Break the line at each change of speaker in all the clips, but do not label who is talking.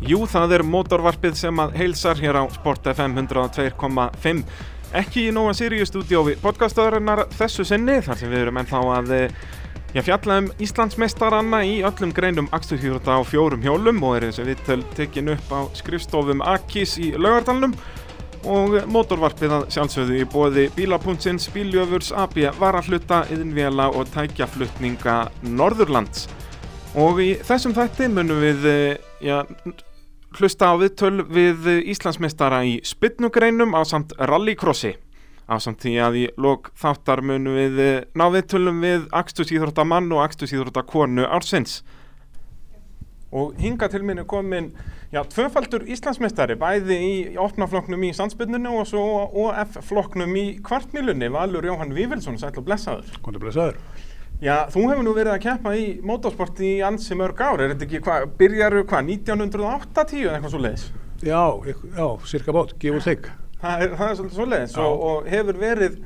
Jú, það er mótorvarpið sem að heilsar hér á Sport FM 102.5 ekki í Nóa Sirius stúdíói podcastaðurinnar þessu sinni þar sem við erum ennþá að eh, já, fjalla um Íslandsmeistaranna í öllum greinum axturhjúrta á fjórum hjólum og er eins og við töl tekin upp á skrifstofum Akis í laugardalnum og mótorvarpið að sjálfsögðu í bóði bíla.sins, bíljöfurs, AB, varahluta, yðinvela og tækjaflutninga Norðurlands. Og í þessum þætti munum við eh, já, hlusta á viðtöl við eh, Íslandsmeistara í spytnugreinum á samt rallycrossi. Á samt því að í lok þáttar munum við eh, ná viðtölum við axtusíþrótta mann og axtusíþrótta konu ársins. Og hinga til minni komin, já, tvöfaldur Íslandsmeistari, bæði í opnaflokknum í sandspynnunni og svo OF-flokknum í kvartmílunni, Valur Jóhann Vívilsson, sætla blessaður.
Kondur blessaður.
Já, þú hefur nú verið að keppa í motorsporti í ansi mörg ár, er þetta ekki hvað, byrjaru hvað, 1980 eða eitthvað svo leiðis?
Já, ekk- já, cirka bát, give or take.
Það er, það er svolítið svo leiðis
Já.
og, og hefur verið,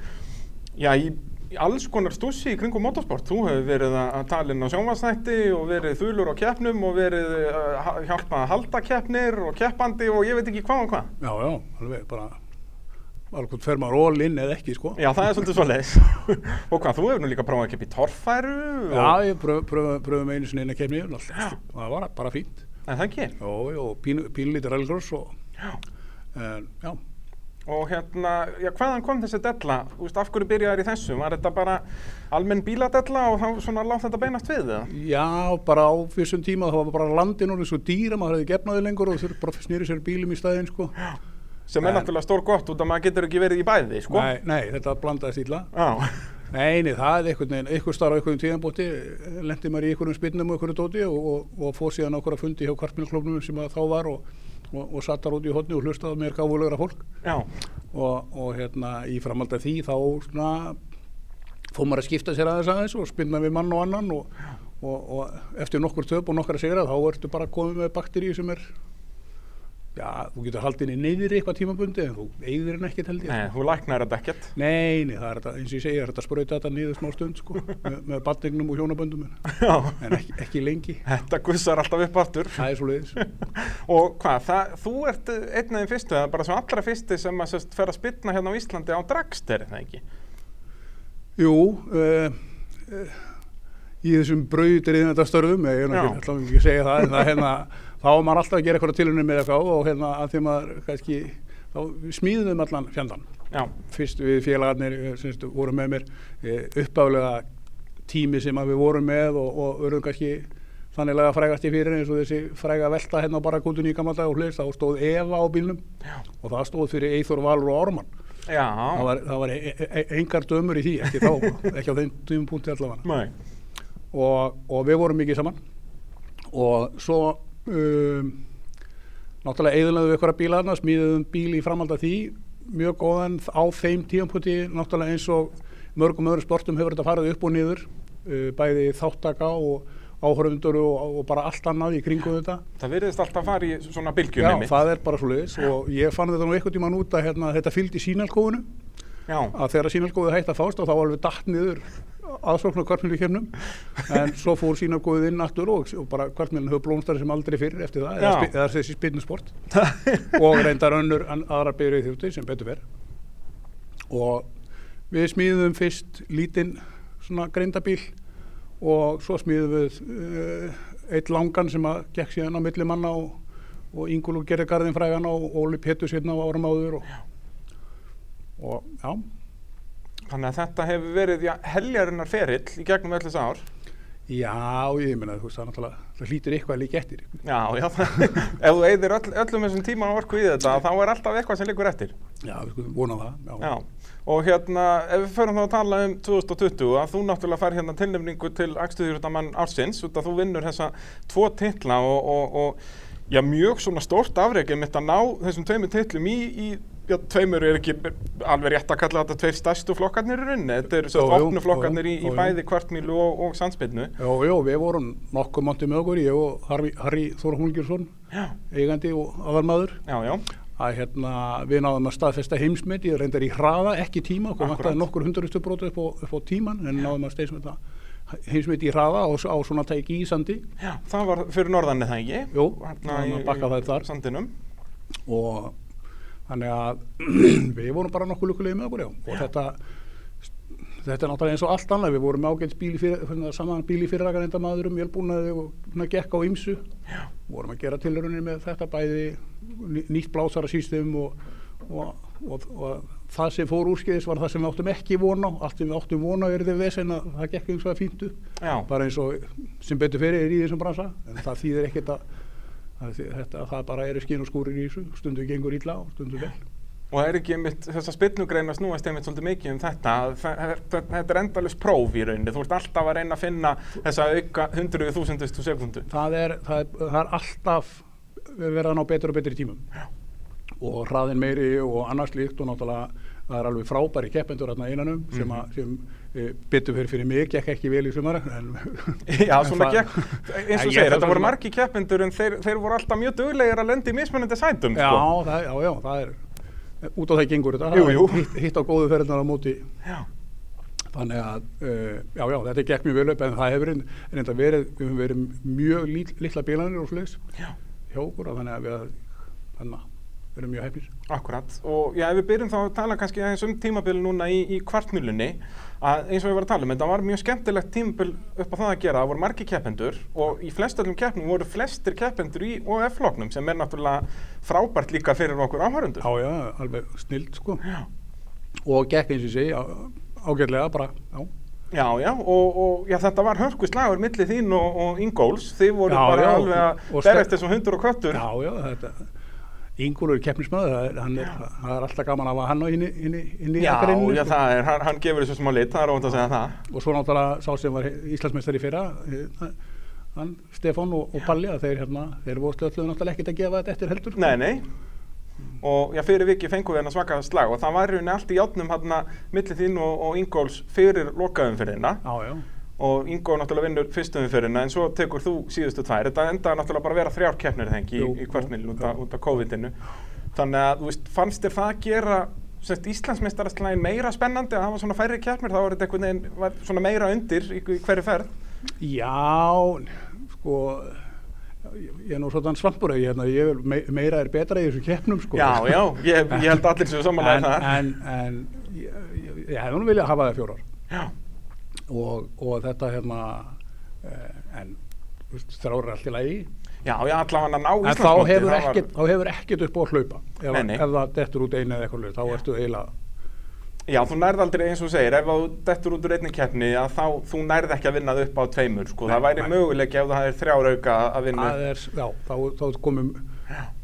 já, í í alls konar stússi í kringum motorsport, þú hefur verið að að tala inn á sjónvarsnætti og verið þulur á keppnum og verið að ha- hjálpa að halda keppnir og keppandi og ég veit ekki hvað og hvað.
Já, já, alveg bara alveg fer maður all in eða ekki, sko.
Já, það er svolítið svo leiðis. og hvað, þú hefur nú líka prófað að keppa í torfæru og,
Já, ég pröf- pröf- pröfum einu sinni inn að kemni og allt. það var bara fínt.
en það ekki.
Já, já, og pín, pínlítið rallycross og,
Já.
en, já.
Og hérna, já, hvaðan kom þessi della? Þú veist, af hverju byrjaði þær í þessu? Var þetta bara almenn bíladella og þá svona látt þetta beinast við eða?
Já, bara á fyrstum tíma þá var bara landin orðið svo dýra, maður hefði gefnaði lengur og þurfti bara að snýri sér bílum í staðinn, sko.
Sem er
En-
náttúrulega stór gott út að maður getur ekki verið í bæði, sko?
Nei, nei, þetta blandaðist illa.
Já,
Nei, nei, það er einhvern veginn, einhver starf á einhverjum tíðanbóti, lendi maður í einhverjum spinnum og einhverju dóti og, og, og fór síðan á okkur fundi hjá kvartmjölklubnum sem að þá var og, og, og satt þar út í hotni og hlustaði á mér gáfulegra fólk
já,
og, og hérna í framhald af því þá svona fór maður að skipta sér aðeins aðeins og spinna við mann og annan og, og, og eftir nokkur töp og nokkra sigra þá ertu bara komið með bakteríu sem er Já, þú getur haldið henni neyðri eitthvað tímabundi en þú eigðir henni ekkert held ég. sko.
nei, þú læknar þetta ekkert.
Nei, nei, það er þetta, eins og ég segi, það er þetta að sprauta þetta niður smá stund, sko, með, með batningnum og hjónaböndum, en,
Já,
en ekki, ekki lengi.
þetta gussar alltaf upp aftur.
Það er svo leiðis.
Og hvað, það, þú ert einn af þeim fyrstu, eða bara svo allra fyrsti sem að sérst fer að spilna hérna á Íslandi á dragster, er það ekki?
Jú, uh, uh, í þessum brautriðin þetta störfum, ég er nú
Já.
ekki, ætla nú ekki að segja það, en það, hérna, þá var maður alltaf að gera eitthvað tilunum með eitthvað og hérna, að því maður, kannski, þá við smíðum allan fjandann.
Já,
fyrst við félagarnir eh, sem sagt, voru með mér uppálega tími sem að við vorum með og, og vorum kannski þanniglega frægast í fyrir eins og þessi fræga velta hérna á barakútunni í gamla dag og hlust þá stóð Eva á bílnum
Já.
og það stóð fyrir Eithor Valur og Orman
já,
það var, það var e e e engar dömur í því ekki, þá, ekki á þeim tímupunkti allavega
nei,
og, og við vorum mikið saman og svo um, náttúrulega eigðunlega við ykkur að bíla þarna, smíðum bíl í framhald af því mjög góðan á þeim tíampunkti náttúrulega eins og mörgum öðrum sportum hefur þetta farið upp og niður uh, bæði þáttaka og áhörfundur og, og bara allt annað í kringum þetta
það virðist alltaf fara í svona bylgjum
Já, það er bara svo leiðis og ég fann þetta nú einhvern tímann út að hérna, þetta fylgdi sínalkóðinu
Já,
að þegar sínalgóðið hætti að fást og þá alveg datt niður aðsóknar kvartmjölukeppnum en svo fór sínalgóðið inn aftur og, og bara kvartmjölun höfðu blómstari sem aldrei fyrir eftir það, eða,
Já.
spi, eða þessi spinnusport og reyndar önnur an- aðrar byrjuð þjóttir sem betur verð og við smíðum fyrst lítinn svona greindabíl og svo smíðum við uh, eitt langan sem að gekk síðan á milli manna og, og Ingúlu gerði garðin frægan og Óli Pétur sérna á árum áður og, og já,
þannig að þetta hefur verið, já, heljarinnar ferill í gegnum öll þess ár.
Já, ég meina, þú veist, það náttúrulega, það hlýtur eitthvað að líka eftir.
Já, já, það- ef þú eyðir öll, öllum þessum tíman og orku í þetta, þá er alltaf eitthvað sem liggur eftir.
Já, við skulum vona það, já.
Já, og hérna, ef við förum þá að tala um 2020, að þú náttúrulega fær hérna tilnefningu til Akstuðjúrdamann ársins, út að þú vinnur þessa tvo titla og, og, og já, mjög svona stórt afreikið mitt að ná þessum tveimur titlum í, í já, tveimur er ekki alveg rétt að kalla þetta tveir stærstu flokkarnir í rauninni, þetta eru svo
Jú, jú,
opnu flokkarnir í,
jú,
í
jú.
bæði kvartmílu og, og sandsbyrnu.
Já, já, við vorum nokkuð mátti með okkur, ég og Harry, Harry Þóra Hólgjursson,
Já,
eigandi og aðalmaður,
já, já,
að hérna, við náðum að staðfesta heimsmet, ég reyndar í hraða, ekki tíma, okkur
Akkúrat.
vantaði nokkur hundurustu brota upp á, upp á tíman, en náðum að staðfesta heimsmyndi í hraða á, á svona tæki í sandi
Já, það var fyrir norðan eða ekki?
Jú,
Hérna
þannig að bakka það þar
sandinum.
og þannig að við vorum bara nokkuð lukkulegið með okkur já. og þetta þetta er náttúrulega eins og allt annað við vorum ágætt bíl í fyrir, fyrir, saman bíl í fyrirrakan enda maður um vélbúnaði og svona gekk á ymsu
Já.
vorum að gera tilraunin með þetta bæði ný- nýtt blásara sístum og, og, og, og það sem fór úrskeiðis var það sem við áttum ekki vona allt sem við áttum vona er þið vesen að það gekk eins og það fíntu
Já,
bara eins og sem betur fyrir er í þessum bransa en það þýðir ekkert að, að þi- þetta, það bara eru skinn og skúrir í þessu stundu gengur illa og stundu vel
og það er ekki einmitt, þessar spillugreina snúast einmitt svolítið mikið um þetta, að þa- þetta, þetta er endalist próf í rauninni, þú ert alltaf að reyna að finna þessa auka hundruðu þúsundustu sekundu.
það er, það er, það er alltaf verið að ná betur og betri tímum
Já.
og hraðin meiri og annars líkt og náttúrulega það er alveg frábæri keppendur hérna innanum sem,
Mhm.
að, sem e, betur fyrir fyrir mig gekk ekki vel í sumar en,
Já,
en
svona
það-
gekk, eins
En
og
ég-
segir,
það
þetta
svona-
voru margi keppindur en þeir, þeir voru alltaf mjög duglegir að lenda í mismunandi sætum,
já,
sko.
það, já, já, það er út á það gengur þetta
Jú,
Það er
jú.
hitt, hitt á góðu ferðnar á móti
Já.
þannig að, uh, já, já, þetta gekk mjög vel upp en það hefur reyn- reynda verið, við höfum verið mjög lít, litla bílanir og sliðis
Já.
hjá okkur og þannig að við þannig að við erum mjög hefnir
Akkurat, og já, ef við byrjum þá að tala kannski aðeins um tímabil núna í, í kvartmjölunni að eins og við varum að tala um, þetta var mjög skemmtilegt tímabil upp á það að gera, það voru margi keppendur og í flestallum keppnum voru flestir keppendur í OF-floknum sem er náttúrulega frábært líka fyrir okkur áhörundur.
Já, já, alveg snild sko
Já,
og gekk eins og sé á- ágætlega bara, já,
já, já og, og já, þetta var hörku slagur milli þín og, og Ingóls, þið voru
Já,
bara
já,
alveg
og
að
ste-
berjast þessum hundur og köttur.
já, já þetta Ingúlur keppnismöður, það er, hann er, það er alltaf gaman að hafa hann á inni, inni, inni í
já,
akrinnu
já, það er, hann, hann gefur þessu smá lit, það er óvænt að segja það.
og svo náttúrulega sá sem var Íslandsmeistari í fyrra eh, hann, Stefán og, og Palli að þeir hérna, þeir voru slöðluðu náttúrulega ekkert að gefa þetta eftir heldur
Nei, nei og já, fyrir viki fengum við hennar svaka slag og það var í rauninni allt í játnum hérna millir þín og, og Ingóls fyrir lokaumfyririna
Já, já,
og Ingó náttúrulega vinnur fyrstumfyririna hérna, en svo tekur þú síðustu tvær þetta endaði náttúrulega bara að vera þrjár keppnir þengi í,
Jú,
í kvartmilin
jú,
út, af- út af COVID-inu þannig að þú veist, fannst þér það að gera semst Íslandsmeistaraslægin meira spennandi að hafa svona færri keppnir, þá var þetta einhvern veginn var svona meira undir í, í hverju ferð
Já, sko, ég ég er nú svona svampur að ég, hérna, ég vil mei- meira er betra í þessum keppnum, sko.
Já, já, ég, ég held að allir sem samanlega
en,
það
en, en ég, ég, ég hefði nú viljað hafa það fjórar
Já,
og, og þetta hérna, eh, en þú veist, þrára er allt í lagi.
já, já allavega ná
En þá
Íslandsmótið,
hefur,
það var-
ekkert, þá hefur ekkert upp á að hlaupa. Ef,
Nei, nei.
ef það dettur út einu eða eitthvað, hlut, þá ertu eiginlega,
Já, þú nærð aldrei eins og þú segir, ef þú dettur út úr einni keppni að þá, þú nærð ekki að vinna það upp á tveimur, sko, það
Nei,
væri
nei.
möguleiki ef það er þrjár auka að vinna,
það er, já, þá, þá komum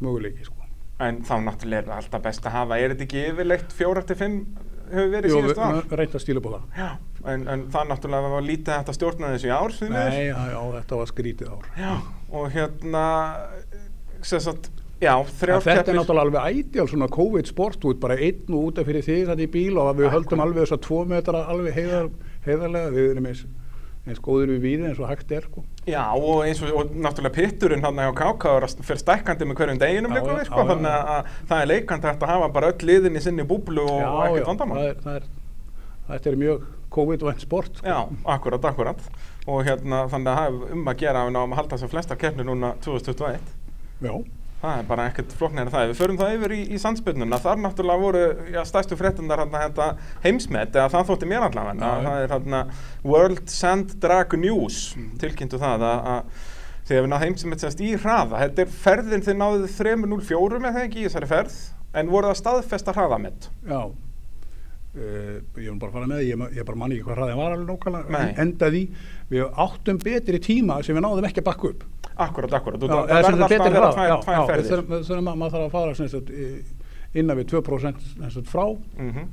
möguleiki, sko.
en þá náttúrulega er það alltaf best að hafa, er þetta ekki yfirleitt fjórar til fimm hefur verið
Jú, við
síðustu ár?
við reynda að stíla upp á það.
Já, en, en það náttúrulega var lítið hægt að stjórna þessu í ár, því miður.
Nei, já, já, þetta var skrítið ár.
Já, og hérna, sem sagt, já,
En
þrjár
þetta er náttúrulega alveg ideal svona COVID sport út, bara einn og útaf fyrir þig þannig í bíl og að við höldum alveg þessa tvo metra alveg heiðar, heiðarlega, við erum eins, eins góður við víði eins og hægt er sko.
Já, og eins og, og náttúrulega pitturinn hann hjá KK er að fyrir stækkandi með hverjum deginum
Já,
líka
já,
við,
já,
sko,
já.
þannig að- að það er leikandi hægt að hafa bara öll liðin í sinni búblu og, og ekkert vandamál.
það er, það er, þetta er mjög COVID-vænt sport sko.
Já, akkurat, akkurat og hérna þannig að það er um að gera að við náum að halda sem flesta keppnir núna 2021
Já,
það er bara ekkert flokknir en það við förum það yfir í, í sandspyrnuna þar náttúrulega voru já, stærstu fréttundar hérna, hérna, heimsmet eða það þótti mér allavega
Já, já.
það er hérna World Sand Drag News
Mm.
tilkynntu það að, að þegar við náðum heimsmet semst í hraða þetta er ferðin þið náðuð 3.04 með það ekki í þessari ferð en voru það staðfesta hraðamett
já. Uh, ég er nú bara að fara með, ég, ma- ég bara man ekki hvað hraðin var alveg nókala,
Nei.
endaði við áttum betri tíma sem við náðum ekki að bakka upp.
akkurat, akkurat og
Já,
það
eða sem
verða alltaf
þetta er
að vera
hraða,
tvær,
já,
tvær
já, við
ferðir
þurfum- við þurfum að maður þarf að fara sem sagt, í- innan við 2% sem sagt, frá
mm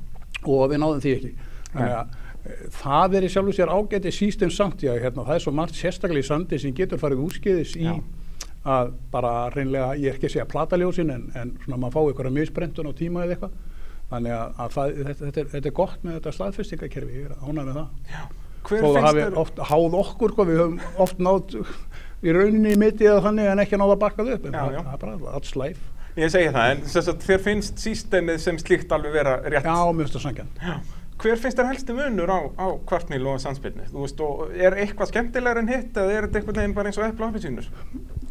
og við náðum því ekki þannig að eh, það er í sjálfu sér ágæti sístum samt já, hérna, það er svo margt sérstaklega í sandi sem getur farið úrskeiðis í
Já.
að bara reynlega, ég er ekki að segja plataljósin en, en svona maður fá ykkur að misbrentun á tíma eða eitthvað þannig að, að það, þetta, þetta, er, þetta er gott með þetta staðfestingakerfi, ég er ánægð með það
Já.
þó
Hver
það
finnst
hafi
þér
oft háð okkur hvað, við höfum oft nátt í rauninni í mitti eða þannig en ekki náð að bakka þau upp en
Já,
það,
já.
það er bara alls læf
Ég segi það, en sem sagt, þér finnst sístemið sem slíkt alveg vera rétt.
já, mjög stað sangjan
Já. Hver finnst þér helsti munur á, á kvartnil og sandspilni? Þú veist, og er eitthvað skemmtilegur en hitt eða er þetta einhvern veginn bara eins og epla og appelsínur?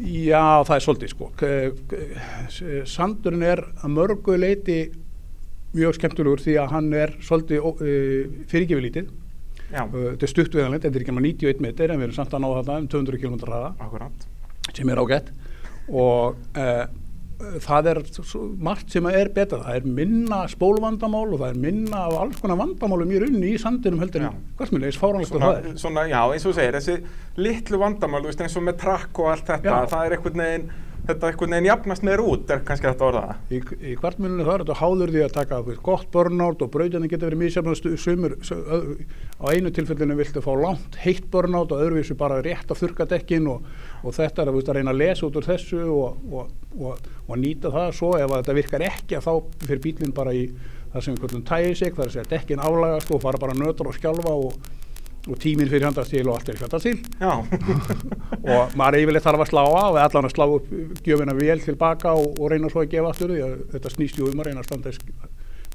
Já, það er svolítið sko. K- k- s- Sandurinn er að mörgu leiti mjög skemmtilegur því að hann er svolítið ó- eh, fyrirgefilítið.
Já,
Eh, Þetta er stutt viðanlegt, þetta er ekki nema 91 metr en við erum samt að ná þarna um 200 km hraða
akkurat.
sem er ágætt og uh, það er s- s- margt sem er betra, það er minna spólvandamál og það er minna af alls konar vandamálum í rauninni í sandinum heldur
Já.
en kvartmjölu, eins fáránlegt og
Svona,
það er.
svona, já, eins og þú segir, þessi litlu vandamál, þú veist, eins og með trakk og allt þetta,
Já.
það er einhvern veginn, þetta einhvern veginn jafnast meður út, er kannski þetta orðaða.
Í, í kvartmjölunni það er þetta háður því að taka þú veist, gott burnout og brautinni geta verið misjafnastu sumur, su- ö- á einu tilfellinu viltu fá langt heitt burnout og öðruvísu bara rétt að þurka dekkin og, og þetta er að, þú veist, að reyna að lesa út úr þessu og, og, og, og nýta það svo ef að þetta virkar ekki að þá fyrir bílinn bara í það sem við kvöldum tæði sig, það er að segja dekkin aflagast og fara bara nötur og skjálfa og, og tíminn fyrir handast til og allt er fjandast til
Já,
og maður yfirleitt þarf að slá af eða allan að slá upp gjöfina vel tilbaka og, og reyna svo að gefa aftur því að þetta snýst jú um að reyna að standa eins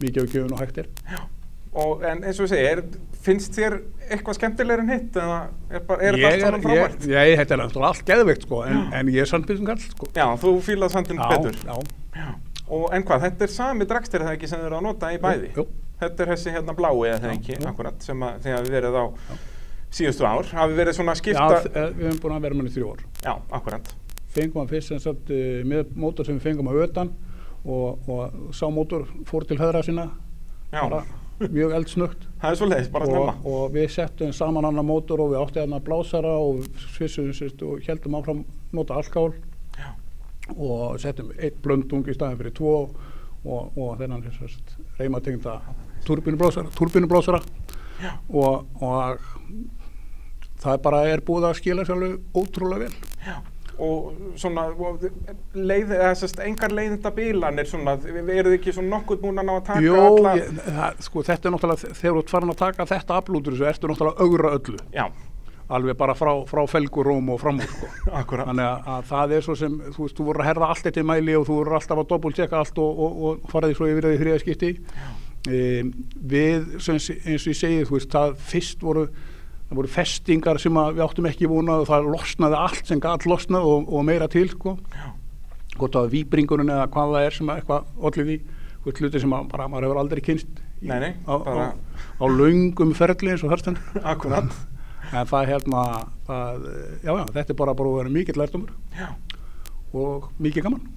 mikið á gjöfun og hægt er
og en eins og þú segir, finnst þér eitthvað skemmtilegur en hitt, eða er, bara, er þetta
ég,
allt saman
ég,
frábært?
ég, þetta er náttúrulega allt geðveikt sko, en, en ég er sannbyrðum kall sko.
Já, þú fílað sandin betur.
já,
Já. Og en hvað, þetta er sami dragstir það ekki sem þið eru að nota í bæði?
jú.
Þetta er þessi hérna blái eða það
Já,
ekki,
jú.
akkurat, sem að þið hafi verið á síðustu ár, hafi verið svona að
já
skipta...
þ- eh, við hefum búin að vera með hann í þrjú ár
Já, akkurat.
fengum hann fyrst sem sagt eh, með mótor sem við fengum að ötan og, og sá mótor fór til höðra sinna
Já,
bara mjög eldsnögt
það er svo leiðis, bara
og,
snemma.
og við settum saman annar mótor og við átti annar blásara og svissum sérst og heldum áfram nota alkál
Já.
og settum eitt blöndung í staðin fyrir tvo og, og þennan sérst reymatengda turbínublásara, turbínublásara
Já.
og, og það bara er búið að skila sér alveg ótrúlega vel
Já. Og svona, og leið, eða sérst, engar leiðinda bílanir svona, eru þið ekki svona nokkuð búin að ná að taka
Jó,
alla...
ég, það, sko, þetta er náttúrulega þegar þú ert farin að taka þetta aflútur þessu ertu náttúrulega að ögra öllu
Já,
alveg bara frá, frá felguróm og fram úr sko.
akkurat.
Þannig að, að það er svo sem, þú veist, þú voru að herða allt eitt í mæli og þú voru alltaf að doppeltjekka allt og, og, og faraði svo yfir það í þriða skipti. Um, við, sem, sé- eins og ég segi, þú veist, það fyrst voru, það voru festingar sem að við áttum ekki vonað og það losnaði allt sem galt losnað og, og meira til, sko. Hvort það var víbringurinn eða hvað það er sem að eitthvað allir því, þú veist, hluti sem að bara maður hefur aldrei kynst í-
Nei, nei,
á, á,
bara-
á löngum ferli eins og þar stendur.
Akkurat.
En það hérna, það, já, já, þetta er bara bara að vera mikill lærdomur
Já.
og mikið gaman.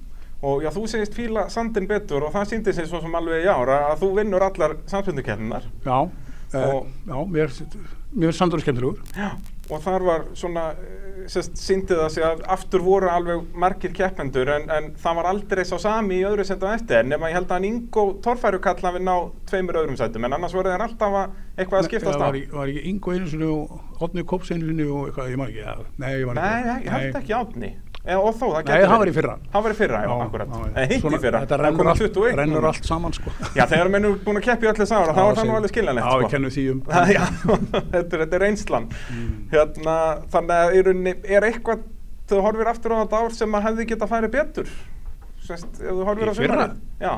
Og já, þú segist fíla sandin betur og það síndi sig svo sem alveg í ár að þú vinnur allar samfélagkeppninar.
Já, uh,
Og-
já mér, mér er sandur skemmtilegur.
Já, og þar var svona, eh, sérst, síndið það sig að aftur voru alveg margir keppendur en, en það var aldrei sá sami í öðru setu á eftir nema ég held að hann Ingo Torfærukall hafi ná tveimur öðrum setum en annars voru þeir alltaf að eitthvað að skiptast á.
Var, ekki- var ekki Ingo einsinni og Otni Kops einsinni og eitthvað, ég maður ekki. Já, nei, ég maður
Nei,
ekki.
nei, ég held ekki átni. Eða, og þó, það
Nei,
getur
það var
verið.
í fyrra.
Það var í fyrra, já,
Já,
akkurat.
já, já.
Nei, hitt
Svona-
í fyrra.
Þetta
Það
rennur
kom
allt,
21
rennur
núna.
allt saman, sko.
Já, þegar menn eru búin að keppi öll þessi ára, þá er það nú
segi-
alveg skiljanlegt.
Já,
sko.
ég kennu því um. Mm.
Það- já, þetta, er, þetta er reynslan hérna, þannig að í rauninni er eitthvað þegar þú horfir aftur á þetta ár sem að hefði geta farið betur Sest, ef þú horfir
Í
á
fyrra?
sumarið. já.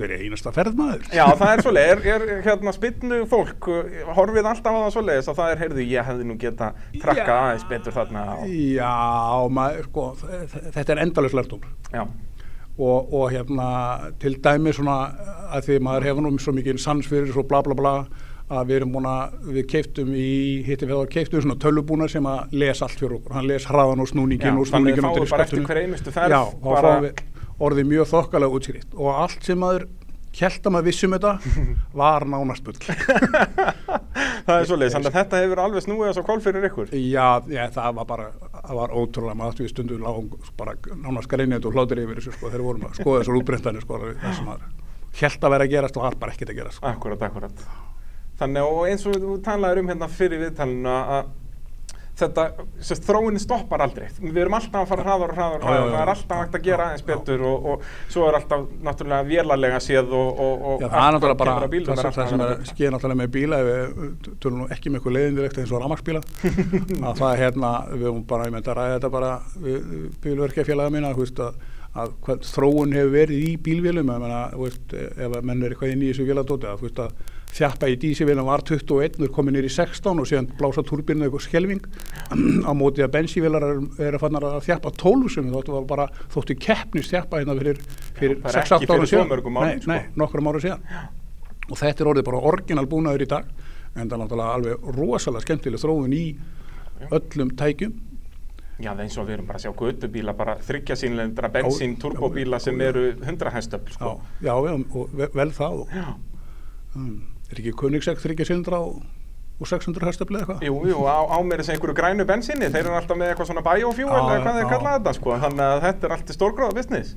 Hver er einasta ferðmaður?
já, það er svoleið er, er hérna spinnu fólk uh, horfið alltaf á það svoleiðis að það er, heyrðu, ég hefði nú geta trakkað
Já.
aðeins betur þarna og,
Já, maður, sko, þ- þ- þetta er endalus lærdomur.
já,
og, og hérna til dæmi svona að því maður hefur nú svo mikið sans fyrir svo bla bla bla að við erum búin að við keiftum í hitti við þá keiftum við svona tölubúna sem að les allt fyrir okkur, hann les hraðan og snúningin
Já,
og
þannig
snúningin
fáum
undir
við bara eftir
skattunum.
hverja einustu ferð
Já, þá
bara-
fáum við orðið mjög þokkalega útskrift og allt sem maður held að maður vissum þetta var nánast bull
það er svoleiðis þannig að þetta hefur alveg snúið þess að kól fyrir ykkur
Já, já, það var bara, það var ótrúlega, maður átti við stundum lágum, bara nánast greinjandi og hlátur yfir þessu, sko, þegar við vorum að skoða þessar útbreyndanir, sko, það sem maður held að vera að gerast og var bara ekkert að gerast, sko.
Akkurat, akkurat. Þannig og eins og þú talaður um hérna fyrir viðtalinu að þetta, sérst, þróunin stoppar aldrei. Við erum alltaf að fara hraðar og hraðar og
Já,
hraðar.
já, já.
Það er alltaf hægt að
Já,
gera aðeins
já.
betur og, og svo er alltaf náttúrulega vélarlega séð og, og, og
Já, það er
allt
náttúrulega
hvað kemur að bílum
bara
er
það,
alltaf
það sem
að
er
vera-
skeið náttúrulega með bíla, ef við tölum nú ekki með eitthvað leiðindirekt eins og ramaksbíla, að það er hérna, við höfum bara, ég myndi að ræða þetta bara, við bílverkjafélaga mína, þú veist, að, að hvað þróun hefur verið í bílvélum, ég meina, þú veist, ef að menn er eitthvað inn í þessu véladóti, að þú veist að þjappa í dísivélum var 21 er komin nýri 16 og síðan blása turbinu eitthvað skelving á móti að bensivélar eru er að fannar að þjappa 12 sem þóttu var bara þóttu keppnist þjappa hérna fyrir, fyrir
Já, bara
6-8
ekki fyrir
árum síðan
svo mörgum árum, sko.
nei, nei, nokkrum árum síðan og þetta er orðið bara orginal búnaður í dag en það er náttúrulega alveg rosalega skemmtileg þróun í öllum tækjum
Já, það er eins og við erum bara að sjá gödubíla, bara þryggja sínlendra bensín,
Já,
turbóbíla
já,
sem
já.
eru 100 hestöfl, sko.
já, já, já, og ve- vel það og,
Já.
um, er ekki Königsegg 300 og, og 600 hestaflið eitthvað
Jú, jú, á, á mér þessi einhverju grænu bensinni, þeir eru alltaf með eitthvað svona biofuel
Já,
eða hvað þeir
já.
kalla þetta, sko. Þannig að þetta er allt í stórgráða business.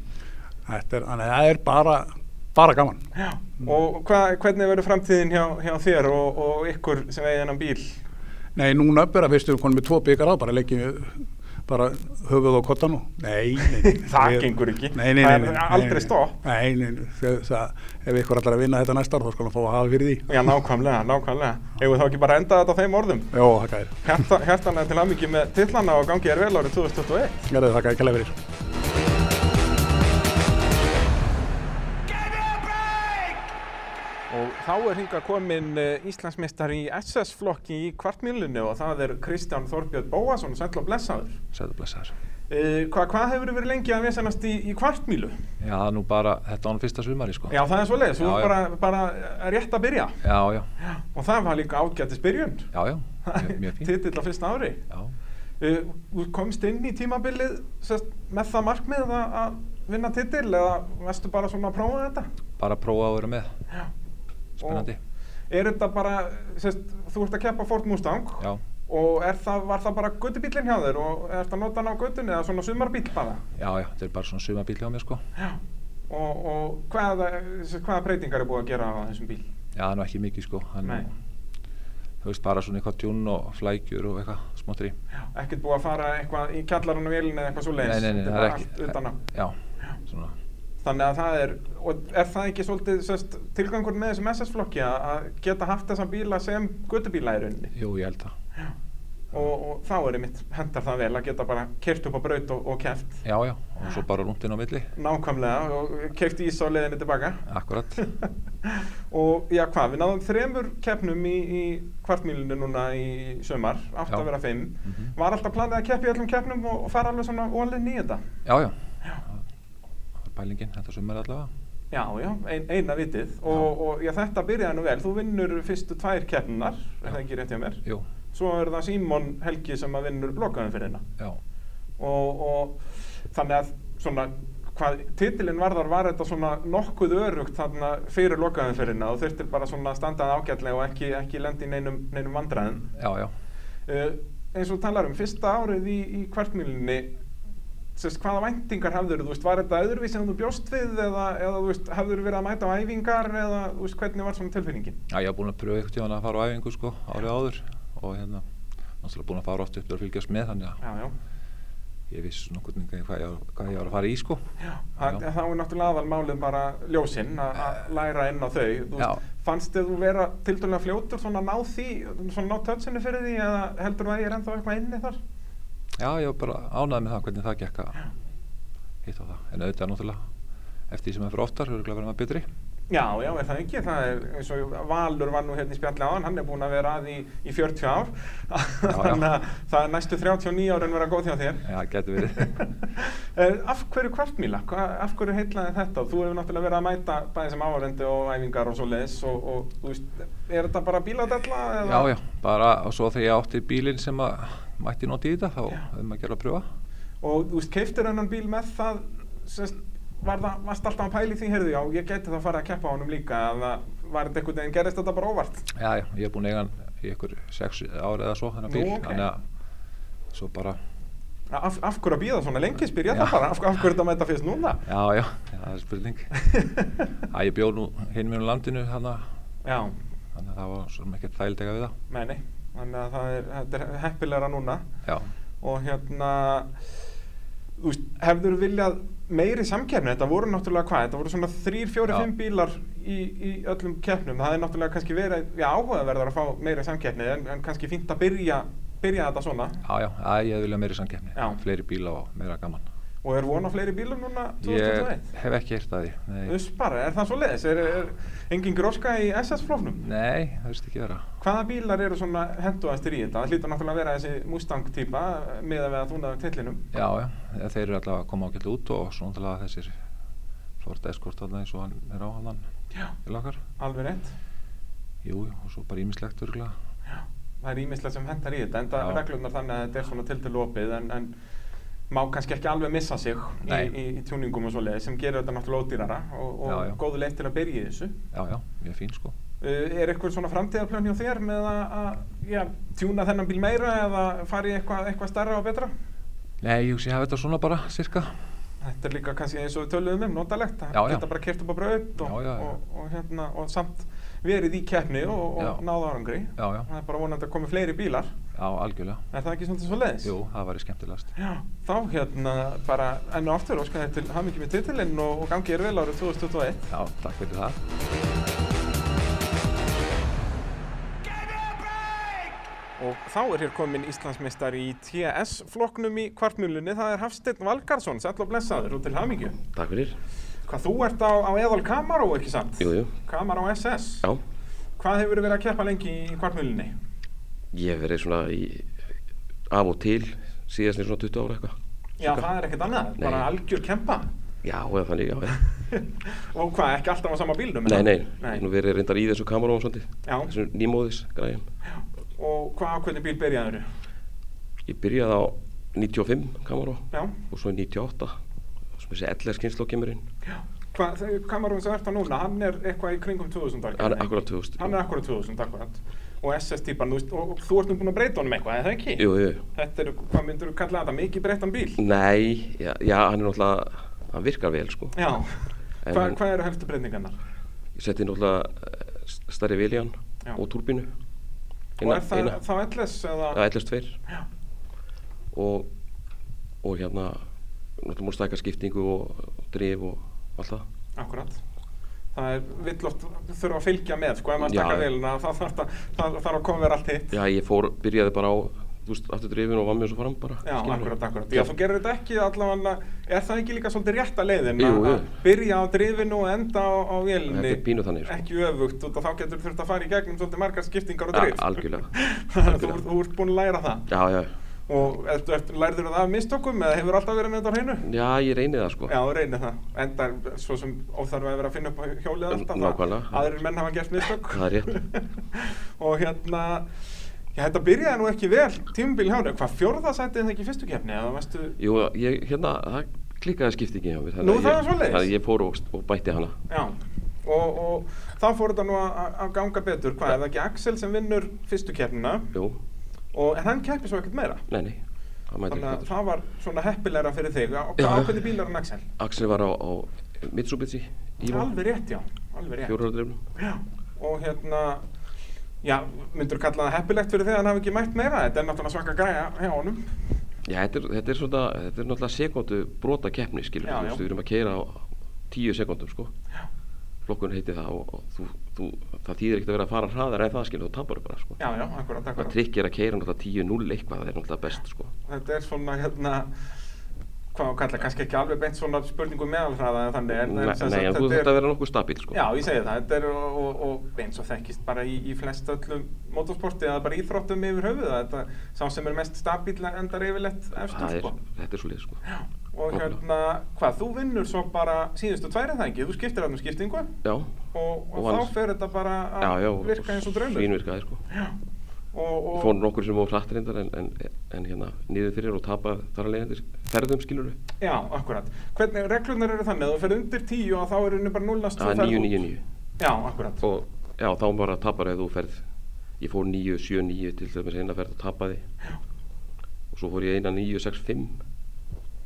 Þetta er, þannig að það er bara, bara gaman. Mm.
Já. Og hva, hvernig verður framtíðin hjá, hjá þér og, og ykkur sem eigið hennan bíl?
Nei, núna bara, veistu, við konum við tvo byggar á, bara leggjum við bara höfuð á kottan og... Nei, nei, nei.
Það
Við-
gengur ekki.
Nei, nei, nei.
Það er
nei, nei,
aldrei
nei.
stopp.
Nei, nei, nei. Það, það, ef ykkur allar að vinna þetta næsta ár, þá skal hann fá að hafa fyrir því.
Já, nákvæmlega, nákvæmlega. Eigum við þá ekki bara að enda þetta á þeim orðum?
Jó, þakka þér.
Hjarta, hjartanlega til aðmyggi með tillana og gangi er vel árið 2021.
Gerðu þakka ekki fyrir.
Og þá er hinga komin eh, Íslandsmeistar í SS-flokki í kvartmjölunni og það er Kristján Þorbjörn Bóasson, sæll og blessaður.
Sæðu blessaður.
Uh, hvað hva hefur verið lengi að vesenast í, í kvartmjölu?
Já, nú bara, þetta var nú fyrsta sumari, sko.
Já, það er svo leiðis, þú
Já,
er
já.
bara, bara rétt að byrja.
Já, já,
Og það var líka ágættis byrjun.
já, já, mjög, mjög fín.
Titill á fyrsta ári.
Já,
Uh, Þú komst inn í tímabilið sest, með það markmið að að vinna titill eða vestu bara svona að prófa þetta?
bara prófa að vera með.
Já.
Spennandi.
Og er þetta bara, sest, þú ert að keppa Ford Mustang?
Já,
Og er það, var það bara göttubílinn hjá þér og er það nota hann á göttunni eða svona sumarbíl bara?
já, já, þetta er bara svona sumabíl hjá mér, sko.
Já. Og, og hvaða, hvaða breytingar er búið að gera á þessum bíl?
Já, það er nú ekki mikið, sko. Það er nú-
Nei.
Þú veist, bara svona eitthvað tjún og flækjur og eitthvað smáttri.
Já. Ekkert búið að fara eitthvað í kjallarinn og vélinn eða eitthvað svo leiðis?
Nei, nei, nei, það er ekki.
Allt utan á.
Já, svona.
Þannig að það er, og er það ekki svolítið sest, tilgangur með þessum SS-flokki að að geta haft þessa bíla sem göttubíla í rauninni?
Jú, ég held það.
Og, og þá er einmitt, hendar það vel að geta bara kert upp á braut og, og keft
Já, já, og svo bara rúndin á milli.
nákvæmlega og keft ís á leiðinni tilbaka.
Akkurat.
og já hvað, við náðum þremur keppnum í, í kvartmílinu núna í sömar, átt
Já.
að vera fimm
Mhm.
var alltaf planið að keppa í öllum keppnum og, og fara alveg svona ólinn í þetta
Já, já. Það er pælingin, þetta sumar allavega.
já, já, ein, eina vitið og, og já, þetta byrjaði nú vel, þú vinnur fyrstu tvær keppnunar, er það ekki rétt hjá mér
Jú,
svo er það Símon Helgi sem að vinnur blokkaðum fyrir hérna
já.
og, og þannig að svona hvað titilinn varðar var þetta svona nokkuð örugt þarna fyrir lokaðum fyrir hérna og þurfti bara svona að standað ágætlega og ekki, ekki lendi í neinum, neinum vandræðum
Já, já.
Uh, eins og þú talar um fyrsta árið í, í kvartmílinni sérst, hvaða væntingar hafður þú veist, var þetta öðruvísi en þú bjóst við eða, eða þú veist, hafður verið að mæta á æfingar eða þú veist, hvernig var svona tilfinningin
Já, ég hef búin að pröfa eitthvað tíðan að fara á æfingu sko, árið áður og hérna, náttúrulega búin að fara oft upp til að fylgjast með þannig að
já, já,
ég vissi svona hvernig hvað ég, var- hvað ég var að fara í sko.
já. Það, þá er náttúrulega aðal málið bara ljósinn að að læra inn á þau þú
Já.
veist, fannst þið þú vera tildulega fljótur svona ná því, svona ná tötsinu fyrir því eða heldur þú að ég er ennþá eitthvað inni þar
Já, ég var bara ánægð með það hvernig það gekk að hitta á það. En auðvitað náttúrulega eftir því sem það fyrir oftar, þú eru glæð að vera maður betri.
já, já, er það ekki, það er eins og Valur var nú hérna í spjalli á hann, hann er búinn að vera að í, í 40 ár
já.
þannig að það er næstu 39 árin vera góð hjá þér
Já, það getur verið.
Eh, af hverju kvartmíla, Hva- af hverju heitlaði þetta þú hefur náttúrulega verið að mæta bæði sem áhverjandi og æfingar og svo leiðis og, og þú veist, er þetta bara bíladella
já, já, bara og svo þegar ég átti bílinn sem að mætti nóti í þetta, þá
Já.
hefði maður gerð að pröfa.
og þú veist, keiftir hennan bíl með það semst, var það, varst alltaf að pæli því heyrðu, já, ég geti þá farið að keppa á honum líka eða var þetta einhvern veginn, gerist þetta bara óvart
Já, já, ég hef búin að eiga hann í ykkur sex ár eða svo, þennan
Nú,
bíl,
ok.
þannig að svo bara,
af, af hverju að býða svona lengi, spyr ég
Já.
það bara af, af hverju þetta mæta fyrst núna
já, já, það er spurning. Æ, ég bjóð nú hinn mér um landinu þannig að-
já,
þannig að það var svona ekkert þægildega við það.
meni þannig að það er, þetta er heppilegra núna
Já,
og hérna þú veist, hefður viljað meiri samkeppni, þetta voru náttúrulega hvað þetta voru svona þrýr, fjóri,
Já.
fimm bílar í, í öllum keppnum, það er náttúrulega kannski verið já, áhugaverðar að fá meiri samkeppni en, en kannski fínt að byrja, byrja þetta svona
já, já, að ég vilja meiri samkeppni,
Já.
fleiri bíla og meira gaman.
Og er von á fleiri bílum núna 2021?
Ég hef ekki heyrt að því, nei.
Uss bara, er það svo leiðis? Er, er engin gróska í SS-flóknum?
Nei, það veist ekki vera.
Hvaða bílar eru svona henduðastir í þetta? Það hlýtur náttúrulega að vera þessi Mustang-týpa með að við að þúnaðu tillinum.
Já, já, eða þeir eru allavega að koma ágætt út og svona til að þessir Ford Escort alltaf eins og hann er á hann
Já,
í lakar.
alveg rétt.
Jú, jú, og svo bara ímislegt örgulega.
Já, það er ímislegt sem hendar í þetta, en það
Já.
reglurnar þannig að þetta er svona til til opið, en, en má kannski ekki alveg missa sig í,
Nei.
í, í tjúningum og svoleiði sem gerir þetta náttúrulega ódýrara og, og
Já, já.
góðu leið til að byrja í þessu.
Já, já, mjög fín sko.
Uh, er eitthvað svona framtíðarplön hjá þér með að, að já, tjúna þennan bíl meira eða fara í eitthvað, eitthvað starra og betra?
Nei, ég hugsi að hafa þetta svona bara, cirka.
Þetta er líka kannski eins og við töluðum um, notalegt, að
Já, já.
geta bara kert upp á braut og,
Já, já, já.
Og, og, hérna, og samt verið í keppni og,
Já.
og náða árangri.
Já, já.
Það er bara vonandi að komi fleiri bílar,
Já, algjörlega.
er það ekki svona svo leiðis?
Jú, það væri skemmtilegast.
Já, þá hérna bara enn og aftur óskar þér til hafmyggjum í titilinn og, og gangi er vel árið 2021.
Já, takk fyrir það.
Og þá er hér komin Íslandsmeistar í TS-flokknum í kvartmjölunni, það er Hafsteinn Valgarsson, sæll og blessaður og til hafmyggju.
Takk fyrir.
Hvað þú ert á, á Eðal Kamaró, ekki sant?
Jú, jú.
Kamaró SS.
Já,
Hvað hefur verið að keppa lengi í kvartmjölunni?
ég hef verið svona í, af og til síðast í svona 20 ára eitthvað.
Já, það er ekkert annað,
Nei.
bara algjör kempa.
Já, eða þannig, já, já.
og hvað, ekki alltaf á sama bílnum?
Nei,
eða?
nei, nú verið reyndar í þessu kamerón svolítið.
Já.
Þessu nýmóðis græðum.
Og hvað, á hvernig bíl byrjaður?
Ég byrjaði á 95 kamerón
Já.
og svo 98 sem þessi LR skynslo kemur inn.
Hvað, Kamarón sem þú ert á núna, hann er eitthvað í kringum 2000 dag.
Hann er akkurat 2000.
Hann er akkurat 2000, akkurat. Og SS-típan, þú veist, og, og þú ert nú búinn að breyta honum eitthvað, eða það ekki?
Jú, jú.
Þetta er, hvað myndur þú kalla þetta, mikið breyttan bíl?
Nei, já, já, hann er náttúrulega, hann virkar vel sko.
Já.
En
Hva,
hann-
hvað eru helstu breytingarnar?
Ég setti náttúrulega eh, s- stærri viljan
Já.
og túrbínu.
og er það þá LS eða?
Já, ellast tveir
Já.
og, og hérna náttúrulega múl stækka skiptingu og, og drif og allt það
Akkurat. Það er villott, þurfa að fylgja með, sko, ef maður
Já.
stakka velina, það þarf að, það þarf að koma verið allt hitt.
Já, ég fór, byrjaði bara á þú veist, aftur drifin og var mjög svo fram bara
Já,
skilurðu.
akkurat, akkurat. Já, þú gerir þetta ekki allavega, er það ekki líka svolítið rétta leiðin
Jú,
að-
jú.
að byrja á drifinu og enda á, á
Þetta
vélinni?
er pínu þannig, sko.
Ekki öfugt, út af þá getur þurft að fara í gegnum svolítið margar skiptingar og
Ja,
drif.
algjörlega,
Þannig að þú,
algjörlega.
ert- þú ert búinn að læra það.
Já, já,
Og ert, ert, lærður það af mistökum eða hefur alltaf verið með þetta á hreinu?
já, ég reyni það sko
Já, þú reynir það. Enda er svo sem óþarf að vera að finna upp á hjólið alltaf. það-
Nákvæmlega.
Aðrir menn hafa gert mistök.
Það er rétt.
og hérna, já, þetta byrjaði nú ekki vel tímubil hjá þér. Hvað fjórðasætið það ekki í fyrstu kefni? Eða varstu,
Jú, ég, hérna, það klikkaði skiptingi hjá mér þannig
Nú,
að
það
ég-
var svoleiðis?
Þannig að ég fór og, og bætti hana
Já, og, og þá fór þetta nú að- að að ganga betur. Hvað, er það ekki Axel sem vinnur fyrstu keppnina
Jú,
og en hann keppir svo ekkert meira?
nei, nei, það mætti
Þannig
ekki
að
betur
það var svona heppilegra fyrir þig. Á,
Já.
á hvernig bílar hann Axel?
Axel var á, á Mitsubishi Evo,
Alveg rétt, já. Alveg rétt.
fjórhjóðardrifnum
Já, og hérna, já, myndur þú kalla það heppilegt fyrir þig að hann hafi ekki mætt meira? Þetta er náttúrulega svaka græja hjá honum.
Já, þetta er, þetta er svona, þetta er náttúrulega sekundu brota keppni, skilur, þú
Já, já.
veist, við erum að keira á tíu sekundum, sko. Flokkun heiti það og, og þú, þú, það þýðir ekkert að vera að fara hraðar en það, skilur, þú tapar bara, sko.
Já, já, akkurat,
Það
akkurat.
trikk er að keira náttúrulega tíu null eitthvað, það er náttúrulega best, sko.
Þetta er svona, hérna, hvað á að kalla, kannski ekki alveg beint svona spurningu um meðalhraða en þannig. En,
Nei,
en sem
nei,
sagt,
en þú þetta að vera nokkuð stabíl, sko.
Já, ég segi það, þetta er og, og, og eins og þekkist bara í, í flest öllum motorsporti eða bara íþróttum yfir höfuð að þetta, sá sem er mest stabíl endar yfirleitt eftir
það er,
sko.
þetta er svo sko. Já.
Og hérna, hvað, þú vinnur svo bara síðustu tværið það ekki, þú skiptir þarna um skiptingu og,
Já,
og,
Og annars-
þá fer þetta bara að
já, já.
virka eins og draumur.
Svínvirkaði, sko.
Já, og,
Ég
og
fór nokkur sem voru hratt reyndar en, en, en hérna, niður fyrir og tapa þar að leiðandir ferðum, skilur
já, akkurat. Hvernig, reglunar eru þannig, að þú fer undir tíu og þá eru henni bara núlast
Það er 999.
Já, akkurat.
og já, þá bara tapar ef þú ferð ég fór 9, 7, 9 til dæmis eina ferð og tapaði
Já.
og svo fór ég eina 9, 6, 5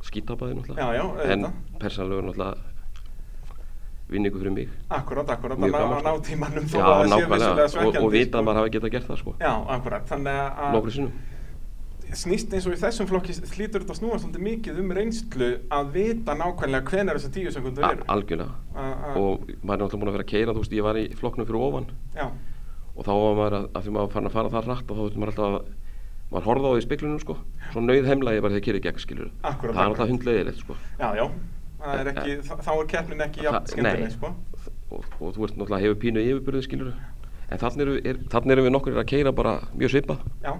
skítapaði náttúrulega
Já, já,
en
auðvitað.
persónlega náttúrulega vinningu fyrir mig
Akkurat, akkurat,
Mjög
þannig að
gaman,
ná
sko.
tímanum þó
já,
að það sé
nákvæmlega,
vissulega
og,
svekkjandi.
og vita
sko.
að maður hafi getað gert það sko,
Já, akkurat, þannig að
nokkru sinnum
snýst eins og í þessum flokki hlýtur þetta að snúa svolítið mikið um reynslu að vita nákvæmlega hvenar þessar tíu sekundur
A-
eru.
algjörlega,
A- a-
og maður er náttúrulega búin að vera að keira þú veist, ég var í flokknum fyrir ofan
Já,
og þá var maður að, að því maður var farin að fara það rætt og þá þurfti maður alltaf að maður horfði á því í speklunum sko, svo nauð heimlægi bara þegar kýrið gegn skilur
Akkúrat,
það er
akkúrat.
alltaf hundleiðilegt sko
Já, já, það er ekki, þá- þá er keppnin ekki
Það-
jafn skemmtileg,
nei.
sko.
og, og þú ert náttúrulega hefur pínu yfirbyrði skilur en þannig erum, er, þannig erum við nokkur að keira bara mjög svipað
Já.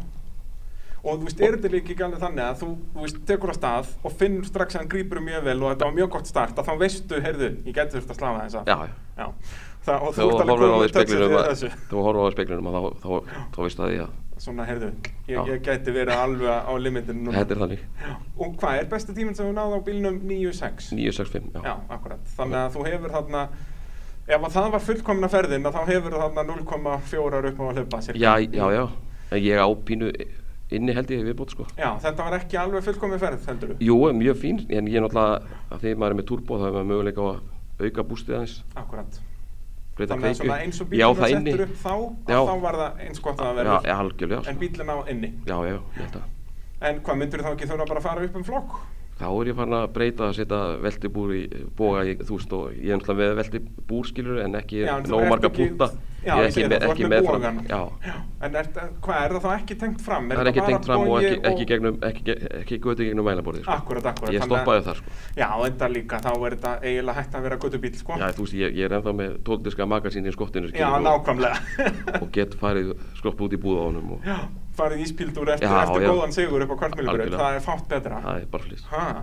Og þú veist, er þetta líka ekki alveg þannig að þú, þú veist, tekur á stað og finnur strax að hann grípur um mjög vel og þetta var mjög gott start að þá veistu, heyrðu, ég gæti þurft að slafa þess að.
já, já.
Já. Það, og þú
þú
ert
horfir á
alveg góður
því
með
í
touchið
speklunum
yfir
að-
þessu.
þú horfir á því í speklunum að þá, þá, þá, þá veist að því að
Svona, heyrðu, ég,
Já.
ég gæti verið alveg á limitinu núna.
þetta er þannig
Já. Og hvað er besti tíminn sem þú náði á bílnum 9.6?
965, já.
Já, akkurat. Þannig að þú hefur þarna, ef að það var fullkomna ferðin, að þá hefur þarna 0,4 upp á að hlaupa. sirka.
já, já, já en ég á pínu inni held ég viðbót sko
Já, þetta var ekki alveg fullkomna ferð, heldur þú?
jú, er mjög fín, en ég er náttúrulega að því maður er með turbo þá er maður möguleika á að auka bústið aðeins
Akkurat.
breyta
Þannig að
kveikju.
svona eins og
Ég á
bílinn var
það inni.
settur upp þá, að
Já.
þá var það eins gott að það
já,
verður.
já, algjörlega
en
sko.
bílinn á inni.
já, já, ég held að
En hvað, myndur þá ekki þurfa bara að fara upp um flokk?
þá er ég farin að breyta að setja veltibúr í boga í þúsund og ég er náttúrulega með veltibúr skilur en ekki
Já, en þú ert
nómarga
ekki-
búta
Já,
ég er
ég segi
ekki,
það,
með-
þú ert
ekki
með
með fram
bogann.
já,
En er, hvað, er það þá ekki tengt fram?
það er ekki
bara
tengt fram og
bogi
ekki, ekki, gegnum, ekki, ge- ekki götu gegnum mælaborði sko.
Akkurat, akkurat.
ég
þannig að-
stoppaði þar sko.
Já, þetta líka, þá er þetta eiginlega hægt að vera göttubíl, sko.
já, þú veist, ég, ég er ennþá með tóldiska magasín í skottinu
Já,
skilurðu, og,
nákvæmlega.
og get farið skroppu út í búða á honum og
já, farið íspildur eftir,
Já,
eftir
já.
góðan sigur upp á kvartmjölubröð,
Algjörlega.
það er fátt betra.
það er bara flýst
Ha,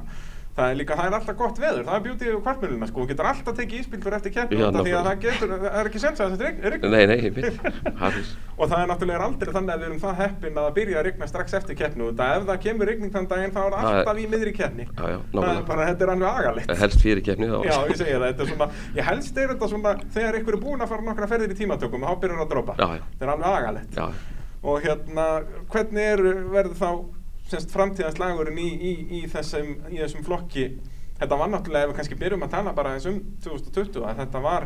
það er líka, það er alltaf gott veður, það er bjútið yfir kvartmjöluna, sko. Þú getur alltaf tekið íspildur eftir keppni,
Já,
út af því að
nákvæmlega.
það getur, það er ekki sens að þetta rign- rigni.
nei, nei, ég veit það er flýst
Og það er náttúrulega aldrei þannig að við erum það heppin að það byrja að rigna strax eftir keppni út að ef það kemur rigning þann daginn þá er
Það er-
alltaf í miðri keppni.
Já, já,
það er
nákvæmlega.
bara, þetta er alveg agalegt.
helst fyrir kefni þá
Já, ég segi það, þetta er svona, ég helst er þetta svona, þegar ykkur er búin að fara nokkra ferðir í tímatökum, þá byrjar að dropa.
Já, já.
Þetta er alveg agalegt.
já,
Og hérna, hvernig er, verður þá, semst, framtíðanslagurinn í, í, í, þessum, í þessum flokki? Þetta var náttúrulega, ef við kannski byrjum að tala bara eins um 2020, að þetta var,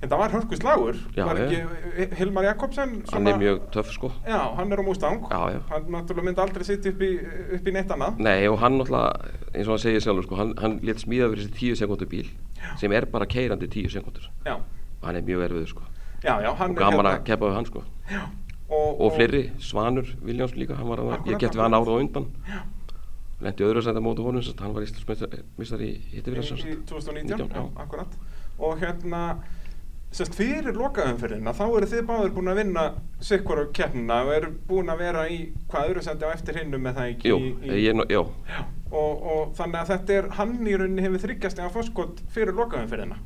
þetta var hörku slagur.
Já,
var
já.
ekki, Hilmar Jakobsen,
hann er mjög töff sko
Já, hann er á Mustang.
Já, já.
Hann náttúrulega myndi aldrei sitja upp í, upp í neitt annað.
Nei og hann náttúrulega, eins og hann segir sjálfur sko, hann, hann létt smíða fyrir þessi tíu sekundur bíl sem er bara keirandi tíu sekundur
Já,
og hann er mjög erfiður sko
já, já, hann hérna-
og gaman að keppa við hann sko
og,
og fleiri, Svanur Viljáns líka, hann var að,
Akkurat,
ég keppti við hann
akkurat.
ára á undan lendi öðru sætt á móti honum, sem sagt, hann var íslensmistari í
í,
hittifyrir
í 2019, já, akkurat og hérna sérst, fyrir lokaumferðina þá eru þið báður búin að vinna sikkur á keppnina og eru búin að vera í hvað öðru sendi á eftir hinnum með það ekki
Jú,
í, í,
ég, er nú- já,
Og, og þannig að þetta er hann í rauninni hefur þryggjast eða fórskot fyrir lokaumferðina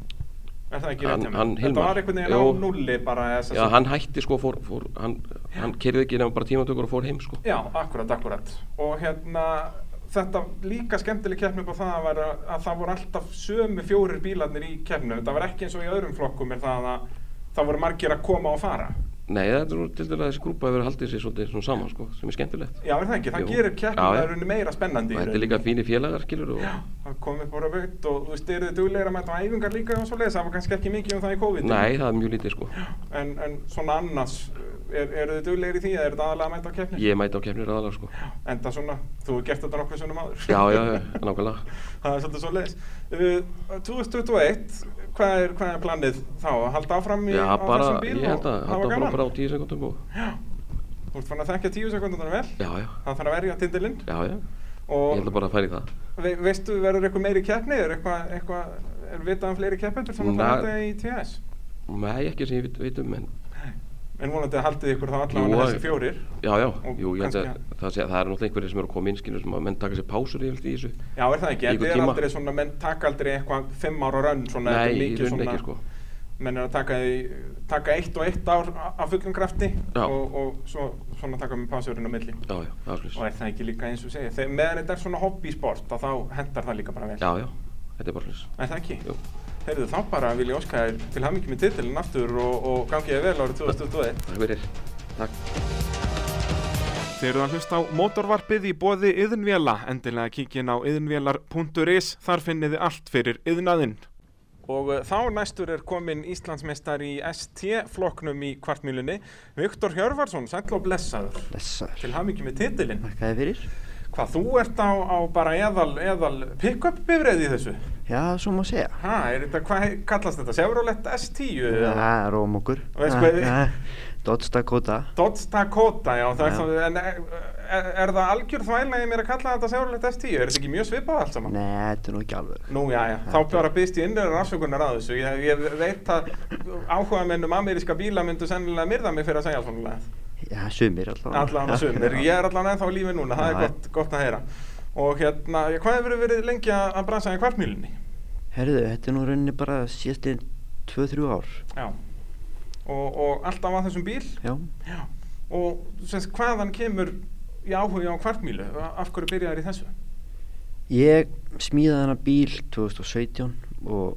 er það ekki
Hann-
rétt hjá mér?
hann
þetta
Hilmar.
var einhvern veginn á
Jú.
nulli bara eða sem
já,
sagt-
hann hætti sko, fór, fór, hann, hann keirði ekki nefnum bara tímatökur og fór heim sko
Já, akkurat, akkurat. Og hérna, þetta líka skemmtileg keppni upp á það að, vera, að það voru alltaf sömu fjórir bílarnir í keppnum. Það var ekki eins og í öðrum flokkum er það að það voru margir að koma og fara.
Nei, það er nú til dæla þessi grúpa hefur haldið sér svolítið svona saman sko, sem er skemmtilegt
Já, er það ekki? Það
Jú.
gerir
Já,
keppnum
já.
það runni meira spennandi.
og
í
þetta er
rauninni.
líka fínir félagar, skilur og
Það kom upp ára veitt og þú veist, eru þið duglegir að mæta á æfingar líka og svo leiðis. Það var kannski ekki mikið um það í COVID.
Nei, það er mjög lítið sko.
En, en svona annars, er, eru þið duglegir í því eða er þetta aðalega að mæta á keppnir?
Ég mæti á keppnir aðalega sko.
Enda svona, þú hefur gert þetta nokkuð svona maður.
Já, já, já, nákvæmlega.
Það er svolítið Uh, svo leiðis. 2021, hvað er, hvað er planið þá? Að halda áfram í,
Já,
á
bara,
þessum bíl
ég held að
og
halda
hafa
áfram
gaman?
bara á tíu sekundum og...
Þú ert fann að þekka tíu sekundunum vel.
Já, já,
Það þarf að verja tindilinn.
já, já. Ég
Og
held að bara að færi það.
ve veistu, verður eitthvað meiri keppni? Er eitthvað, eitthvað, er vitað um fleiri keppendur sem
Na-
ætla að halda í TS?
Nei, ekki sem ég veit, veit um, en...
En vonandi að haldið ykkur þá
Jú,
allavega
að-
þessi fjórir.
Já, já,
Og
jú, ég held að
kannski-
það, sé, það er náttúrulega einhverjir sem eru að koma inn, skilur, sem að menn taka sér pásur yfirlt í þessu.
Já, er það
Í
ekki? Þetta er
einhvern tíma.
aldrei svona, menn taka aldrei eitthvað fimm ára rönn svona. þetta
Nei,
er
í
mikið
rauninni
svona-
ekki, sko.
menn er að taka, því, taka eitt og eitt ár af fullum krafti
Já.
og, og svo, svona taka með pásurinn á milli
Já, já, það er
og
slús.
er það ekki líka eins og segja Þegar, meðan þetta er svona hobbysport að þá hendar það líka bara vel
Já, já, þetta er bara slús.
er það ekki?
Jú.
Heyrðu þá bara vil ég óska þér til hamingi með titilinn aftur og, og gangi þér vel árið 2021
Takk fyrir. Takk.
Þeir eru að hlusta á mótorvarpið í boði yðnvjala, endilega kíkin á yðnvjalar.is, þar finnið þið allt fyrir yðnaðinn. Og eh, þá næstur er kominn Íslandsmeistar í ST-flokknum í kvartmjölunni, Viktor Hjörvarsson, sæll og blessaður.
Blessaður.
Til hamingi með titilinn.
Þakkaði fyrir.
Hvað, þú ert á, á bara eðal, eðal pick-up bifræði í þessu?
Já, svo má segja.
Ha, er þetta, hvað he- kallast þetta? Chevrolet S10? eða?
Það er ómokur.
Veist hvað-
Dodge Dakota.
Dodge Dakota, já, það er
Já.
svona, en eh, er, er það algjör þvæla í mér að kalla þetta segurlegt F10? Er þetta ekki mjög svipað allt saman?
Nei, þetta er nú ekki alveg
Nú, já, já, þá bara byrst ég innröður afsökunar að þessu. Ég, ég veit að áhuga mennum ameríska bíla myndu sennilega myrða mig fyrir að segja svona lega.
Já, sumir allavega
Allan að sumir. Ég er allan ennþá á lífi núna, það er
Já.
gott, gott að heyra. Og hérna, já, hvað hefur verið lengi að að bransa í kvartmýlunni?
Herðu, þetta er nú rauninni bara síðasti 2-3 ár
Já. Og, og alltaf að þessum bíl?
Já,
Já. Og sem sagt, hvaðan kemur í áhuga á kvartmýlu? Af hverju byrjaðir í þessu?
ég smíðaði hennar bíl 2017 og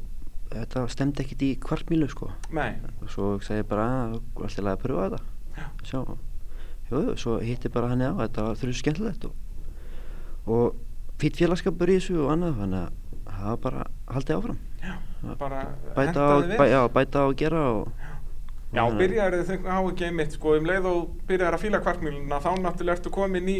þetta stemdi ekkit í kvartmílu sko
Nei.
og svo sagði ég bara að alltaf laga að pröfa þetta
Já.
sjá jú, jú, svo hitti bara hann á þetta var þrjus skemmtilegt og, og fýtt félagskapur í þessu og annað þannig að það var bara haldið áfram
Já, bara
bæta á,
hentaði vel.
bæ, já, bæta á að gera og
Já,
og-
byrjaður þau á ekki einmitt, sko, um leið og byrjaður að fíla kvartmýluna, þá náttúrulega ertu komin í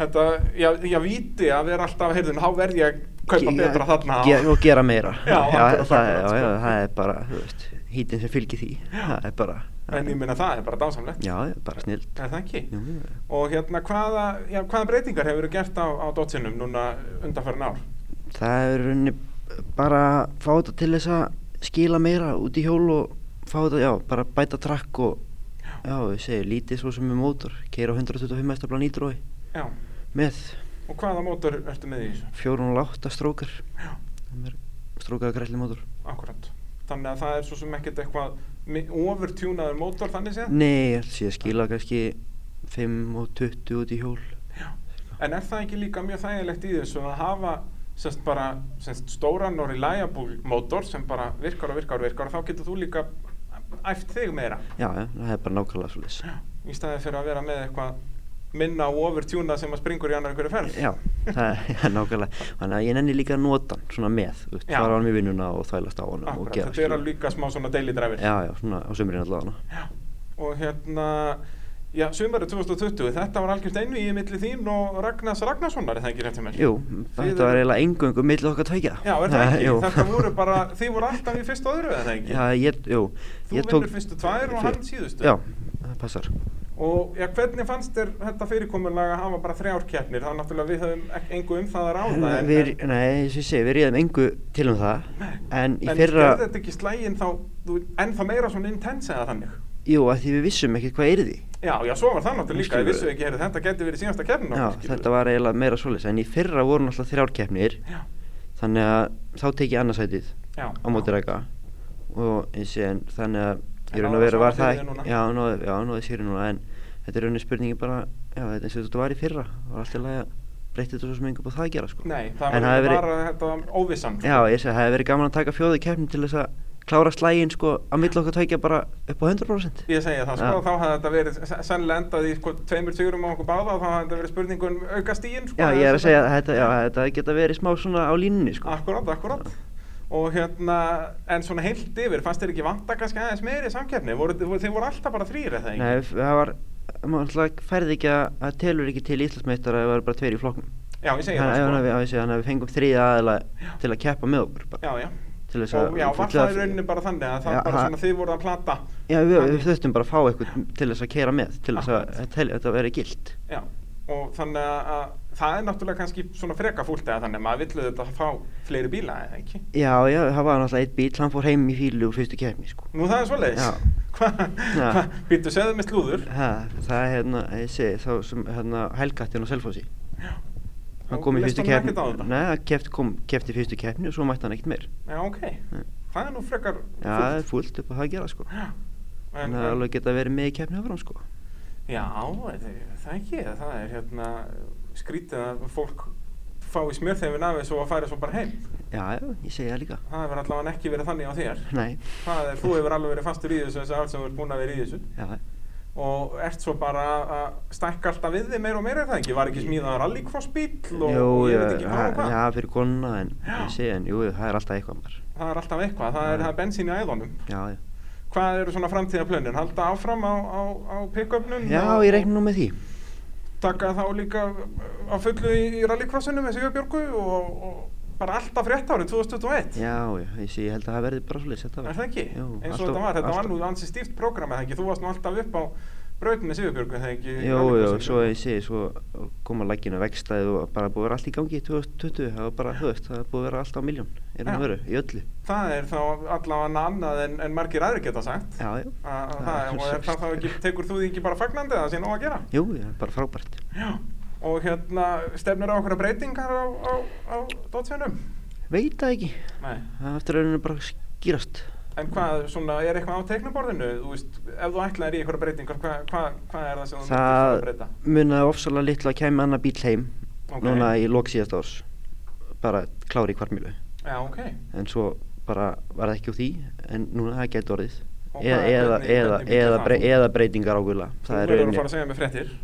þetta, já, já, víti að vera alltaf, heyrðu, þá verð ég að kaupa
Ge-
betra þarna.
ge og gera meira
Já, akkurat,
það,
akkurat,
já,
sko.
já, það er bara þú veist, hítin sem fylgir því það er bara
En ég minna það er bara dásamlegt.
já, já, bara snilt
Er það ekki?
jú, jú.
Og hérna, hvaða, já, hvaða breytingar hefur verið gert á, á dotsinum núna undanfærin ár?
það er í rauninni bara að fá þetta til þess að skila meira út í hjól og fá þetta, já, bara bæta trakk og já, ég segi, lítið svo sem er mótor keira á 125 mestabla nýtrói
Já,
með
og hvaða mótor ertu með í þessu?
408 strókar
Já.
strókaða grælli mótor
Akkurat. Þannig að það er svo sem ekkert eitthvað mi- overtjúnaður mótor, þannig séð?
nei, ég sé að skila kannski 5 og 20 út í hjól
En er það ekki líka mjög þægilegt í þessu að hafa semst bara semst stóran og reliable mótor sem bara virkar og virkar og virkar og þá getur þú líka æft þig meira
já, já, það er bara nákvæmlega svo leys
í staði fyrir að vera með eitthvað minna og overtjúna sem að springur í annar einhverju ferð
já, það er nákvæmlega þannig að ég nenni líka að nota hann svona með þú veist,
Já.
fara á hann í vinnuna og þvælast á hann og
Akkurat,
gera
þetta er
skilur.
að líka smá svona daily driver
já, já, svona á sömurinn allavega
og hérna já, sumarið 2020, þetta var algjört einu í milli þín og Ragnars Ragnarssonar er það ekki rétt hjá mér?
Jú,
Þið
þetta var
eru-
eiginlega engöngu milli okkar tækja
Já, er það ekki? Þetta voru bara, þið voru alltaf í fyrst og öðru eða það ekki?
Já, ég, jú
Þú
ég
vinnur fyrstu tvær og hann síðustu.
Já, það passar
Og já, hvernig fannst þér þetta fyrirkomulega að hafa bara þrjár keppnir? Það er náttúrulega við höfum ek- engu um það að ráða. en-
við,
en-
Nei, sem ég segi, við réðum engu til um það En í
en
fyrra,
gerði þetta ekki slægin þá, þú, ennþá meira svona intense eða þannig?
jú, að því við vissum ekkert hvað er því
Já, já, svo var það náttúrulega líka, ég
Skilur.
vissu ekki, heyrðu, þetta geti verið síðasta keppnin
Já,
okkar, skilur.
þetta var eiginlega meira svoleiðis En í fyrra voru náttúrulega þrjárkeppnir
Já,
Þannig að þá tek ég annarsætið
já.
á móti ræka Og eins og en þannig að
En
Í raun
náðu
og veru
saman
var það
sigrinum núna.
Já, náðu, já, náðu sér núna En þetta er rauninni spurningi bara Já, þetta er eins og þetta var í fyrra Það var alltaf að breytta þetta svo sem engu búið það að gera sko.
Nei, það
En
var
hafði
verið...
verið-
bara þetta óvissan. sko.
Já, ég segi, það hefði verið gaman að taka fjóðu keppni til þess að klára slægin sko að milli okkar tækja bara upp á 100%
Ég segja það, sko,
Já.
þá hafði þetta verið s- sennilega endað í sko, tveimur sigurum á okkur báða og þá hafði þetta verið spurningum auka stíin, sko.
Já, ég er að
þessu-
segja að þetta, já, þetta geta verið smá svona á línunni sko
Akkurát, akkurát Og hérna, en svona heilt yfir, fannst þér ekki vanta kannski aðeins meiri samkeppni? Voru, voru, þeir voru alltaf bara þrýr eða ekki?
Nei, það var, maður alltaf færði ekki að, það telur ekki til Íslandsmeistar að það var bara tveir í flokknum
Já, ég segi
Þannig að-
það
já,
sko.
ég segi, þannig að við fengum þriða aðila til að keppa með okkur bara,
Já, já.
til þess að
Og já, var
fulla-
það í rauninni bara þannig að það
Já,
bara
það-
svona þið voru að plata.
Já, við, við þurftum bara að fá eitthvað til þess að keira með til þess að,
Akkurat.
að tel, þetta veri gilt
Já, og þannig að, að það er náttúrulega kannski svona freka fúlt eða þannig að maður villu þetta fá fleiri bíla eða ekki?
Já, já, það var náttúrulega eitt bíl, hann fór heim í fílu og fyrstu keppni sko
Nú það er svoleiðis.
Já.
Hvað,
Já.
hva, býttu, segðu með slúður.
Ha, það er hérna, ég segi, þá sem hérna helgattinn á Selfossi Hann
Og
kom í
leist
fyrstu
honum
keppni
ekkert á þetta?
Nei, hann keft, kom, kefti fyrstu keppni og svo mætti hann ekkert meir
Já, ok.
Nei.
Það er nú frekar
Já, það er fullt upp að það að gera sko
Já.
En það er alveg geta verið með í keppni áfram sko
Já, það það ekki, það er hérna skrítið að fólk fái smjörþefin af þessu og færi svo bara heim.
Já, já, ég segi það líka
Það hefur allavega ekki verið þannig á þér.
Nei,
Það er, þú hefur alveg verið fastur í þessu þessu allt sem þú ert búin að vera í þessu
já,
og ert svo bara að stækka alltaf við þig meira og meira er það ekki, var ekki smíðaður rallycross bíl og
Jú,
og ég
já,
veit ekki hvað og
já,
hvað.
já, fyrir konuna en
Já.
ég segi, en jú, það er alltaf eitthvað maður
Það er alltaf eitthvað, það er,
Já.
það er bensín í æðunum.
Já, já,
Hvað eru svona framtíðaplönin? Halda áfram á, á, á pick-upnum?
já,
og-
ég reikna nú með því
taka þá líka uh, á fullu í, í rallycrossunum eins og ég björgu og, og bara alltaf frétt árið 2021
Já, já, ég segi, ég held að það verði bara svolítið
er það ekki? eins og þetta var, þetta var nú ansi stíft prógram eða ekki, þú varst nú alltaf upp á braut með Sigurbjörgu þegar ekki
Jó,
rallykrossinu?
jó, svo ég segi, svo koma lækinu vegstæði og bara búið að vera allt í gangi í 2020, það var bara, þú veist, það er búið að vera allt á miljón, er
Já.
hann veru, í öllu.
það er þá allavega annað en, en margir aðri geta sagt
Já, já.
Að- að
Það
það,
er
og er það þá ekki, tekur þú því ekki bara fagnandi að það sé nóg að gera
Jú, það er bara frábært.
Já. og hérna stefnir á okkur breytingar á, á, á dótsvinnum
Veit það ekki,
nei
það eftir rauninu bara að skýrast.
En hvað, svona, er eitthvað á teiknaborðinu? Þú veist, ef þú ætlaðir í eitthvað breytingar, hvað, hvað, hvað er það sem þú myndir að
Það
breyta?
munaði ofsalega litla að kæmi annar bíl heim,
Ok.
núna í lok síðast árs, bara klári í kvarmilu.
Já, ok.
En svo bara var það ekki úr því, en núna það gæti orðið. Eða,
Og hvað-
eða,
hvernig-
eða,
hvernig bíll er
eða,
það?
brey, eða breytingar ákvöla.
Þú verður að fara að segja mér fréttir.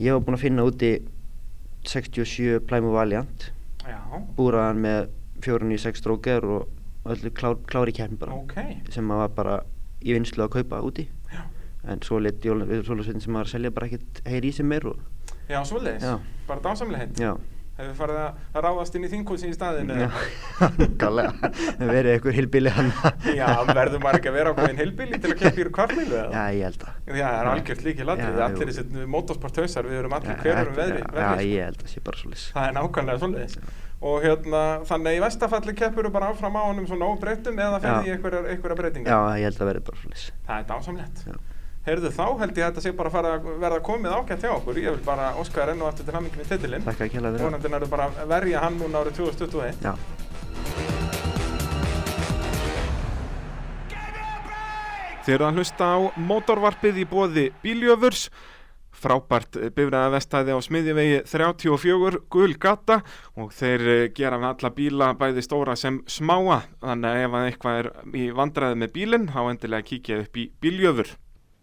Ég var búinn að finna úti 67 Plæmu Valiant
Já,
búraðan með 496 strókar og öllu klár, klári kemni bara
ok.
sem að var bara í vinslu að kaupa úti
Já.
en svo lit Jólasveitin sem var að selja bara ekkert heyri í sem meir og
Já, svoleiðis.
Já.
Bara dásamleginn.
já
Hefur farið að, að ráðast inn í þinghúsi í staðinu?
Já, nákvæmlega. það verið eitthvað hilbili hann
Já, verður maður ekki að vera ákveðin heilbíli til að keppa í kvartmílu eða?
Já, ég held að
Já, það er algjört líkið ladrið.
Já,
Allir
jú.
þessi motorsporthausar, við erum allir
Já,
hverjum
þetta-
veðri.
Já,
veðri, sko.
ég held að sé bara svolítið
Það er nákvæmlega svoleiðis. Og hérna, þannig að í vestafalli keppur þú bara áfram á honum svona óbreyttum eða ferði
Já.
í einhverjar, einhverjar breytingar.
Já, ég held að verið bara svolítið
Það er dásamlegt.
Já.
Heyrðu, þá held ég að þetta sé bara að fara að verða komið ágætt hjá okkur. Ég vil bara óska þér enn og aftur til hamingi með titilinn.
Takk að kjæla fyrir það.
Vonandi nærðu bara að verja hann núna árið 2021.
Já
Þið eru að hlusta á mótorvarpið í bóði Bíljöfurs, frábært bifræða vestæði á smiðjavegi 34 Gul Gata og þeir eh, gera við alla bíla bæði stóra sem smáa þannig að ef að eitthvað er í vandræði með bílinn þá endilega kíkja upp í Bíljöfur.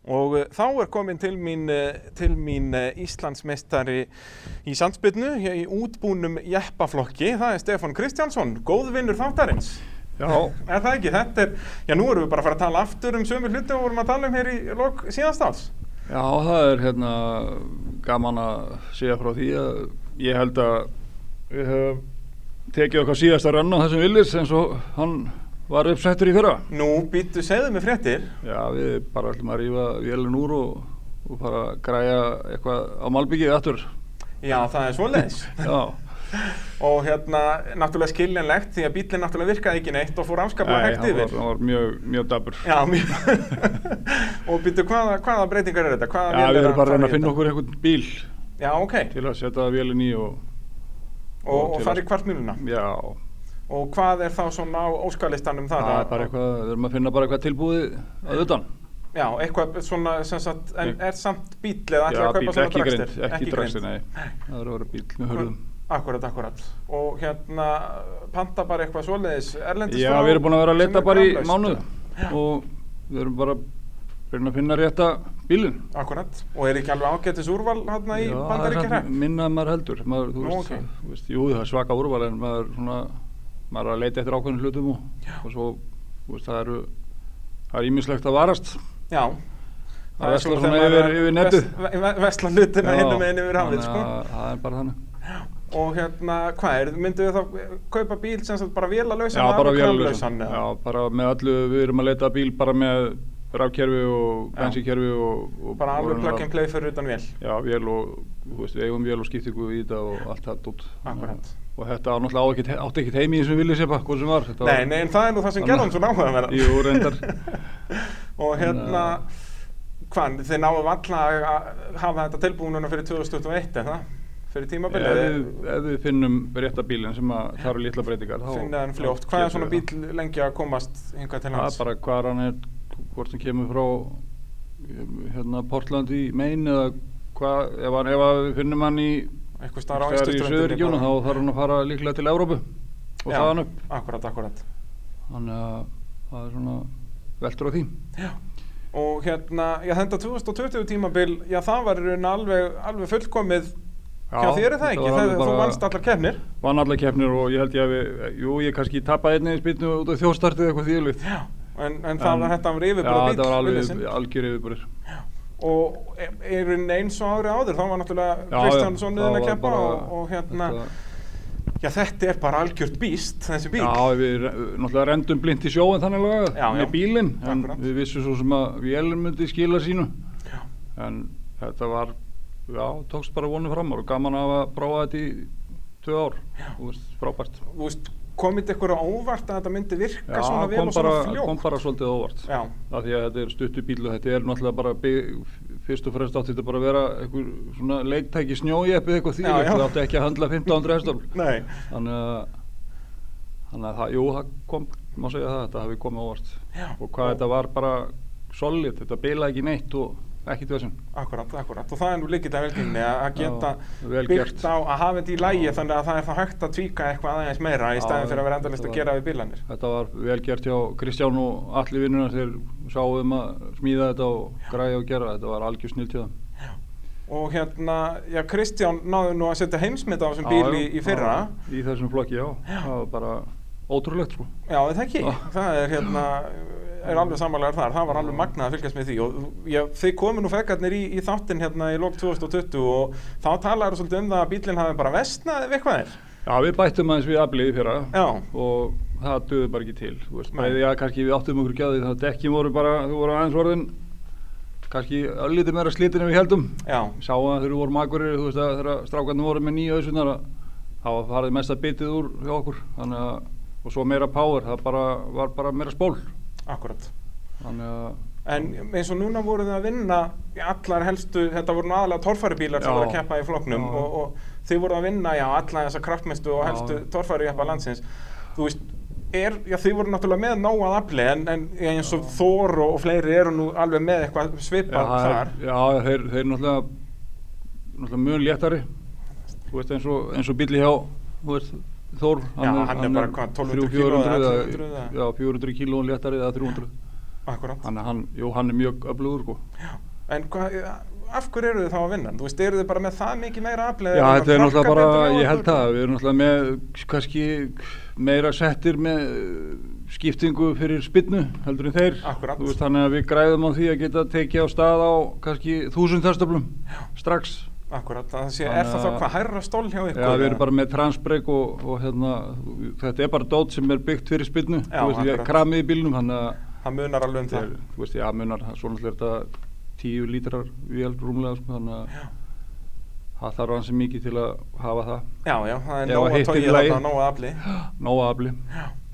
Og eh, þá er komin til mín, eh, til mín eh, Íslandsmeistari í Sandsbyrnu í útbúnum jeppaflokki, það er Stefán Kristjánsson, góðvinnur þáttarins.
Já,
Er það ekki? Þetta er, já nú erum við bara að fara að tala aftur um sömu hluti og vorum að tala um hér í lok síðast árs.
Já, það er hérna gaman að segja frá því að ég held að við höfum tekið okkar síðasta rönn á þessum villis eins og hann var uppsettur í fyrra.
Nú býttu segðu mig fréttir.
Já, við bara ætlum að rífa vélun úr og, og bara græja eitthvað á malbyggið aftur.
Já, það er svoleiðis.
Já,
og hérna, náttúrulega skiljanlegt því að bílinn náttúrulega virkaði ekki neitt og fór afskaplega hægt
hann var,
yfir.
hann var mjög, mjög dabur.
Já, mjög. og býttu hvaða, hvaða breytingar er þetta? Hvaða
Já,
vél
við erum bara að
fara
reyna
í
að finna
þetta?
okkur einhvern bíl
Já, ok.
til að setja vélun í og
Og, og
og til
fara í
að-
kvartmjöluna.
já,
Og hvað er þá svona á óskalistanum þar?
það er bara eitthvað, við erum að finna bara eitthvað tilbúið að utan.
Já, eitthvað svona, sem sagt, en
Nei.
er samt bíl eða ætlaðu
Já,
að kaupa
bíl,
svona
ekki
dragster?
grind, ekki dragster, nei. Það verður að vera bíl með hörðum.
Akkurat, akkurat. Og hérna, panta bara eitthvað svoleiðis erlendis
Já,
frá
við erum búin að vera að
sem
leta
er
bara í
grannlaust.
mánuð og við erum bara að reyna að finna rétta bílinn.
Akkurat. Og er ekki alveg ágættis úrval hérna í
Já, það er
bandaríkja
samt Minna en maður heldur, maður, þú
Nú,
veist,
ókei.
þú veist, jú það er svaka úrval en maður, svona, maður er að leita eftir ákveðnum hlutum og,
Já.
og svo, þú veist, það eru, það er ímislegt að varast.
Já.
Það verslar
svo
svona
þegar maður
yfir-
er
yfir netið.
vest- ve- Vesla hlutina
Já,
hinum einn yfir hafið,
þannig
sko.
að Það er bara þannig.
Og hérna, hvað er, myndu við þá eh, kaupa bíl sem sagt bara vélalausan?
Já, bara
kranlausan,
vélalausan.
eða?
Já, bara með öllu, við erum að leita að bíl bara með rafkerfi og
Já.
bensinkerfi og, og
Bara
og
alveg plug
raunverulega-
and play fyrir utan vél.
Já, vél og, þú veist, við eigum vél og skiptingu í þetta og allt það dótt.
Akkurat.
Og þetta á náttúrulega á ekkert, átti ekkert heimi í þessum vilja sepa, hvað sem var. Þetta
Nei, nei, en það er nú það sem
Þannig-
gerðum svona áhuga með
Jú, reyndar.
og hérna,
Þannig að-
hvað, þið náum alltaf að hafa þetta tilbúinuna fyrir 2021, er það? Fyrir
Ef
tímabilið?
við, ef við finnum rétta bílinn sem að það eru litla breytingar, þá...
Finna hann fljótt.
þá
Hvað er
getum
svona
við það.
bíl lengi að komast hingað til
Það er
hans?
bara hvað hann er, hvort hann kemur frá hérna Portland í Maine eða hvað, ef, hann- ef að við finnum hann í,
Eitthvað starf á
staðar í
Austurströndinni
Söðuríkjónu, þá
bara.
þarf hann að fara líklega til Evrópu og
Já,
þaðan upp.
Akkurat, akkurat.
Þannig að það er svona veldur á því.
Já. Og hérna, já, þetta 2020 tímabil, já, það var í raun alveg, alveg fullkomið hjá þér er það ekki?
var
Það,
alveg
Þú
bara-
vannst allar kefnir.
vann alla keppnir og ég held ég að við, jú, ég kannski tapaði einnig spilnu út af þjóðstartið eitthvað þvíðlið.
Já. En, en það var þetta var
Já,
yfirbúra bíl.
þetta var
Willysinn.
alveg algjör yfirburður.
og e- er hún eins og ári áður þá var náttúrulega
Já,
Kristjánsson
já,
niðurinn
það
að
var
keppa
bara-
og, og hérna
þetta-
já þetta er bara algjört býst þessi bíl
Já, við re- náttúrulega rendum blind í sjóin þannig laga
Já, já.
með bílinn, en
Akkurat.
við vissum svo sem að vélum myndi skila sínu.
Já.
en þetta var já, tókst bara vonum framar og gaman að hafa prófa þetta í tvö ár, þú veist, frábært
Þú veist, komið ykkur á óvart að þetta myndi virka
Já,
svona vel
kom
og svona
bara-
fljótt?
kom bara svolítið á óvart
Já.
af því að þetta er stuttu bíl og þetta er náttúrulega bara bygg, fyrst og fremst átti þetta bara að vera einhver svona leiktæki snjójeppið eitthvað því
Já, já.
þetta átti ekki að handla 1500 hestum
Nei.
þannig að þannig að það, jú, það kom má segja það, þetta hafi komið á óvart
Já.
og hvað þetta var bara solid, þetta bilaði ekki neitt og ekkit vesinn
Akkurat, akkurat, og það er nú líkit að velgengni að að geta
Já, vel
byggt
gert.
á að hafa þetta í lægi þannig að það er þá hægt að tvíka eitthvað aðeins meira í
Já,
staðin fyrir að vera endalist
þetta
að
var-
gera við bílanir.
Þetta var vel gert hjá Kristján og allir vinnuna þeir sáum að smíða þetta og græja og gera þetta var algjör snill til það
Og hérna, já, Kristján náði nú að setja heimsmynd á þessum Um bíl í, í fyrra.
í þessum flokki, já, það var bara ótrúlegt sko
Já, þetta ekki.
Já.
Það er hérna, er alveg sammálegar þar. Það var alveg magnað að fylgjast með því. Og já, þið komu nú fekarnir í, í þáttinn hérna í lok 2020 og þá talaður svolítið um það að bílinn hafi bara vestnað við eitthvað þér.
Já, við bættum aðeins við aflið í fyrra
Já.
og það döði bara ekki til þú veist,
Nei.
bæði, já, kannski við áttum okkur gæði það dekkin voru bara, þú voru aðeins orðin kannski öllítið meira slitin en við heldum
Já.
sáum það þegar við vorum akkurir, þú veist að þegar strákarnir voru með nýja auðsunar það var farið mesta bitið úr hjá okkur þannig að, og svo meira power það bara, var bara meira spól
Akkurat.
þannig að
En eins og núna voru þið að vinna í allar helstu, þetta voru nú aðalega torfæri
Já.
sem voru að keppa í flokknum
Já.
og, og þið voru að vinna já, alla þessa kraftmestu og
Já.
helstu torfæri landsins. Þú veist, er, já, þið voru náttúrulega með nóað afli en, en eins og Þór og, og fleiri eru nú alveg með eitthvað svipað
það er-
þar.
Já, þeir, þeir náttúrulega, náttúrulega mjög léttari Þú veist eins og, eins og bíli hjá þú veist, Þór
Já, hann er bara hvað, 1200 kíló eða 1100 eða?
400 Já, 400 kílón léttari eða 300
Akkurat.
Þannig að hann, jú, hann er mjög öflugur sko.
En hva, af hverju eru þið þá að vinna? Þú veist, eru þið bara með það mikið meira afli?
Já, þetta er náttúrulega bara, ég held það Við erum náttúrulega með kannski meira settir með eh, skiptingu fyrir spinnu heldur en þeir
Akkúrat.
Þú veist, Þannig að við græðum á því að geta tekið á stað á kannski þúsund þarstöflum strax
Akkurat, það sé, er
Þannig
það þá
að-
hvað hærra stól hjá ykkur?
Já, við
eða?
erum bara með transbreyk og, og hérna, þetta er bara dót sem er byggt fyrir spilnu,
Já,
þú veist, ég
akkurat.
kramið í bílnum, þannig að
Það munar alveg um
þetta
það.
er, þú veist, já, munar, það er svona alltaf þetta tíu lítrar vél rúmlega, sko, þannig að það þarf hansi mikið til að hafa það,
Já, já, það er
Ef
nóg að
að hitt er í
tóið
lagi.
þarna, nóg að afli.
nóa afli.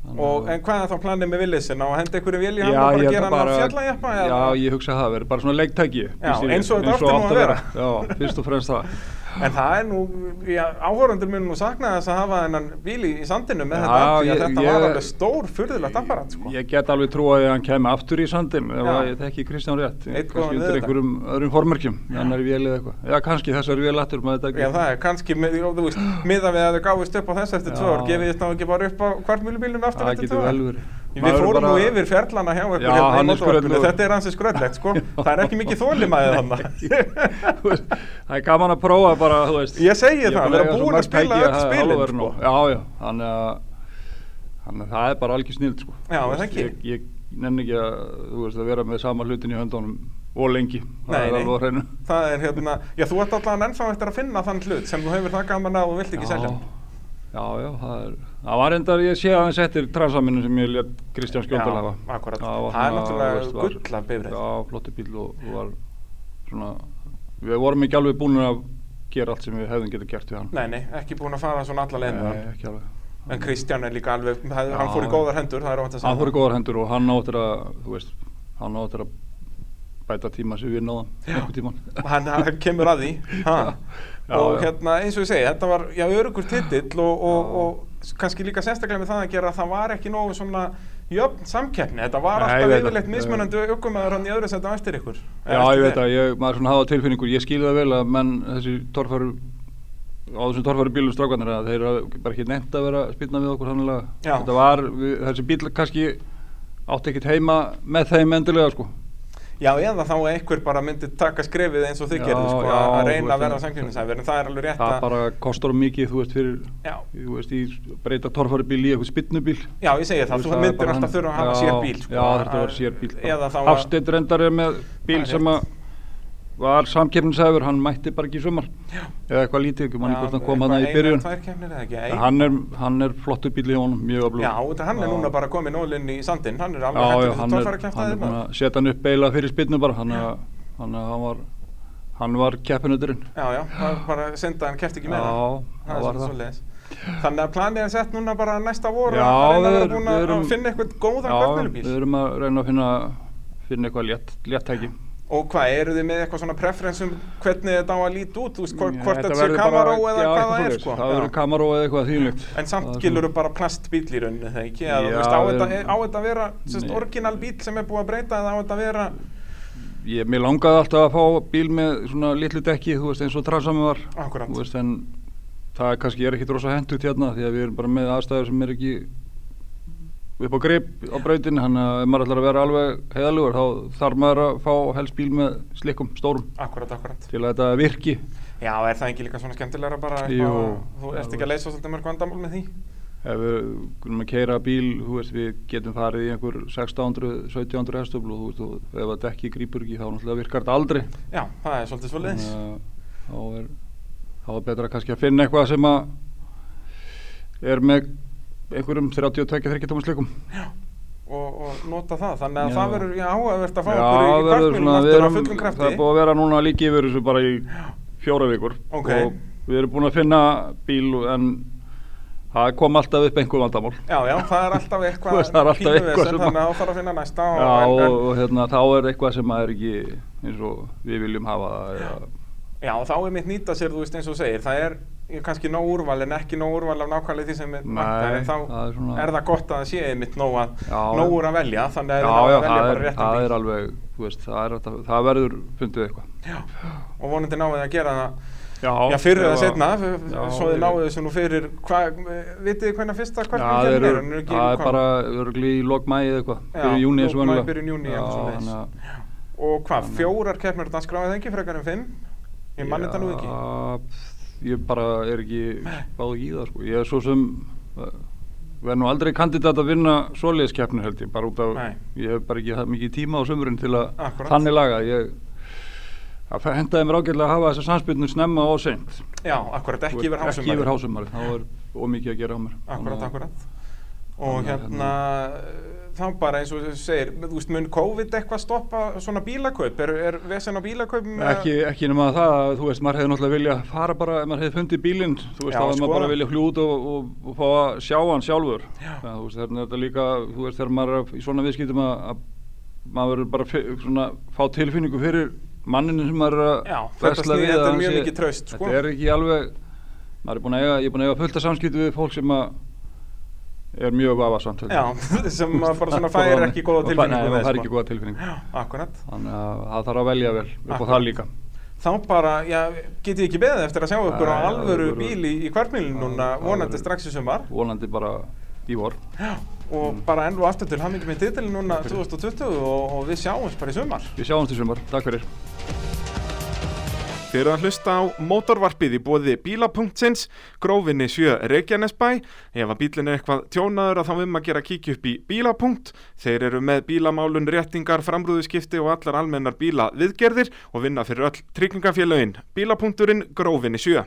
Og, en hvað er þá planið með villisin? Á að henda ykkur í vilja hann
Já,
og bara
ég
gera
held
hann að
bara-
fjallajappa?
Já, ég hugsa að það verður bara svona leiktæki finnst ég,
eins og þetta átti nú að vera.
Já, fyrst og fremst það
En það er nú, já, áhórandur minn nú sakna þess að hafa þennan bíl í, í sandinu með
Já,
þetta afl, því að
ég-
þetta
ég-
var alveg stór, furðulegt apparat, sko.
Ég get alveg trú að hann kemur aftur í sandin ef
Já.
að ég tekki Kristján rétt
Einn
kannski
góðan
undir
veðurdag.
einhverjum öðrum formerkjum annar vél eða eitthvað, já kannski þessar vél aftur maður þetta
Já, það er kannski, með, já, þú veist, miðað við að þau gáðist upp á þess eftir tvö
Já.
ár, gefið þetta ekki bara upp á kvartmjölubílum aftur
það
eftir tvö ár.
getur vel verið
Við
Maður er
fórum nú
bara-
yfir fjarlana hjá ykkur
Já,
hérna í
hann er sko
mótorvarpinu,
skröllur.
þetta er ansið skröllegt sko, það er ekki mikið þólimaðið þannig.
Þú veist, það er gaman að prófa bara þú veist.
Ég segi
er
það,
búin
vera
eiga svo
búin að
mörg
spila
tæki
öll
það er
spilin,
alveg
sko.
nú. já, já, þannig að þannig að það er bara algjör snild sko.
Já,
Þú
er það
veist,
ekki?
ég, ég nenni ekki að, þú veist, að vera með sama hlutin í höndunum og lengi það
Nei,
er
nei.
alveg á hreinu
Það er hérna, já þú ert allan ennþá eftir að finna þann hlut sem þú hefur það gaman að og vilt ekki
Já.
selja.
Já, já, það er, það var endar, ég sé aðeins eftir transaminu sem ég létt Kristján Skjóndal
Já,
hafa.
akkúrat.
var
Það er
svona,
náttúrulega
þú veist, var-
gull af bifreið.
Já, flottu bíl og, og var svona, við vorum ekki alveg búin að gera allt sem við hefðum getið gert við hann.
Nei, nei, ekki búin að fara svona alla leið með hann.
ekki alveg.
En Kristján er líka alveg, hann hann
Já.
fór í góðar hendur, það er óvænt að segja.
Hann fór í góðar hendur og hann áttur að, þú veist, hann áttur að bæta tíma sem við náðum, einhver tíman.
Hann hann kemur að því. Ha.
Já,
og
já.
hérna, eins og ég segi, þetta var, já, örugur titill og, og, og s- kannski líka sérstaklega með það að gera að það var ekki nógu svona jöfn samkeppni. Þetta var
Nei, ég
alltaf
veit það.
yfirleitt mismunandi ökumæður hann í öðru setja á eftir ykkur. Eh,
Já, ég veit að ég, maður svona hafa tilfinningur, ég skilði það vel að menn þessi torfæru, á þessum torfæru bílum strákanir að þeir eru bara ekki nefnt að vera að spilna við okkur sannlega.
Já.
Þetta var, við, þessi bíl kannski átti ekkert heima með þeim endilega sko.
Já, eða þá að einhver bara myndi taka skrefið eins og þið
Já,
gerðu, sko,
já,
að- að
þú
reyna
veist
að vera
það.
samkjöfnisæfir, en það er alveg rétt
Það
að,
bara kostar of mikið, þú veist, fyrir,
já,
þú veist, í breyta torfæru bíl í eitthvað spilnubíl.
já, ég segi það,
veist,
þú
er
myndir
bara
alltaf
hann-
þurfa að hafa
Já,
sér bíl, sko.
Já, þetta var sér bíl. sko.
Eða þá að,
Hafsteinn reyndar er með bíl
Það er
sem
rétt.
að var samkeppnisæfur, hann mætti bara ekki í sumar eða eitthvað lítið, ekki manni hvort hann kom hann í
Eitthvað
byrjun
eina, tvær keppnir eða ekki,
En
ei.
hann er, hann er flottu bíl í honum, mjög öflug
Já, þetta hann er núna bara komið nólinn í sandinn, hann er
já,
alveg
já,
hættur þessu
hann er,
tólfæra
hann er
kæftæði
búin
maður.
að setja hann upp beila fyrir spilnu bara hann, hann, hann var hann var keppinuturinn
Já, já, það er bara synda en keft ekki meira.
Já,
það
það
er svona
var það.
svoleiðis. Þannig að planið er sett núna bara næsta voru
Já,
að reyna að
við
vera
erum-
búin
við
að
erum-
finna eitthvað góðan
Já, við
kvöldmjölubíl.
erum að reyna að finna, finna eitthvað létt, léttæki.
Og hvað, eru þið með eitthvað svona preference um hvernig þetta á að líti út, þú veist, hvort, hvort
Þetta
þetta sé
verður bara-
kamaró eða
já,
hvað það er,
eitthvað svoleiðis.
sko.
Það
Já.
verður kamaró eða eitthvað þýnlegt.
En samt gilur þú bara plastbíl í rauninni, þegar ekki? Eða, þú
Já,
veist, á
við
þetta
erum-
á þetta að vera, sérst,
Nei.
orginal bíl sem er búið að breyta eða á þetta að vera,
Ég, mér langaði alltaf að fá bíl með svona litlu dekki, þú veist, eins og transami var.
Akkúrat.
Þú veist, en það er kannski er ekkit rosa hendugt hérna því að við erum bara með aðstæður sem er ekki upp á grip á brautin, þannig að ef maður ætlar að vera alveg heiðalugur þá þarf maður að fá helst bíl með slikkum, stórum,
akkurat, akkurat.
til að þetta virki.
Já, er það ekki líka svona skemmtilegra bara eitthvað,
Jú.
þú ert ekki að leysa svolítið mörg vandamál með því?
ef við kunum að keira bíl þú veist, við getum farið í einhver 1600-1700 hestöflu og, þú veist, og ef að dekki grípur ekki þá náttúrulega virkar þetta aldrei
Já, það er svolítið svolítið.
Þannig að þá er þá er betra kannski að finna eitthvað sem að er með einhverjum 32-30 tómum slikum
og, og nota það, þannig að
Já.
það verður já, áhugavert að fá
Já,
okkur í
verður
kvartmjölum
svona- við
aftur á
erum-
fullum krafti
það er búið að vera núna líki yfir þessu bara í fjóra vikur
Ok.
og við erum búin að finna bíl en það kom alltaf upp einhver vandamál
já, já, það er alltaf eitthvað
Þú veist, það er alltaf
pínu
eitthvað
vesen,
sem að-
þannig að það þarf að finna næsta og,
Já,
en,
og,
en,
og hérna, þá er eitthvað sem að er ekki eins og við viljum hafa það eða,
já, þá er mitt nýta sér, þú veist eins og þú segir það er ég, kannski nóg úrval en ekki nóg úrval af nákvæmlega því sem er
Nei,
vantar, en þá
það
er,
er svona-
það gott að það sé einmitt nóg, að,
Já,
nóg
já.
úr að velja þannig að
Já,
það
já,
að velja
það
bara
er,
réttan
það
bíl.
er alveg, þú veist, það, er, alltaf- það verður fundið eitthvað
og vonandi náðið að gera það
Já,
já, fyrir eða
ef að-
setna,
Já,
svo þið
ég-
náðu þessu nú fyrir, hvað, vitið þið hvernig fyrsta
Já,
hvernig
það
kemur
eru-
er, hún er ekki
það er
komin.
bara örgli í lokmæi eða eitthvað,
Já,
byrjun júni eins og
lok maí,
venjulega.
byrjun júní,
Já,
eitthvað svoleiðis.
þannig að-
Og hvað, fjórar keppnir á dagskráðið ekki frekar en fimm? Ég mann þetta nú ekki.
Já, Ég bara er ekki báð ekki í það sko. Ég er svo sem eh, verð nú aldrei kandidat að vinna svoleiðiskeppnu held ég, bara út af
Nei.
ég hef bara ekki það mikið tíma á sömurinn til að
Akkúrat.
þannig laga ég það fe- hendaði mér ágætlega að hafa þessa samspilnu snemma og seint
Já, akkurat, ekki yfir hásumari.
ekki yfir hásumari, þá er ómikið að gera á mér
Akkurat,
Þannig að-
akkurat. Og
Þannig að hérna-
hérna, þá bara eins og þú segir, þú veist, mun COVID eitthvað stoppa svona bílakaup? Er, er vesen á bílakaupum? eða-
Ekki, ekki nema það að þú veist, maður hefði náttúrulega vilja fara bara, ef maður hefði fundið bílinn, þú
Já,
veist,
sko,
þá hefði
skoða.
maður bara vilja hljút og, og, og fá að sjá hann sjálfur.
Já.
Það, þú veist, þannig að þetta líka, þú veist, þegar maður er að- í svona viðskiptum að, að maður verður bara fi- svona, fá tilfinningu fyrir manninu sem maður er
Já,
að
þetta snýr-
að
þetta er
hann
mjög
sé-
mikið traust, sko.
Þetta er ekki alveg, maður er búin að eiga, ég er búin að eiga fullt af samskipti við fólk sem að er mjög vafasamt. held ég.
Já, sem maður bara svona
Það
fær
bara-
ekki góða
Nei,
tilfinningu
maður
með,
fær
sko.
ekki góða tilfinningu.
Já, akkurat.
Þannig að það þarf að velja vel upp á
Akkurat.
það líka.
Þá bara, já, getið ekki beðið eftir að sjá ykkur á
Nei,
alvöru
alvöru.
bíl í, í kvartmílinu núna,
Það- það
vonandi
verður-
strax í sumar.
vonandi bara í vor Mm.
Já, og bara enn og aftur til hamingi með titilin núna 2020 og, og við sjáumst bara í sumar.
Við sjáumst í sumar, takk fyrir
Þið eru að hlusta á mótorvarpið í bóði bíla.sins, grófinni 7 Reykjanesbæ. Ef að bílinn er eitthvað tjónaður að þá um að gera kíkju upp í bíla.punkt. Þeir eru með bílamálun, réttingar, framrúðuskipti og allar almennar bíla viðgerðir og vinna fyrir öll tryggingafélögin. Bíla.turinn, grófinni 7.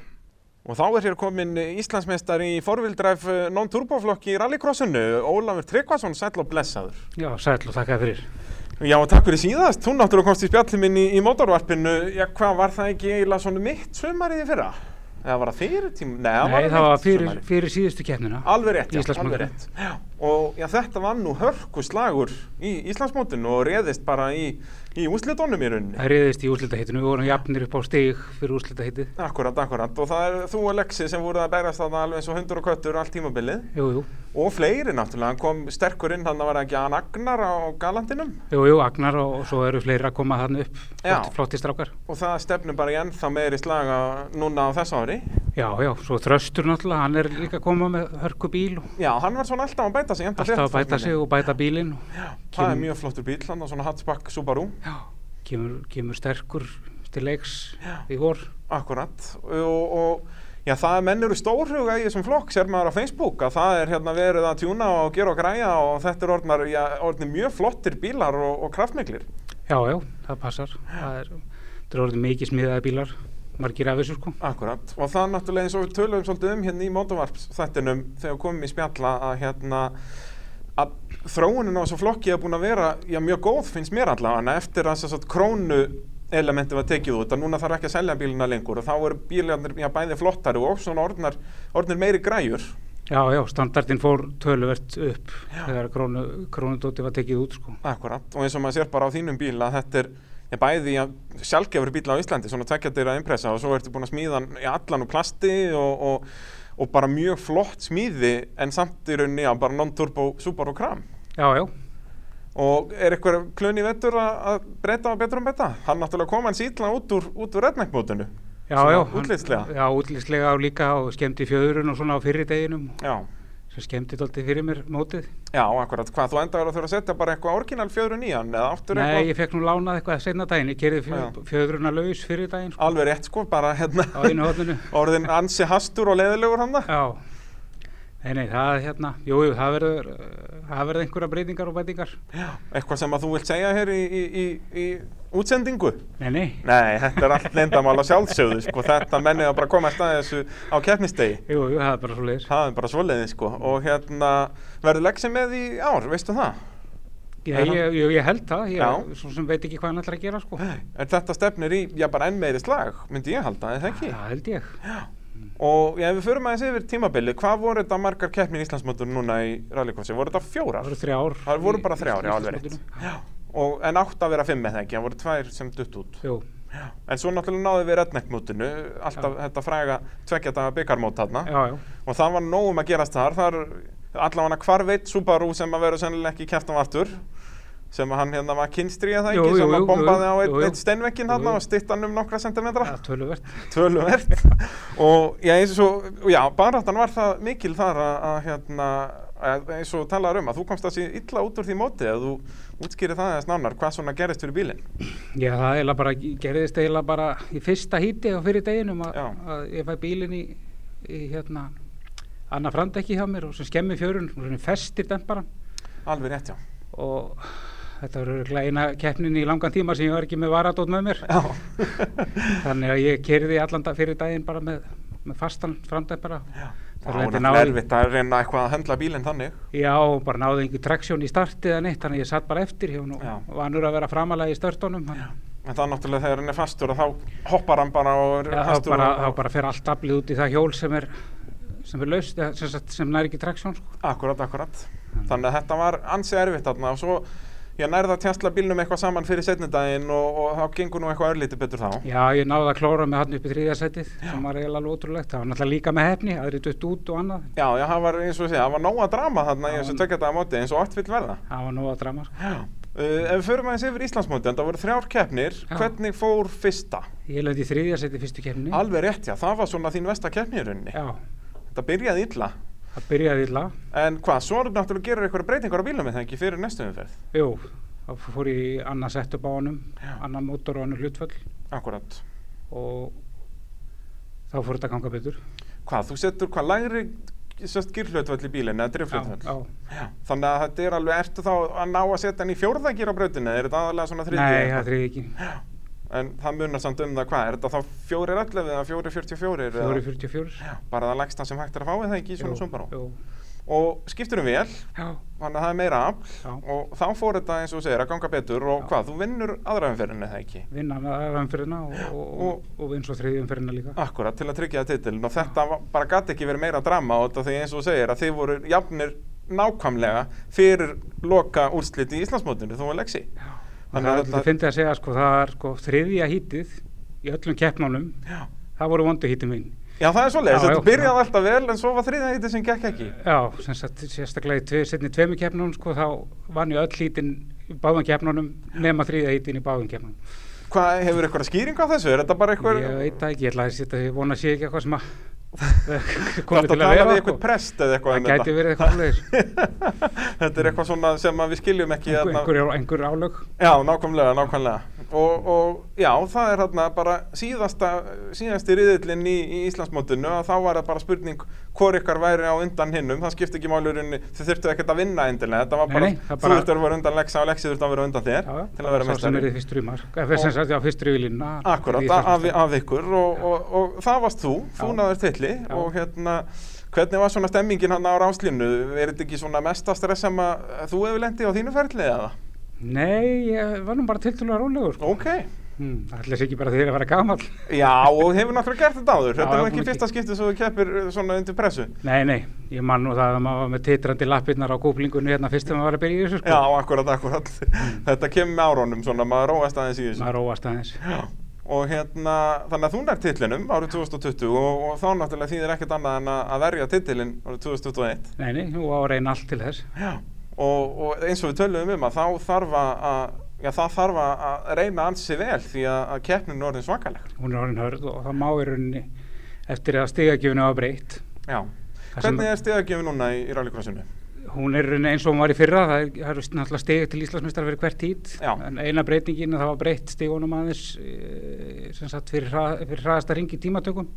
Og þá er hér komin Íslandsmeistar í forvildræf non-turboflokki eh, í rallycrossinu, Ólafur Tryggvason, sæll og blessaður.
Já, sæl og þakka fyrir.
Já, og takk fyrir síðast. Þú náttúrulega komst í spjallin minn í, í mótorvarpinu. Já, hvað var það ekki eiginlega svona mitt sumarið í fyrra? Eða var það fyrir tíma? Nei, það
Nei,
var,
það
mitt
var fyrir,
sumarið.
fyrir síðustu keppnina.
Alveg rétt, já, alveg
Íslandsmótið.
rétt. Já, og já, þetta var nú hörkuslagur í Íslandsmótinu og reðist bara í, í úslitónum í rauninni.
Það reyðist í úslitaheitinu, við vorum jafnir upp á stig fyrir úslitaheitið.
Akkurat, akkurat. Og það er þú og Lexi sem voruð að berjast þarna alveg eins og hundur og köttur allt tímabilið.
Jú, jú,
Og fleiri náttúrulega, hann kom sterkur inn, þannig að var það ekki hann Agnar á galandinum.
jú, jú, Agnar og, og svo eru fleiri að koma þarna upp,
Já.
flott, flotti strákar.
Og það stefnum bara í ennþá meiri slaga núna á þessu ári.
Já, já, svo Þröstur náttúrulega, hann er líka að koma með hörku bíl og
Já, hann var svona alltaf að bæta sig jafnt og
alltaf
þétt,
að bæta
fannst
sig
mér.
og bæta bílinn.
Það er
kemur-
mjög flottur bíl, hann er svona hatchback Subaru
Já, kemur, kemur sterkur til leiks í vor.
Akkurat og, og já, það er mennur stórhuga í þessum flokk sér maður á Facebook að það er hérna verið að tjúna og gera og græja og þetta er orðnar, já, orðnir mjög flottir bílar og, og kraftmiklir
Já, já, það passar. Það er, það er orðið mikið smiðaði bílar, margir af þessu sko.
Akkurat, og það er náttúrulega eins og við töluðum svolítið um hérna í mótavarps þættinum þegar við komum í spjalla að hérna að þróunin á þessu flokki er búin að vera já, mjög góð finnst mér allavega en eftir að þess að krónu elementi var tekið út að núna þarf ekki að selja bílina lengur og þá eru bílarnir já, bæði flottari og svona orðnar, orðnir meiri græjur
Já, já, standardin fór töluvert upp þegar krónu, krónudóti var tekið út sko.
Akkurat, og eins og maður sér bara á þínum bíl að þetta er er bæði já, sjálfgefur bíl á Íslandi, svona tvekkjadir að impressa og svo ertu búin að smíða hann í allan og plasti og, og, og bara mjög flott smíði en samt í rauninni já, bara non-turbo, Subaru kram
Já, já,
Og er eitthvað klun í vettur að að breyta og betur um þetta? Hann náttúrulega kom hann sýtla út úr, út úr redneckmótinu.
já,
Svona
já
útlitslega.
hann, Já, útlitslega og líka og skemmti fjöðurinn og svona á fyrri deginum
Já.
sem skemmti dálítið fyrir mér mótið
Já, akkurat. Hvað þú endaður að þurfa að setja bara eitthvað orginal fjöðrun í hann eða aftur
Nei,
eitthvað?
ég fekk nú lánað eitthvað seinna daginn ég gerði fjö,
Já.
fjöðurinn að laus fyrir daginn sko,
Alveg rétt sko, bara hérna.
á einu hóðinu
Orðin ansi hastur og leðilegur hann það.
Já, nei, nei, það er hérna Jú, jú, það verður uh, það verður einhverja breytingar og breytingar
Eitthvað sem að þú vilt segja hér í, í, í, í útsendingu?
Nei, nei,
Nei, þetta er allt leyndamála sjálfsögðu sko. Þetta mennið að bara koma að staði þessu á keppnistegi.
jú, jú, það er bara svo leiðis
Það er bara svoleiði sko. Og hérna, verður leggsi með í ár, veistu það?
ég, ég, ég, ég held það,
Já.
ég svo sem veit ekki hvað hann ætlar að gera sko.
Er þetta stefnir í, já bara enn meiri slag, myndi ég halda, eða ekki?
Það held ég
Og já, ef við förum aðeins yfir tímabilið, hvað voru þetta margar keppnir í Íslandsmótur núna í rallycrossi? Voru þetta
Það
fjórar?
voru þrjár
Það voru
í-
bara þrjár, já
í-
alveg rétt.
Íslandsmótinu.
Já, og en átt að vera fimm eða ekki, það voru tvær sem dutt út.
Jú,
En svo náttúrulega náðu við redneckmótinu, alltaf þetta fræga tveggja daga byggarmót þarna.
já, já
Og það var nóg um að gerast þar, þar allavega hvar veit Subaru sem að vera sennilega ekki kæft á aftur sem að hann hérna var kynstri eða
Jú,
ekki,
jú,
sem að
jú,
bombaði
jú,
á einn
jú, jú.
ein steinvekkin
Jú,
hann
jú.
og stittan um nokkra sentimetra.
Það er töluvert
töluvert og já, eins og svo, já, baráttan var það mikil þar að, að hérna, að, eins og talaður um að þú komst að sé illa út úr því móti að þú útskýri það eða snánar hvað svona gerist fyrir bílinn
Já, það eiginlega bara gerðist eiginlega bara í fyrsta híti á fyrir deginum að,
Já.
að ég fæ bílinn í, í hérna annað framdekki hjá mér og sem skemmi fjörun og svona festir demparan
alveg rétt já,
og þetta var örugglega eina keppnin í langan tíma sem ég var ekki með varadótt með mér
já.
þannig að ég kerði allan dag fyrir daginn bara með, með fastan framdempara
það
lendi
er
náði-
nervitt að reyna eitthvað að höndla bílinn þannig
Já, og bara náði einhver traksjón í starti eða neitt þannig að ég satt bara eftir hjá hún og
Já.
og vanur að vera framalega í störtunum þannig að-
en það er náttúrulega þegar hann er fastur að þá hoppar hann bara og er
Já, þá
fastur
bara,
og,
þá bara fer allt aflið út í það hjól sem er sem er laust, eða sem, sagt, sem næri ekki traksjón sko.
Akkurat, akkurat. Þannig að þetta var ansi erfitt þarna og svo ég nærði að tjastla bílnum eitthvað saman fyrir setnidaginn og, og þá gengur nú eitthvað örlítið betur þá.
Já, ég náði að klóra með hann upp í þriðasætið sem var eiginlega alveg ótrúlegt, það var náttúrulega líka með hefni aðri dutt út og annað,
Já, já, það var eins og sé, það var nóga drama þarna í þessu tökjadaga móti eins og oft vill verða.
það var nóga drama sko.
Uh, ef við förum aðeins yfir Íslandsmóti, en það voru þrjár keppnir,
Já.
hvernig fór fyrsta?
Ég lendi í þriðasætið fyrstu kemni
Alveg rétt, já, það var svona þín vesta keppni í rauninni.
Já,
Þetta byrjaði illa.
það byrjaði illa
En hvað, svo er náttúrulega gerur eitthvað breytingar á bílum en það ekki fyrir næstu umferð.
Jú, þá fór ég í annað sett upp á honum annan mótor og annan hlutföll
Akkurat.
og þá fór þetta að ganga betur
Hvað, þú setur hvað lægri sérst gyrflöðvöld í bílinn eða driflöðvöld?
já,
Já, þannig að þetta er alveg, ertu þá að ná að setja hann í fjórðagýr á brautinu, eða er þetta aðalega svona
já.
þriðji?
Nei,
eða
það
eitthvað?
þriði ekki
En það munar samt um það hvað, er þetta þá fjórir allavega eða fjórir fjörutíu fjórir?
444
Bara það leggst sem hægt er að fá eða ekki í svona sumbaró.
Jú,
Og skipturum vel,
já,
þannig að það er meira afl
Já.
og þá fór þetta eins og þú segir að ganga betur og
Já.
hvað, þú vinnur aðraumferðinu eða ekki?
vinna með aðra umferðina og, og, og, og eins og þriði umferðina líka
Akkurat, til að tryggja það titilin og þetta var- bara gæti ekki verið meira drama og þetta því eins og þú segir að þið voru jafnir nákvæmlega fyrir loka úrsliti í Íslandsmótinu, þú var leksi.
og það er alltaf fyndið að segja sko, það er sko þriðja hítið í öllum keppnánum
Já.
það voru vondu hítið mín
Já, það er svoleiðis,
Já,
þetta
já.
byrjaði alltaf vel en svo var þriðja hítið sem gekk ekki.
já, sem sagt, sérstaklega í tve, setni tveimur keppnánum sko, þá vann ég öll hítin í báðum keppnánum nema þriðja hítin í báðum keppnánum
Hvað, hefur eitthvað skýring á þessu? Er þetta bara eitthvað...
ég veit það ekki, ég ætla að setja ég vona að sé ekki eitthvað sem að
Þarftu
komið til að
tala við
vera sko.
eitthvað prest eða eitthvað um
það gæti verið eitthvað leir
þetta er eitthvað svona sem að við skiljum ekki.
einhver,
þarna-
einhver, einhver álög
Já, nákvæmlega, nákvæmlega. Og, og já, það er hérna bara síðasta, síðasti riðillinn í, í Íslandsmótinu að þá var það bara spurning hvor ykkar væri á undan hinnum. Það skipti ekki málurinn, þið þurftu ekkert að vinna endilega. Þetta var
Nei,
bara,
nei, það
þú
bara-
þurftu að vera undan Lexa og Lexi þurftu að vera undan þér
já,
til að vera
sá sem
meistari.
er í fyrstu rýmar sem sagt, já, fyrstu rývilina
Akkurat, af, af ykkur og, og, og það varst þú, þú
Já.
náður tilli
Já.
og hérna, hvernig var svona stemmingin hann á ráslínu, er þetta ekki svona mesta stress sem að þú hefur lendið á þínu ferli eða?
Nei, ég var nú bara tiltölulega rólegur sko.
Ok,
Hmm, Ætli þessi ekki bara þegar að vera gamall.
Já, og hefur náttúrulega gert þetta áður.
Já,
Þetta
já,
er ekki
búin að
fyrsta skiptið sem þú keppir uh, svona undir pressu.
Nei, nei, ég man nú það að maður var með titrandi lappirnar á kúplingunni hérna fyrst þegar maður var að byrja í þessu sko.
Já, akkurat, akkurat. þetta kemur með árónum svona, maður róast aðeins í þessu.
Mm. Maður róast aðeins.
Já. Og hérna, þannig að þú nær titlinum árið 2020 og, og þá náttúrulega þýðir ekkert annað en að- að verja titlin árið 2021.
Nei, nei, og á að reyna allt til þess.
Já, og, og eins og við töluðum um að þá þarf að, að já, það þarf að að reyna ansi vel því að, að keppnin er orðin svakaleg.
Hún er orðin hörð og það má í rauninni eftir að stigagjöfinu var breytt.
Já.
Það sem-
Hvernig er stegagjöfin núna í, í rallycrossinu?
Hún er í rauninni eins og hún var í fyrra, það er, það eru náttúrulega stig til Íslandsmeistar fyrir hvert hít.
Já.
En eina breytingin er að það var breytt stigunum aðeins eh, sem sagt fyrir, hrað, fyrir hraðasta ring í tímatökum.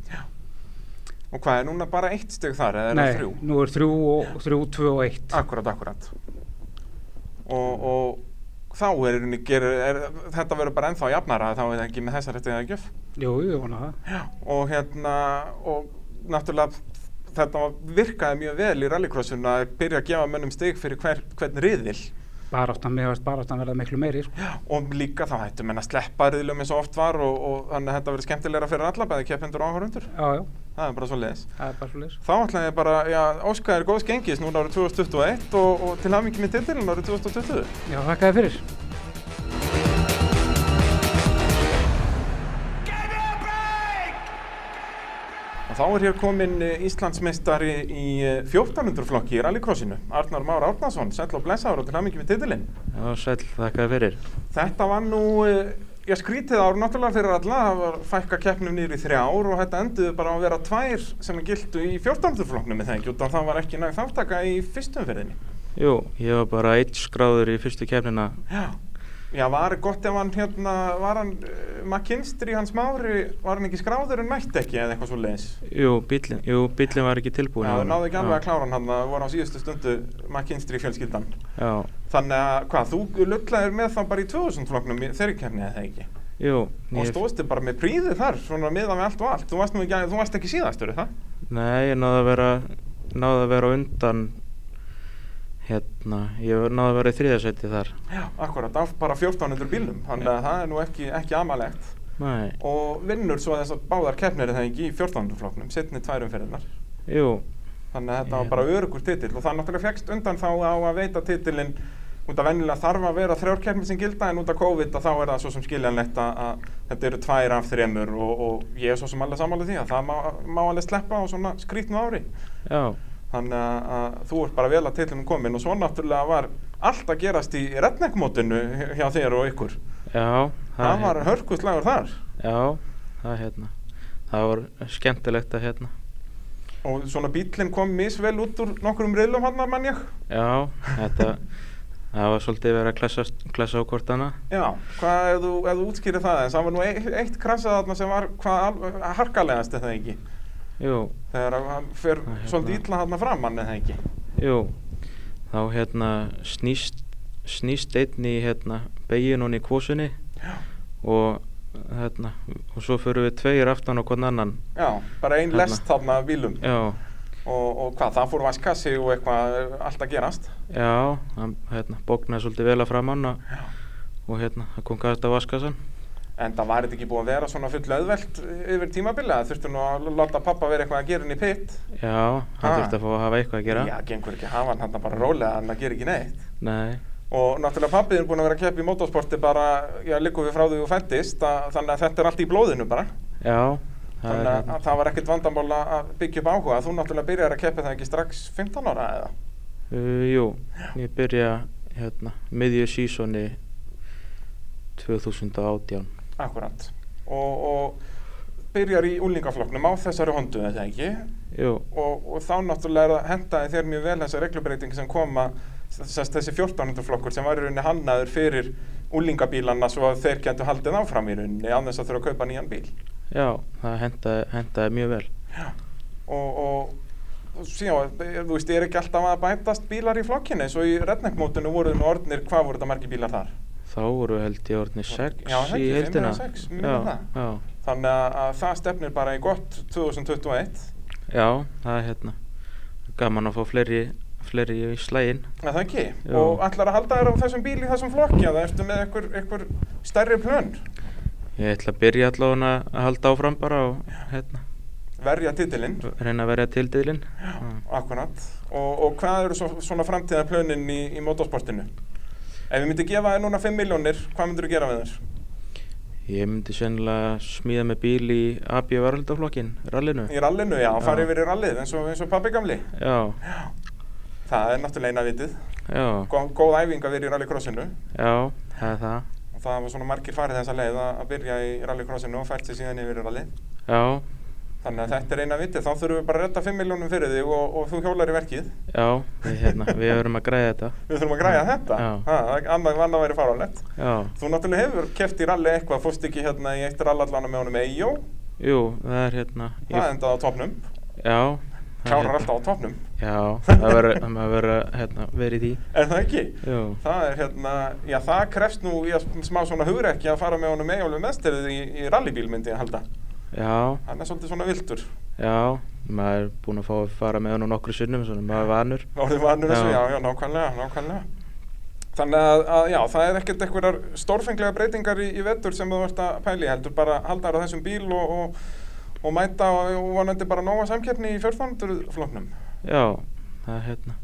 Og hvað, er núna bara eitt steg þar eða er
nei,
það þrjú?
nú er þrjú og þrjú, tvö og eitt.
Akkurat, akkurat. Og, og þá er, í rauninni gerir, er þetta verður bara ennþá jafnara þá er það ekki með þessari stegagjöf.
Jú, ég vona það.
og hérna og náttúrulega þetta var- virkaði mjög vel í rallycrossinu að byrja að gefa mönnum stig fyrir hver, hvern riðil
Baráttan, mér varst baráttan verða miklu meiri sko.
og líka þá hættu menn að sleppa riðlum eins og oft var og, og þannig að þetta verið skemmtilegra fyrir alla bæði keppendur og áhörundur
Já, já,
það er bara svo leiðis
það er bara svo
þá ætla ég bara, já, Óskar er góðs gengis núna árið 2021 og, og til hafingi með titilin árið 2020
Já, þakka þér fyrir.
og þá er hér komin eh, Íslandsmeistari í eh, 1400 flokki í rallycrossinu Arnar Már Árnason, sæll og blessaður og til hafingi með titilin
Já, sæl, þakkaði fyrir.
Þetta var nú, eh, ég skrítið ár náttúrulega fyrir alla, það var fækka keppnum niður í þrjár og þetta enduðu bara á að vera tvær sem gildu í 14. flokknum með það ekki, utan það var ekki nægt þáttaka í fyrstum ferðinni.
Jú, ég var bara eitt skráður í fyrstu kefnina.
Já. Já, var gott ef hann hérna, var hann, uh, McKinstry hans mári, var hann ekki skráður en mætti ekki eða eitthvað svo leiðis?
Jú, bílinn, jú, bílinn var ekki tilbúin.
Já,
hjá
það
honum.
náðu ekki alveg
Já.
að klára hann hann, það voru á síðustu stundu McKinstry fjölskyldan.
Já,
Þannig að, hvað, þú lullaðir með þá bara í 2000 flokknum í þeirri keppni eða ekki?
jú.
Og
ég-
stóðstu bara með príði þar, svona miðan við allt og allt. Þú varst, nú ekki, þú varst ekki síðastur, er það?
Nei, ég náði að vera, náði að vera á undan, hérna, ég var- náði að vera í þriðasæti þar.
Já. Akkurat, af bara 1400 bílum, þannig að það er nú ekki, ekki amalegt.
Nei,
Og vinnur svo þess að báðar keppnir er það ekki í 1400 flokknum, setni tværum fyrirnar.
jú,
Þannig að þetta
Já.
var bara örugur titill og það náttúrulega fegst undan þá á að veita titilinn út af vennilega þarf að vera þrjárkeppni sem gilda en út af COVID að þá er það svo sem skiljanlegt að, að þetta eru tvær af þremur og, og ég er svo sem alveg samanlega því að það má, má alveg sleppa á svona skrítnu ári.
já,
Þannig að, að þú ert bara vel að tillinu komin og svo náttúrulega var allt að gerast í redneckmótinu hjá þér og ykkur.
já.
Það
er
var
hérna-
hörkustlægur þar
Já, það er hérna, það var skemmtilegt að hérna.
og svona bílinn kom misvel út úr nokkrum riðlum hann að mannjag.
Já, þetta, það var svolítið verið að klessa, klessa á hvort hana.
Já, hvað ef þú, ef þú útskýrir það eins? Það var nú eitt, eitt krasað þarna sem var hvað al- harkalegast eða ekki.
Jú,
Þegar að hann fer
Það er hérna.
svolítið illa þarna fram hann eða ekki.
Jú, þá hérna snýst, snýst einn í hérna beginn hún í kvosunni og hérna, og svo förum við tveir aftan og hvern annan.
Já, bara ein
Hérna.
lest þarna af bílum
Já,
og, og hvað, það fór vaskassi og eitthvað eh, allt að gerast.
já, hann hérna bóknaði svolítið vel að framann og,
Já.
og hérna, það kom gæðast að vaska sann.
En það var þetta ekki búið að vera svona full auðvelt yfir tímabilið, það þurftu nú að láta pappa vera eitthvað að gera inn í pitt.
Já, hann
Ha.
þurfti að fá að hafa eitthvað að gera.
Ah. Já, gengur ekki að hafa hann hann bara rólega, hann gera ekki neitt.
Nei,
Og náttúrulega pappið er búin að vera að keppa í motorsporti bara, já, liggum við frá því þú fættist, að, þannig að þetta er allt í blóðinu bara.
já, það
Þannig
er
að,
hérna.
að það var ekkert vandamál að að byggja upp áhuga, þú náttúrulega byrjar að keppa það ekki strax 15 ára eða?
Uh, jú, ég byrja hérna miðju sísoni 2018.
Akkurat. Og, og byrjar í úlingaflokknum á þessari hondu, eða ekki?
Jú,
og, og þá náttúrulega er að hentaði þér mjög vel þessa reglubreiting sem koma sest, þessi 1400 flokkur sem var í rauninni hannaður fyrir úlingabílana svo að þeir kentu haldið áfram í rauninni án þess að þurfa að kaupa nýjan bíl
Já, það hendaði, hendaði mjög vel.
og, og síðan, eh, þú veist, er ekki alltaf að bætast bílar í flokkinu eins og í redneckmótinu voru nú orðnir, hvað voru þetta margir bílar þar?
Þá voru held ég orðinni sex
Já,
í
það ekki, fimm
heildina.
eða sex, hérna. minnir
já,
það.
já,
Þannig að, að það stefnir bara í gott 2021
já, það er hérna. Gaman að fá fleiri, fleiri í slægin.
Er það ekki?
Jú.
Og ætlar að halda þér á þessum bíl í þessum flokki eða ertu með einhver, einhver stærri plön?
Ég ætla að byrja allavega að halda áfram bara og hérna,
verja titilinn
reyna að verja tildilinn. Mm.
Akkurat. Og, og hvað eru svo, svona framtíðarplönin í, í motorsportinu? Ef við myndum gefa þér núna 5 miljónir, hvað myndur þú gera með þess?
Ég myndi sennilega smíða með bíl í AB varaldaflokkin, rallinu.
Í rallinu, já,
Mm. Já.
fara yfir í rallið eins og, eins og pappi gamli.
Já,
Það er náttúrulega eina vitið.
já,
Gó, góð æfing að vera í rallycrossinu.
já, það er það.
Og það var svona margir farið þessa leið að að byrja í rallycrossinu og fært sig síðan yfir í rallið.
Já,
Þannig að þetta er eina vitið. Þá þurfum við bara að redda 5 miljónum fyrir þig og, og þú hjólar í verkið.
já, við, hérna, við verum að græða þetta.
Við þurfum að græja þetta.
Já.
Ha, annað, annað væri faralegt.
Já,
Þú náttúrulega hefur keft í rally eitthvað, fórst ekki hérna í eitt rallallana með honum Eyjó,
jú, það er hérna.
það endaði á topnum,
Já. það er
klárar
hérna-
alltaf á topnum,
Já, það verður, það maður verður að, hérna, verið í því.
er það ekki?
Jú,
Það er hérna, já það krefst nú í að smá svona hugrekki að fara með honum Eyjólu meðstyrðið í, í rallybíl myndi ég halda,
já,
hann er svolítið svona vildur,
já, maður er búinn að fá að fara með honum nokkru sinnum, svona maður er vanur.
orðið vanur þessu, já,
Já.
já, nákvæmlega, nákvæmlega. Þannig að, að já, það er ekkert einhverjar stórfenglega breytingar í, í vettur sem þú ert að pæli, heldur bara haldar á þessum bíl og, og, og mæta og, og vonandi bara nóga samkeppni í 1400 floknum.
Já, það er hérna,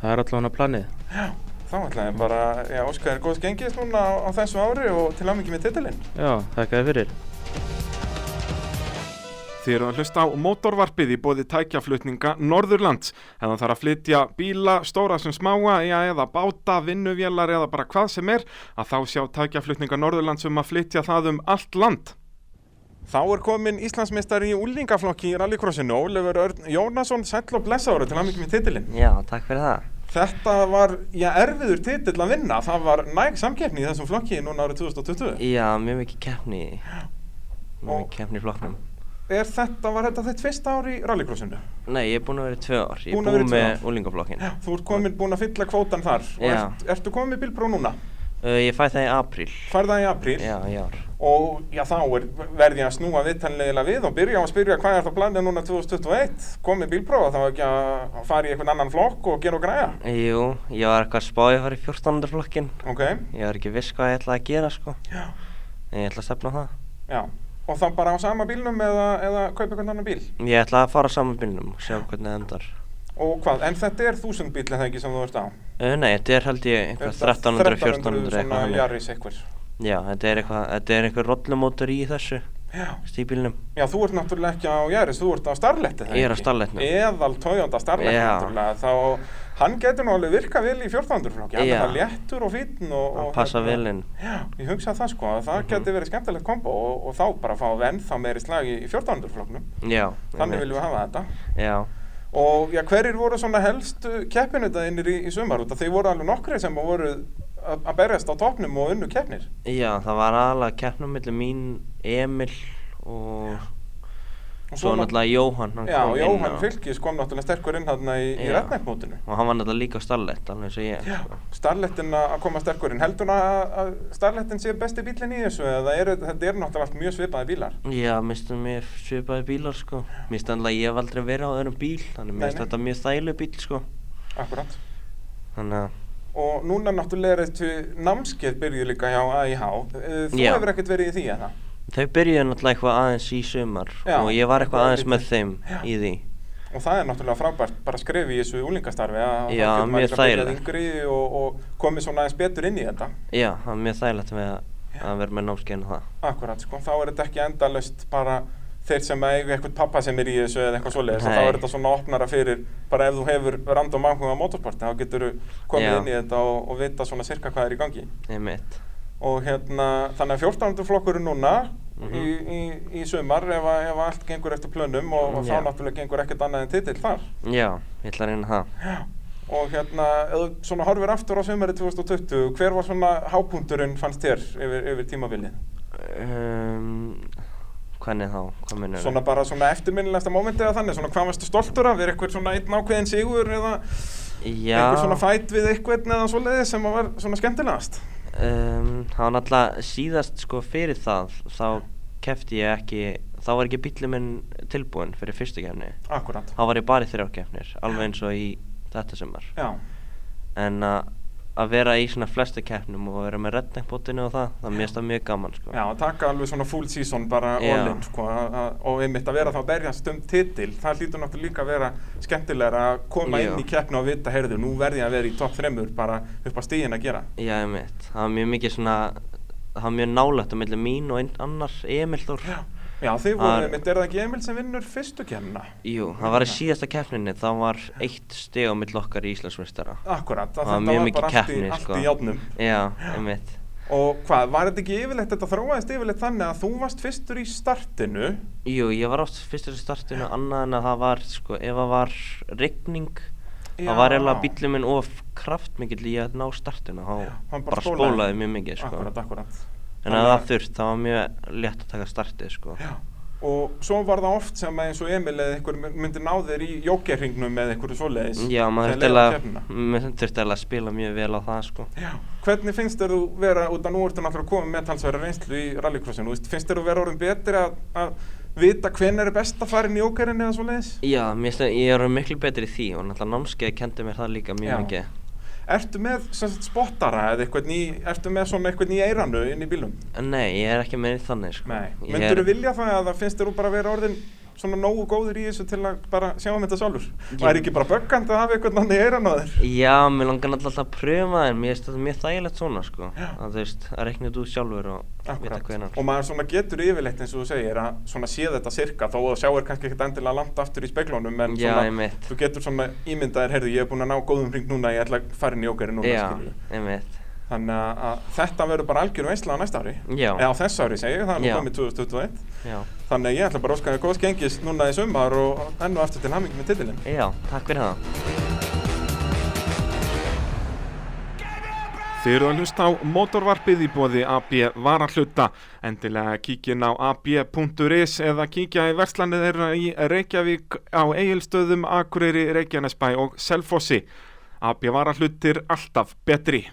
það er allavega planið.
Þá ætla ég bara, já, Óskar, góðs gengist núna á, á þessu ári og til ámyggjum með titilinn.
Já, þakka þér fyrir.
Þið eru að hlusta á mótorvarpið í bóði tækjaflutninga Norðurlands. Ef það þarf að flytja bíla, stóra sem smáa, já, eða báta, vinnuvélar eða bara hvað sem er, að þá sjá tækjaflutninga Norðurlands um að flytja það um allt land. Þá er komin Íslandsmeistari í úlingaflokki í rallycrossinu, Ólefur Örn Jónasson, sæll og blessaður til ámyggjum með titilinn.
Já, takk fyrir það.
Þetta var, já, erfiður titill að vinna. Það var næg samkeppni í þessum flokki núna árið 2020.
Já, mjög mikið keppni í Mjög
Og-
mikið keppni í flokknum.
Er þetta, var þetta þitt fyrsta ár í rallycrossinu?
Nei, ég er búinn að vera í tvö ár. Ég
Búinn að
er
vera í
búinn
tvö
með
ár.
úlingaflokkin.
Þú ert komin búin að fylla kvótan þar og
Já.
ert, ertu komin með bílpró núna?
Uh, ég fæ það í apríl.
Færða í apríl
Já, í ár.
og já, þá er, verði ég að snúa viðtanlegilega við og byrja á að spyrja hvað er það planið núna 2021? Komið bílpró og þá ekki að fara í einhvern annan flokk og gera og græja?
Jú, ég var eitthvað að spá að ég var í 14. flokkin.
Ok,
Ég var ekki viss hvað ég ætlaði að gera, sko.
Já.
En ég ætlaði að stefna á það.
já. Og þá bara á sama bílnum eða, eða kaupa einhvern annan bíl?
Ég ætlaði að fara saman bílnum og sjá hvernig það endar.
Og hvað, en þetta er þúsund bíl eða ekki sem þú ert á?
Uh, nei, þetta er held ég
Er
eitthvað
þetta
1300,
1300
1400 eitthvað
svona
þannig.
jaris eitthvað.
Já, þetta er eitthvað, þetta er eitthvað rollumótor í þessu
Já.
stíbílnum.
Já, þú ert náttúrulega ekki á Jaris, þú ert á Starletti
Ég er á Starletnum.
Eðal Toyota Starletti
Já.
náttúrulega Þá, hann getur nú alveg virkað vel í 1400 flokki Hann
Já.
er það léttur og fínn og,
Hann
og
passar
hérna-
vel Mhm. inn.
Já, ég hugsa það sko, að það mm getur verið skemmtilegt kombo og, og þá bara fá ennþá meiri slag í, í 1400 flokknum
Já.
Þannig
einmitt.
viljum við hafa þetta
Já.
Og já, hverjir voru svona helstu keppinutaðinir í, í sumar út að þeir voru alveg nokkri sem voru að að berjast á topnum og unnu keppnir
Já, það var aðalega keppnum millir mín, Emil og
Og
svo náttúrulega Jóhann. hann
Já,
kom inn
Jóhann
á-
Fylkis kom náttúrulega sterkur inn hérna í, í
Já.
retnækmótinu
Og hann var náttúrulega líka á Starlet, alveg eins og ég.
Já,
sko.
starlettin að að koma sterkurinn. Heldur hún að, að starlettin sé besti bílinn í þessu eða er, þetta eru náttúrulega allt mjög svipaði bílar?
Já, mistum mér svipaði bílar sko. Mist annað ég hef aldrei verið á öðrum bíl, þannig
Nei,
mist
nei.
þetta mjög þægileg bíl sko.
Akkurat.
Þannig að,
Og núna náttúrulega er þetta námskeið byrjuð líka hjá AIH. Eh, Þú
Já.
hefur ekkert verið í því eða?
þau byrjuðu náttúrulega eitthvað aðeins í sumar
Já,
og ég
bara
var eitthvað aðeins með
lítið.
þeim í því.
Og það er náttúrulega frábært bara að skrifa í þessu úlingastarfi að þá
Já,
getur maður
mjög
líka byrjað
þægilegt.
yngri og, og komið svona aðeins betur inn í þetta.
Já, það er mjög þægilegt með að, að vera með námskeiðin og það.
Akkurat, sko. Þá er þetta ekki endalaust bara þeir sem eiga eitthvað pappa sem er í þessu eða eitthvað svoleiðis og þá
Nei.
er þetta svona opnara fyrir bara ef þú hefur random áhuga á motorsporti þá getur þú komið
Já.
inn í þetta og, og vita svona sirka hvað er í gangi
Ég mitt.
og hérna þannig að 14. flokkur er núna
Mhm.
í, í, í sumar ef, að- ef að allt gengur eftir plönum og, og þá
Já.
náttúrulega gengur ekkert annað en titill þar
Já, ég ætla að reyna það.
og hérna ef þú svona horfir aftur á sumari 2020 hver var svona hápunkturinn fannst þér yfir, yfir tímabilið?
Um, hvernig þá? Hvað minnum við?
Svona bara svona eftirminnilegasta mómenti eða þannig, svona hvað varstu stoltur af, er eitthvað svona einn ákveðin sigur eða
Já,
einhver svona fæt við eitthvað eða svoleiði sem að var svona skemmtilegast?
um, það var náttúrulega síðast sko fyrir það, þá kefti ég ekki, þá var ekki bílum minn tilbúinn fyrir fyrstu kefni.
Akkurat.
Þá var ég bara í þrjár kefnir, alveg eins og í þetta sumar.
Já,
En að að vera í svona flestu keppnum og vera með redneckbótinu og það, það mérst það mjög gaman sko.
Já, að taka alveg svona full season bara
Já.
all in sko, að- að- og einmitt að vera þá að berjast um titil, það hlýtur náttúrulega líka að vera skemmtilega að koma
Já.
inn í keppni og vita, heyrðu, nú verð ég að vera í topp þremur bara upp á stíðin að gera.
Já, einmitt, það var mjög mikið svona, það var mjög nálægt á milli mín og einn annar Emil Þór.
Já, þið
Að-
voru, einmitt, er það ekki Emil sem vinnur fyrstu kemna?
Jú, það var í síðasta keppninni, það var eitt steg á mill okkar í Íslandsmeistara.
Akkurat, að
Það var
þetta
mjög
var
mikið
bara allt í-
keppni,
allt
sko.
í járnum.
Já, einmitt.
Og hvað, var þetta ekki yfirleitt, þetta þróaðist yfirleitt þannig að þú varst fyrstur í startinu,
Jú, ég var oft fyrstur í startinu annað en að það var, sko, ef það var rigning, það var eiginlega
Já.
bílum minn of kraftmikill í að ná startinu, þá
hann
bara spólaði mjög mikið, sko.
Akkurat, akkurat.
En ef það þurft, það var mjög létt að taka startið, sko.
Já. Og svo var það oft sem að eins og Emil eða einhver myndi ná þér í jókerringnum eða einhverju svoleiðis.
Já, maður
þegar
þurfti
leið á
eiginlega-
keppnina.
maður þurfti eiginlega að spila mjög vel á það, sko.
Já. Hvernig finnst þér þú vera, út að nú ertu náttúrulega komið með talsverðar reynslu í rallycrossinu, þú veist, finnst þér þú vera orðin betri að, að vita hvenær er best að fara inn í jókerinn eða svoleiðis?
Já, mér finnst að ég er orðinn miklu betri í því og náttúrulega námskeið kendi mér það líka mjög
Já.
mikið.
Ertu með sem sagt, spottara eða eitthvað ný, ertu með svona eitthvað ný eiranu inn í bílum?
En nei, ég er ekki með neitt þannig, sko.
Nei.
Ég
Myndur
er-
vilja það að það finnst þér þú bara vera orðin svona nógu góður í þessu til að bara sjá um þetta sjálfur?
Ég-
Það er ekki bara böggandi að hafa eitthvað annað eiranu að þér?
Já, mér langar náttúrulega alltaf að pröfa það en mér finnst þetta mjög þægilegt svona, sko. Að þú veist, að reikna þetta út sjálfur og vita
Akkurat,
hvenar.
og maður svona getur yfirleitt eins og þú segir að svona sé þetta sirka þó að sjá er kannski ekkert endilega langt aftur í speglunum en
Já,
svona,
einmitt.
þú getur svona ímyndaðir, heyrðu ég er búin að ná góðum hring núna, ég ætla að fara inn í okkari núna
Já,
skilurðu.
einmitt.
þannig að- að þetta verður bara algjör veisla á næsta ári
Já.
eða á þessu ári segi ég, það er nú
Já.
komið 2021
Já.
þannig að ég ætla bara að óska þér góðs gengis núna í sumar og enn og aftur til hamingi með titilinn
Já, takk fyrir það.
Þið eru að hlusta á motorvarpið í bóði AB varahluta. Endilega kíkin á ab.is eða kíkja í verslanið þeirra í Reykjavík á Egilstöðum, Akureyri, Reykjanesbæ og Selfossi. AB varahlutir alltaf betri.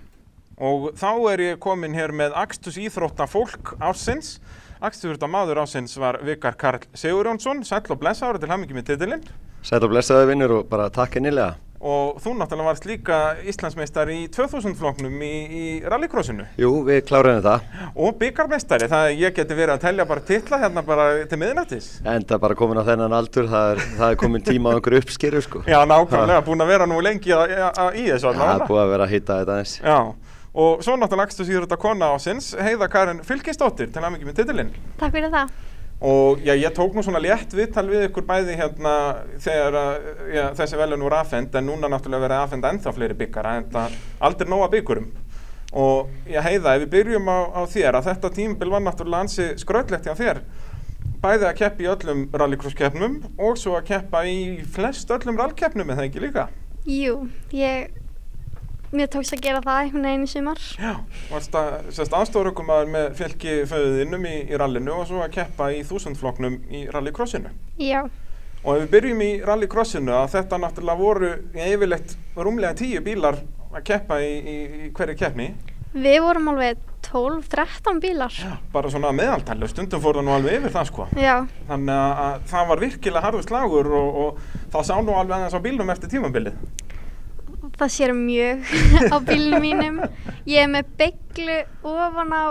Og þá er ég komin hér með Axtus Íþrótta fólk ársins. Axtus Íþrótta maður ársins var Vikar Karl Sigurjónsson, sæll og blessa ára til hamingi með titilinn.
Sætt og blessaðu vinnur og bara takk innilega.
Og þú náttúrulega varst líka Íslandsmeistar í 2000 floknum í, í rallycrossinu.
Jú, við kláruðum þetta,
Og byggarmestari, það er- ég geti verið að telja bara titla hérna bara til miðnættis.
en það er bara komin á þennan aldur, það er, það er komin tíma á einhverju uppskeru sko.
Já, nákvæmlega, búin að vera nú lengi að, að, að, í þessu
Það er
allavega.
búið að vera að hýta þetta eins.
Já, og svo náttúrulega axtu síður þetta kona ásins, Heiða Karin Fylkinsdóttir, til aðmyggjum með titilinn.
Takk fyrir það.
Og já, ég tók nú svona létt viðtal við ykkur bæði hérna þegar að, já, þessi velun voru afhend, en núna náttúrulega verið afhend ennþá fleiri byggara, en það aldrei nóga byggurum. Og já, Heiða, ef við byrjum á, á þér, að þetta tímabil var náttúrulega ansi skröllegt hjá þér, bæði að keppa í öllum rallycrosskeppnum og svo að keppa í flest öllum rallkeppnum eða ekki líka.
Jú, ég, mér tókst að gera það einhvern veginn í sumar.
Já. Varst að sérst aðstórukumaður með fylki föðuðinnum í, í rallinu og svo að keppa í þúsundfloknum í rallycrossinu.
Já,
Og ef við byrjum í rallycrossinu að þetta náttúrulega voru yfirleitt rúmlega tíu bílar að keppa í, í, í hverju keppni,
við vorum alveg 12-13 bílar. Já.
bara svona að meðaltælu, stundum fór það nú alveg yfir það sko. Þannig að, að það var virkilega harður slagur og, og það sá nú alveg aðeins á bílnum eftir tímabilið.
það sér mjög á bílnum mínum. Ég er með bygglu ofan á,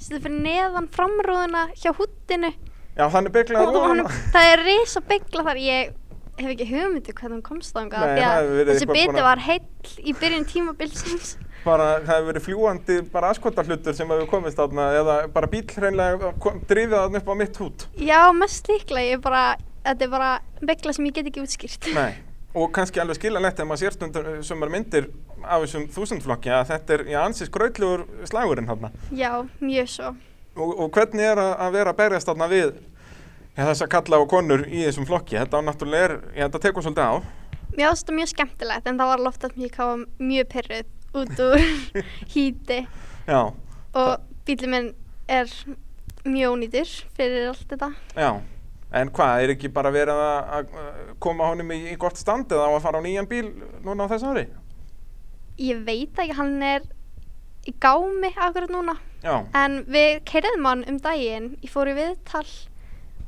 sem fyrir neðan framrúðuna hjá húttinu.
Já, þannig bygglaður
Og honum, það er risa byggla þar. Ég hef ekki hugmyndi hvernig hún komst þangað.
Nei,
því að
það hefur verið
Þessi
eitthvað
biti
bara-
var heill í byrjun tímabilsins.
bara, það hefur verið fljúandi bara askotarhlutur sem hefur komist þarna eða bara bíl hreinlega kom- drifið þarna upp á mitt hút.
Já, mest líklega. Ég er bara, þetta er bara byggla sem ég get ekki útskýrt.
Nei, og kannski alveg skiljanlegt ef maður sér stundum eh, sumar myndir af þessum þúsundflokki að þetta er já, ansið skrautlegur slagurinn þarna.
Já, mjög svo.
Og, og hvernig er að, að vera að berjast þarna við ja, þess að kalla á konur í þessum flokki? Þetta á náttúrulega er, já, þetta tekur svolítið á.
Mér finnst þetta mjög skemmtilegt en það var loft að ég kafa mjög perrið út úr hýti
Já,
og bílum minn er mjög ónýtur fyrir allt þetta.
já. En hvað, er ekki bara verið að, að uh, koma honum í, í gott stand eða á að fara á nýjan bíl núna á þessu ári?
Ég veit ekki, hann er í gámi akkurat núna
Já,
en við keiriðum hann um daginn, ég fór í viðtal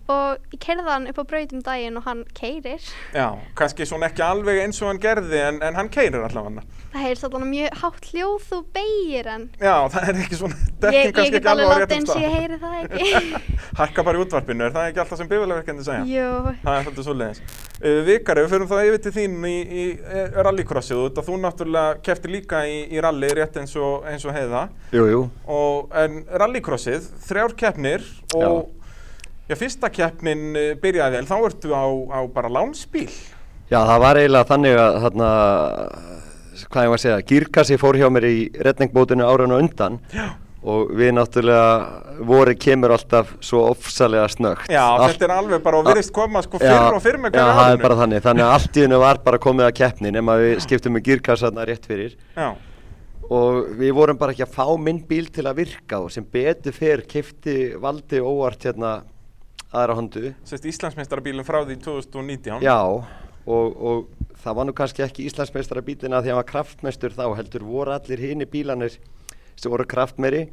og ég kerði hann upp á braut um daginn og hann keirir.
Já, kannski svona ekki alveg eins og hann gerði en, en hann keirir allavega
Það heyrst alltaf mjög hátt hljóð þú beigir hann.
Já, það er ekki svona,
Ég,
dekkin
ég
kannski
get
ekki
alveg
alveg á
látt
réttum
eins og ég
stað.
heyri það ekki.
Hækka bara í útvarpinu, er það ekki alltaf sem bifurlegverkandi segja?
Jú.
Það er svolítið svoleiðis. Uh, Vikari, við förum þá yfir til þín í, í eh, rallycrossið og þú náttúrulega keftir líka í, í rally rétt eins og, eins og heiða.
Jú, jú,
Og, en rallycrossið, þrjár keppnir og já. fyrsta keppnin eh, byrjaði vel, þá ertu á, á bara lánspíl.
já það var eiginlega þannig að þarna, hvað ég var að segja, gírkassi fór hjá mér í redningbótinu áraun og undan
Já.
og við náttúrulega, voru kemur alltaf svo ofsalega snögt.
Já,
Allt-
þetta er alveg bara og virðist koma sko fyrr og fyrr með
Já,
hverja
það er bara þannig, þannig að allt í hennu var bara komið að keppni nema við skiptum með gírkassarna rétt fyrir
Já.
og við vorum bara ekki að fá minn bíl til að virka og sem betur fyrr kefti valdi óvart hérna aðra hondu
Sérst Íslandsmeistarabílum frá því 2019.
Já, og, og það var nú kannski ekki Íslandsmeistara bílina því að hann var kraftmestur þá heldur voru allir hini bílanir sem voru kraftmeri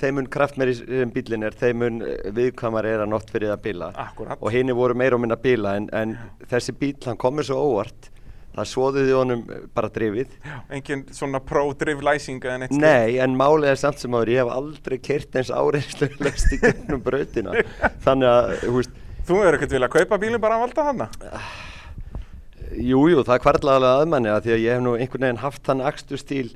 þeim mun kraftmeri sem bílin er þeim mun eh, viðkvæmari er að nótt fyrir að bíla
Akkurat.
og hini voru meira og minna bíla en, en þessi bíl hann komur svo óvart það svoðuði honum eh, bara drifið
Engin svona pro-driv læsing eða neitt. slíkt.
Nei, en málið er samt sem áður, ég hef aldrei kert eins áreinslu í gegnum brautina þannig að, þú veist,
Þú hefur ekkert viljað kaupa bílinn bara að valda hana?
Jújú, jú, það kvarlaði alveg að manni að því að ég hef nú einhvern veginn haft þann aksturstíl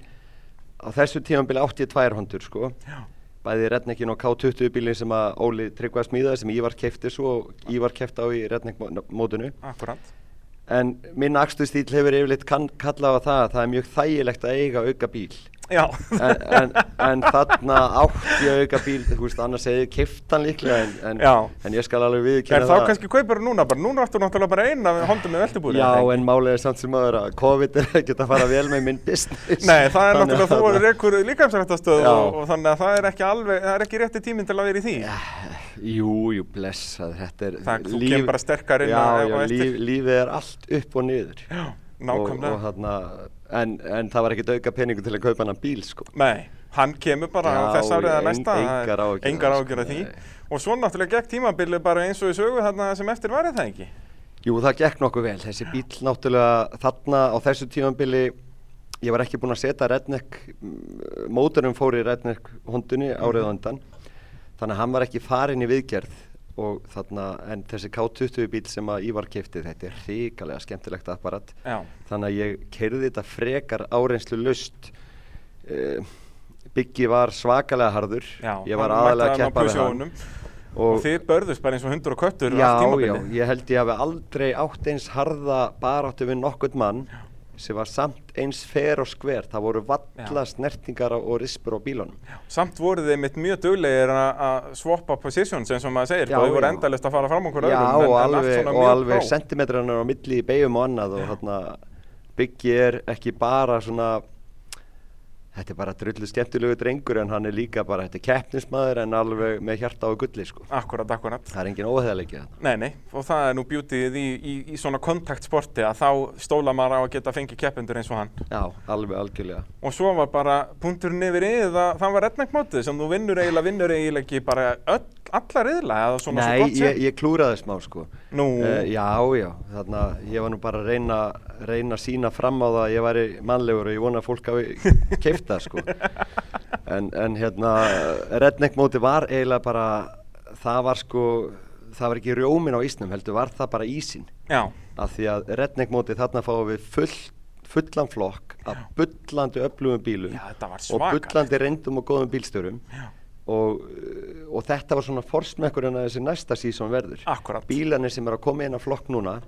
á þessu tímanbili 82 hondur sko Já. bæði Redneckin og K20 bílinn sem að Óli Tryggva smíðaði sem Ívar kefti svo og Ívar kefti á í Redneck mótinu
Akkurat.
en minn aksturstíl hefur yfirleitt kann, kallað á það að það er mjög þægilegt að eiga auka bíl
Já.
en, en, en þarna átt ég auka bíl þú veist, annars hefði ég keft hann líklega en, en,
Já.
en ég skal alveg
En
viðkynna
þá kannski kaupar núna bara, núna áttu náttúrulega bara eina við hóndum með veltubúri.
Já, en málið er samt sem aður að COVID er ekkert að fara vel með minn business
Nei, það er
Þannig
náttúrulega, þú
að-
voru rekur líkamsrættastöð
Já.
og, og þannig að það er ekki alveg, það er ekki rétti tíminn til að vera í því.
Jú, jú, blessað, þetta er
Það- þú kemur bara sterkar inn
Já,
á-
já,
á eftir.
líf, lífið er allt upp og niður Já,
nákvæmlega.
og, og þarna, en, en það var ekkert auka peningu til að kaupa hann bíl, sko
Nei, hann kemur bara á
Já,
þess árið eða
en-
næsta, það er
engar áhyggjur af
engar
þessu,
ágjör af því.
nei.
Og svo náttúrulega gekk tímabilið bara eins og í sögu þarna sem eftir værið það ekki.
Jú, það gekk nokkuð vel. Þessi bíl náttúrulega þarna á þessu tímanbili, ég var ekki búinn að setja Redneck, mm, mótorum fór í Redneck hondunni
Mhm.
árið á undan, þannig að hann var ekki farin í viðgerð og þarna, en þessi K20 bíl sem að Ívar kefti, þetta er hrikalega skemmtilegt apparat,
Já.
þannig að ég keirði þetta frekar áreinslu löst. Byggi var svakalega harður,
Já,
ég var
hann
aðalega
mætti
að
hann á
keppa við hann.
Peugeotunum. Og þið börðust bara eins og hundur og köttur allt
Já, já,
tímabilið.
ég held ég hafi aldrei átt eins harða baráttu við nokkurt mann sem var samt eins fer og skver, það voru valla snertingar á- og rispur á bílunum.
Samt voru þið mitt mjög duglegir a- að swappa positions eins og maður segir,
Já,
já, þau voru
já.
endalist að fara fram okkur
Já,
öðrum,
og
allt
alveg,
svona
og
mjög
alveg
pró.
sentimetrarnar á milli í beigjum og annað og þarna byggi er ekki bara svona, þetta er bara drullu skemmtilegu drengur en hann er líka bara, þetta er keppnismæður en alveg með hjarta og gulli sko.
Akkurat, akkurat.
Það er engin óheðalegi þetta.
Nei, nei, og það er nú bjútið í, í, í svona kontaktsporti að þá stóla maður á að geta fengið keppendur eins og hann.
Já, alveg algjörlega.
Og svo var bara punkturinn yfir yfir það, það var retnækmótið sem þú vinnur eiginlega, vinnur eiginlega ekki bara öll, alla riðla eða svona
Nei,
svo gott
ég, ég klúraði smá sko
Nú.
Eh, Já, já, þarna ég var nú bara að reyna, reyna að sína fram á það að ég væri mannlegur og ég vona að fólk hafi keifta sko en, en hérna redneck móti var eiginlega bara það var sko, það var ekki rjómin á ísnum heldur, var það bara ísin
Já.
Af því að redneck móti þarna fáum við full, fullan flokk af bullandi öflugum bílum já,
var
og
svakalegt.
bullandi reyndum og góðum bílstörum og, uh, og þetta var svona forsmekkurinn að þessi næsta sísón verður
Akkurat.
bílanir sem er að koma inn á flokk núna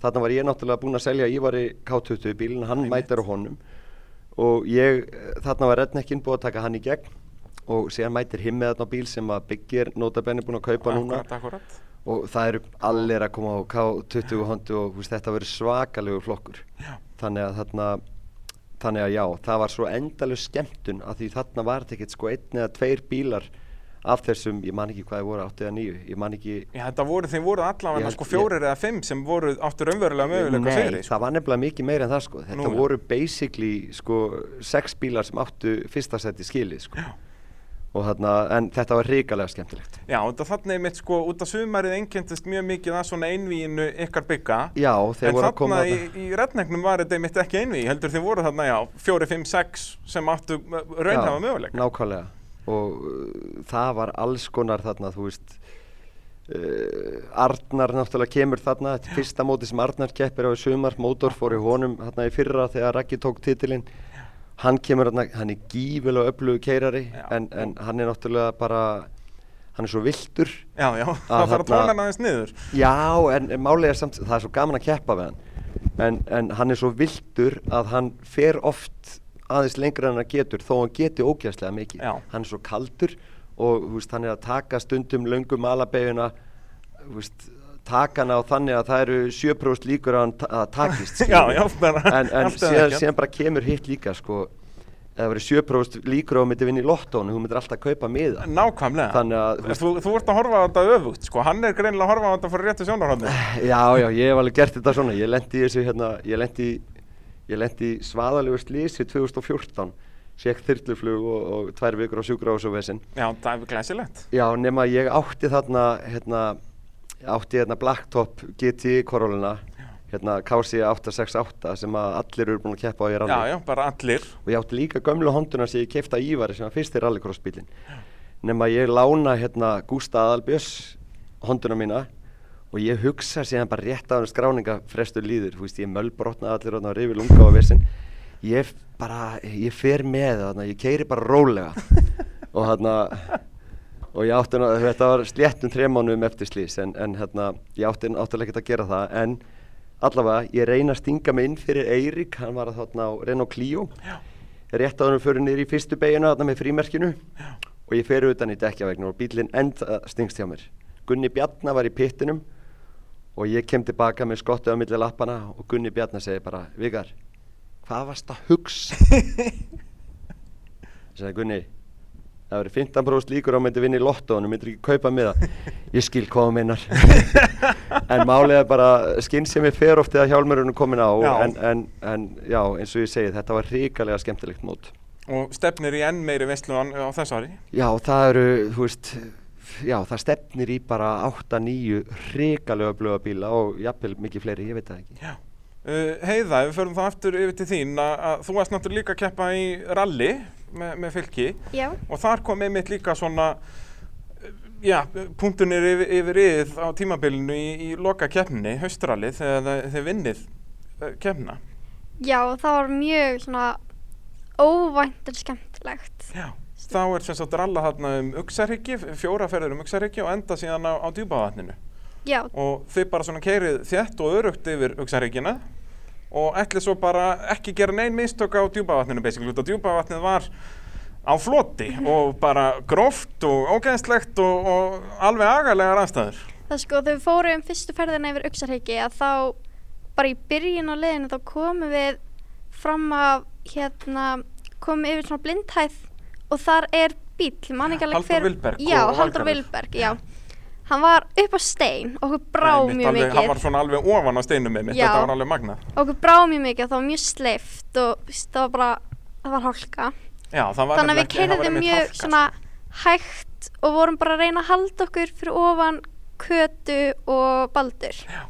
þarna var ég náttúrulega búinn að selja Ívari K20 bílinn, hann mætir á honum og ég, eh, þarna var redneckinn búið að taka hann í gegn og síðan mætir himmið þarna á bíl sem að byggir notabenni búinn að kaupa núna
Akkurat, akkurat.
og það eru allir að koma á K20 hóndu og þú veist, þetta verður svakalegu flokkur já. þannig að þarna þannig að já, það var svo endalus skemmtun að því þarna var þetta ekkert sko einn eða tveir bílar af þessum, ég man ekki hvað þið voru átt eða nýju, ég man ekki
Já, þetta voru, þeim voru
Ég
allavega
held-
sko fjórir eða fimm sem voru áttu raunverulega möguleika
Nei, sko,
segri.
það var nefnilega mikið meira en það sko þetta
Nú, já.
voru basically sko sex bílar sem áttu fyrsta seti skilið sko já. og þarna, en þetta var hrikalega skemmtilegt
Já, þetta þarna er mitt sko, út af sumarið einkendist mjög mikið að svona einvíinu ykkar bygga
Já, þeir
En
voru að
þarna
koma
í, í rednegnum var þetta mitt ekki einví heldur þið voru þarna, já, fjóri, fimm, sex sem áttu uh, raunhafa
Já,
möguleik
nákvæmlega og uh, það var alls konar þarna þú veist uh, Arnar náttúrulega kemur þarna þetta er fyrsta móti sem Arnar keppir á í sumar mótor fór í honum þarna í fyrra þegar Raggi tók titilinn hann kemur þarna, hann er gífilega öflugu keirari en, en hann er náttúrulega bara hann er svo viltur
Já, já, það þarf að tóna hann aðeins niður
hérna- Já, en, en málið er samt, það er svo gaman að keppa við hann en, en hann er svo viltur að hann fer oft aðeins lengra en hann getur þó hann geti ógjastlega mikið Já. hann er svo kaldur og þú veist, hann er að taka stundum löngum alabeguna veist, taka hann á þannig að það eru sjöpróst líkur að hann ta að takist skilur
Já,
við.
já, bara
en, en
allt eða
síðan,
ekkert.
síðan bara kemur hitt líka sko eða verið sjöpróst líkur og myndi vinna í lottónu þú myndir alltaf kaupa miða
Nákvæmlega
þannig að
þú, þú, þú ert að horfa á þetta öfugt, sko, hann er greinilega að horfa á þetta fyrir réttu sjónarhóðni
Já, já, ég hef alveg gert þetta svona, ég lendi í þessu hérna, ég lendi í, ég lendi í svaðalegu slísi 2014, sék þyrluflug og, og tvær vikur á sjúkrahús og vesinn.
Já, það er glæsilegt
Já, nema ég átti þarna, hérna, átti hérna Blacktop GT koróluna, hérna KC 868 sem að allir eru búin að keppa á í
Já,
rally.
já, bara allir
Og ég átti líka gömlu honduna sem ég keipta Ívari sem var fyrsti rallycrossbílinn. Nema ég lána hérna Gústa Aðalbjörns honduna mína og ég hugsa síðan bara rétt á hann skráningafrestur líður. Þú veist, ég mölbrotnaði allir þarna og rifi lunga á vissin. Ég f- bara, ég fer með þarna, ég keiri bara rólega. og þarna, og ég átti, ná- þetta var sléttum þremánuðum eftir slís, en, en hérna, ég átti náttúrulega ekkert að gera það, en allavega, ég reyna að stinga mig inn fyrir Eirík, hann var þarna á Renault Clio, rétt að hann fyrir niður í fyrstu beiginu, þarna með frímerkinu, og ég fer utan í dekkjavegnu og bílinn enda stingst hjá mér. Gunni Bjarnar var í pittinum og ég kem tilbaka með skottu á milli lappana og Gunni Bjarnar segi bara, Vigar, hvað varst að hugsa? Ég sagði Gunni, það verið 15% líkur á að myndi vinna í lottóinu, myndir ekki kaupa með það. Ég skil hvað þú meinar. en málið er bara, skinn sem ég fer oft þegar hjálmurinn er komin á,
Já.
En, en, en já, eins og ég segi, þetta var ríkalega skemmtilegt mót.
og stefnir í enn meiri veistlun á þessu ári
Já, það eru, þú veist, já, það stefnir í bara 8-9 ríkalega blöða bíla og jafnvel mikið fleiri, ég veit það ekki.
Já. Uh, heiða, ef við förum þá aftur yfir til þín að, að þú varst náttúrulega líka að keppa í rally með, með fylki
Já.
og þar kom einmitt líka svona uh, já, punktunir yfir, yfir yfir á tímabilinu í, í loka keppninni, haustrallið þegar þið- þið vinnið uh, keppna
Já, það var mjög svona óvænt en skemmtilegt.
Já. þá er sem sagt ralla þarna um uksarhyggi, fjóraferður um uksarhyggi og enda síðan á, á djúbavatninu
Já,
og þið bara svona keirið þétt og örugt yfir uksarhyggjina og ætlið svo bara ekki gera neinn mistök á djúbavatninu basically, út af djúbavatnið var á floti og bara gróft og ógæðslegt og, og alveg agalega rafstæður.
það er sko þegar við fórum fyrstu ferðina yfir Uxarheiki að þá bara í byrjun á leiðinu þá komum við fram af hérna, komum yfir svona blindhæð og þar er bíl, mann ekki alveg
Halldór Wilberg og
Já, Haldur
Valgarður.
Vilberg, já. Hann var upp á stein og okkur brá
Einmitt
mjög
alveg,
mikið.
Hann var svona alveg ofan á steinum með mitt,
Já.
þetta var alveg magnað.
Okkur brá mjög mikið, það var mjög sleift og þú veist, það var bara, það var hálka.
Já, það var
Þannig að
nefnilega
við
ekki- það var
keyrðum
einmitt
mjög
hálka,
svona hægt og vorum bara að reyna að halda okkur fyrir ofan Kötu og Baldur. Já.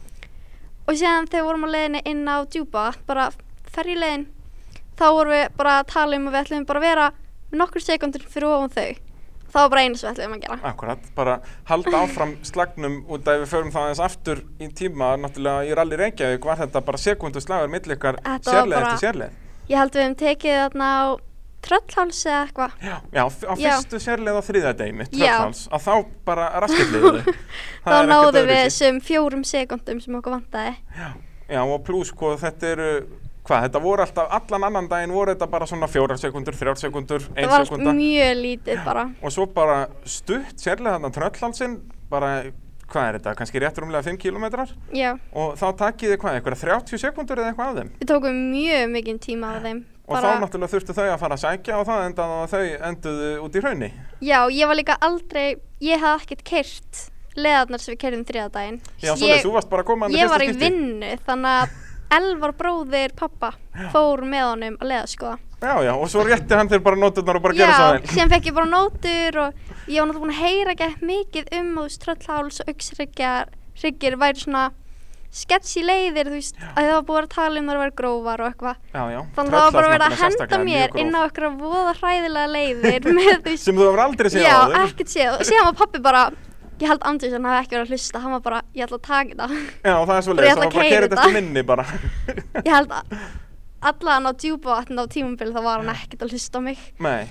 Og síðan þegar við vorum á leiðinni inn á djúpa, bara ferjuleiðin, þá vorum við bara að tala um að við ætlum bara að vera nokkur sekundur fyrir ofan þau. Það var bara einu sem við ætlum að gera.
Akkurat, bara halda áfram slagnum út af við förum það aðeins aftur í tíma, náttúrulega í Rally Reykjavík var þetta bara sekundu slagur milli ykkar
Þetta var
sérleið
bara-
eftir sérleið.
Ég held við höfum tekið þarna á tröllháls eða eitthvað.
Já. Já, f- á
Já.
fyrstu sérleið á þriðadeginu,
Já.
tröllháls, að þá bara raskilliðu þau. Það
Þá
er ekkert
náðum við
öðruvísi.
þessum fjórum sekundum sem okkur vantaði.
Já, og pluss, sko, þetta eru, hvað, þetta voru alltaf, allan annan daginn voru þetta bara svona fjórar sekundur, þrjár sekundur, ein
Það var allt
sekunda.
mjög lítið bara.
Og svo bara stutt, sérlega þarna tröllhalsinn, bara, hvað er þetta, kannski rétt rúmlega 5 kilometrar?
Já.
Og þá takið þið hvað, eitthvað 30 sekundur eða eitthvað af þeim?
Við tókum mjög mikinn tíma á þeim.
Og þá náttúrulega þurftu þau að fara að sækja og það endaði á að þau enduðu út í hraunni.
Já, ég var líka aldrei, ég hafði ekkert kert leðarnar sem við kertum þriðadaginn.
Já, svoleiðis, þú varst bara að koma þarna í
Ég
fyrsta
var í
skipti.
vinnu, þannig að Elvar bróðir pappa fór með honum að leiða skoða
Já, já, og svo rétti hann þér bara nóturnar og bara gera svo
Já, sem fekk ég bara nótur og ég var náttúrulega búin að heyra ekki mikið um þú veist, tröllháls og auksryggir væri svona sketchy leiðir, þú veist, að það var búin að tala um þar að vera grófar og eitthvað
Já, já.
Þannig að það var bara verið að
Tröllháls
henda mér
náttúrulega sérstaklega, mjög gróf.
inn á eitthvað voða hræðilega leiðir með þú veist
Sem þú hefur aldrei séð
Já,
áður.
ekkert séð og síðan var pappi bara ég held Andrés hann hafi ekki verið að hlusta hann var bara, ég ætla að taka þetta
Já, það er svo
Bara ég ætla að
leiðis, það var bara að
keyra
kera þetta
þetta.
eftir minni bara.
ég held að allan á djúbavatn á tímumbil þá var hann ekkert að hlusta á mig
Nei.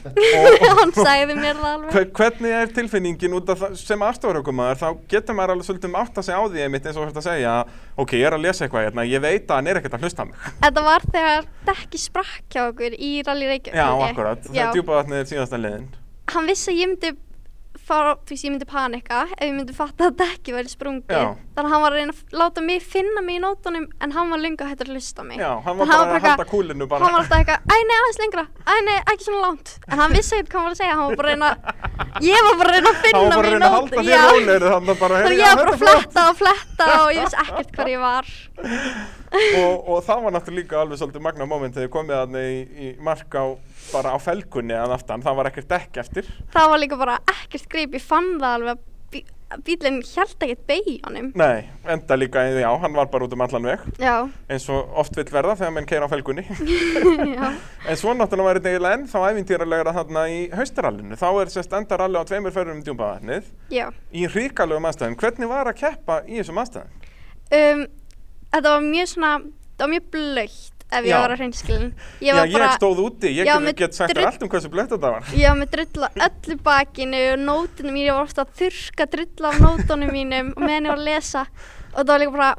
hann sagði mér það alveg
Hve- Hvernig er tilfinningin út af það sem aðstofarökumæður, þá getur maður alveg svolítið um átt að segja á því einmitt eins og þetta að segja, ok, ég er að lesa eitthvað hérna, ég veit að hann er ekkert að hlusta á mig.
þetta var þegar dekki sprakk hjá okkur í Rally Reykjavík
Já,
held ég.
akkurat, það
Já.
er djúpavatnið er síðasta leiðin.
hann vissi að ég myndi fara, þú veist, ég myndi panika ef ég myndi fatta að dekki væri sprungið
Já.
þannig að hann var að reyna að láta mig finna mig í nótunum en hann var lunga hættur að hlusta á mig
Já, hann
Þannig
var bara að
eitthvað-
halda kúlinu bara.
hann var alltaf eitthvað, æ nei, aðeins lengra æ nei, ekki svona langt en hann vissi ekkert hvað hann var að segja, hann var bara að reyna að- ég var bara að reyna að
Hann
finna
var
mig í
bara að reyna að halda
nótunum
þér rólegri þannig að bara,
þannig að
heyrðu,
ég
já,
var bara að
þetta er
fletta og fletta og ég vissi ekkert hvar ég var
og, og það var náttúrulega líka alveg svolítið magna moment þegar þið komið þarna í, í mark á, bara á felgunni að aftan, það var ekkert dekk eftir.
það var líka bara ekkert greip, ég fann það alveg að bí- að bílinn hjælt ekkert beig honum
Nei, enda líka, já, hann var bara út um allan veg.
já,
eins og oft vill verða þegar menn keira á felgunni
já
en svo náttúrulega var þetta eiginlega ennþá æfintýralegra þarna í haustarallinu þá er sérst endaralli á tveimur ferðum um djúmpaðarnið
Já,
í ríkalegum aðstæðum hvernig var að keppa í þessum aðstæðum?
um, þetta var mjög svona, þetta var mjög blöytt ef ég
Já.
var á hreinskilin.
Já, ég stóð úti, ég
Já,
get,
með
get sagt
drull-
þér allt um hversu blött þetta var
Ég var með drull á öllu bakinu og nótunum mínum, ég var ofta að þurrka drull af nótunum mínum og meðan ég var að lesa og það var líka bara,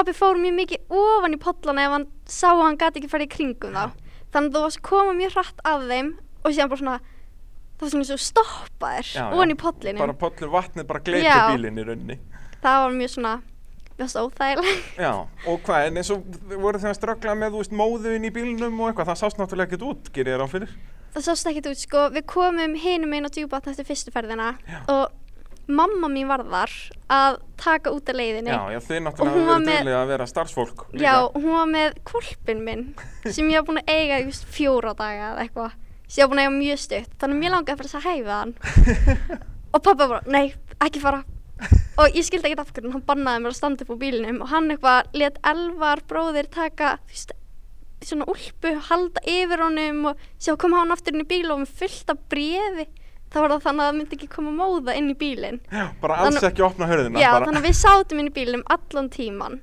pappi fór mjög mikið ofan í pollana ef hann sá að hann gati ekki farið í kringum þá. Þannig að þú varst að koma mjög hratt af þeim og síðan bara svona, það var svona eins og stoppaðir
Já, já.
ofan í pollinu.
bara pollur vatnið, bara gleiti
Já.
bílinn í rauninni
Það var mjög svona, mjög svo óþægilegt.
já, og hvað, en eins og voru þeim að ströggla með, þú veist, móðuinn í bílnum og eitthvað, það sást náttúrulega ekkert út, gerir ég ráð fyrir
það sást ekkert út sko, við komum hinum einn á djúbatn eftir fyrstu ferðina og mamma mín var þar að taka út af leiðinni
já, já, þið
Og hún
náttúrulega
var
verið
með-
með... að vera starfsfólk
Já, hún var með kvolpin minn sem ég var búin að eiga í fjóra daga eða eitthvað sem ég var búin að eiga mjög stutt þannig að mér langaði bara þess að hæfa hann og pappa bara, nei, ekki fara og ég skildi ekkert af hvernig hann bannaði mér að standa upp á bílinum og hann eitthvað let Elvar bróðir taka þú veist, svona úlpu, halda yfir honum og sjá kom hann aftur inn í bíl og með fullt af brefi þá var það þannig að það myndi ekki koma móða inn í bílinn
bara alls
Þannig-
ekki opna hörðina
Já,
bara.
þannig að við sátum inn í bílnum allan tíman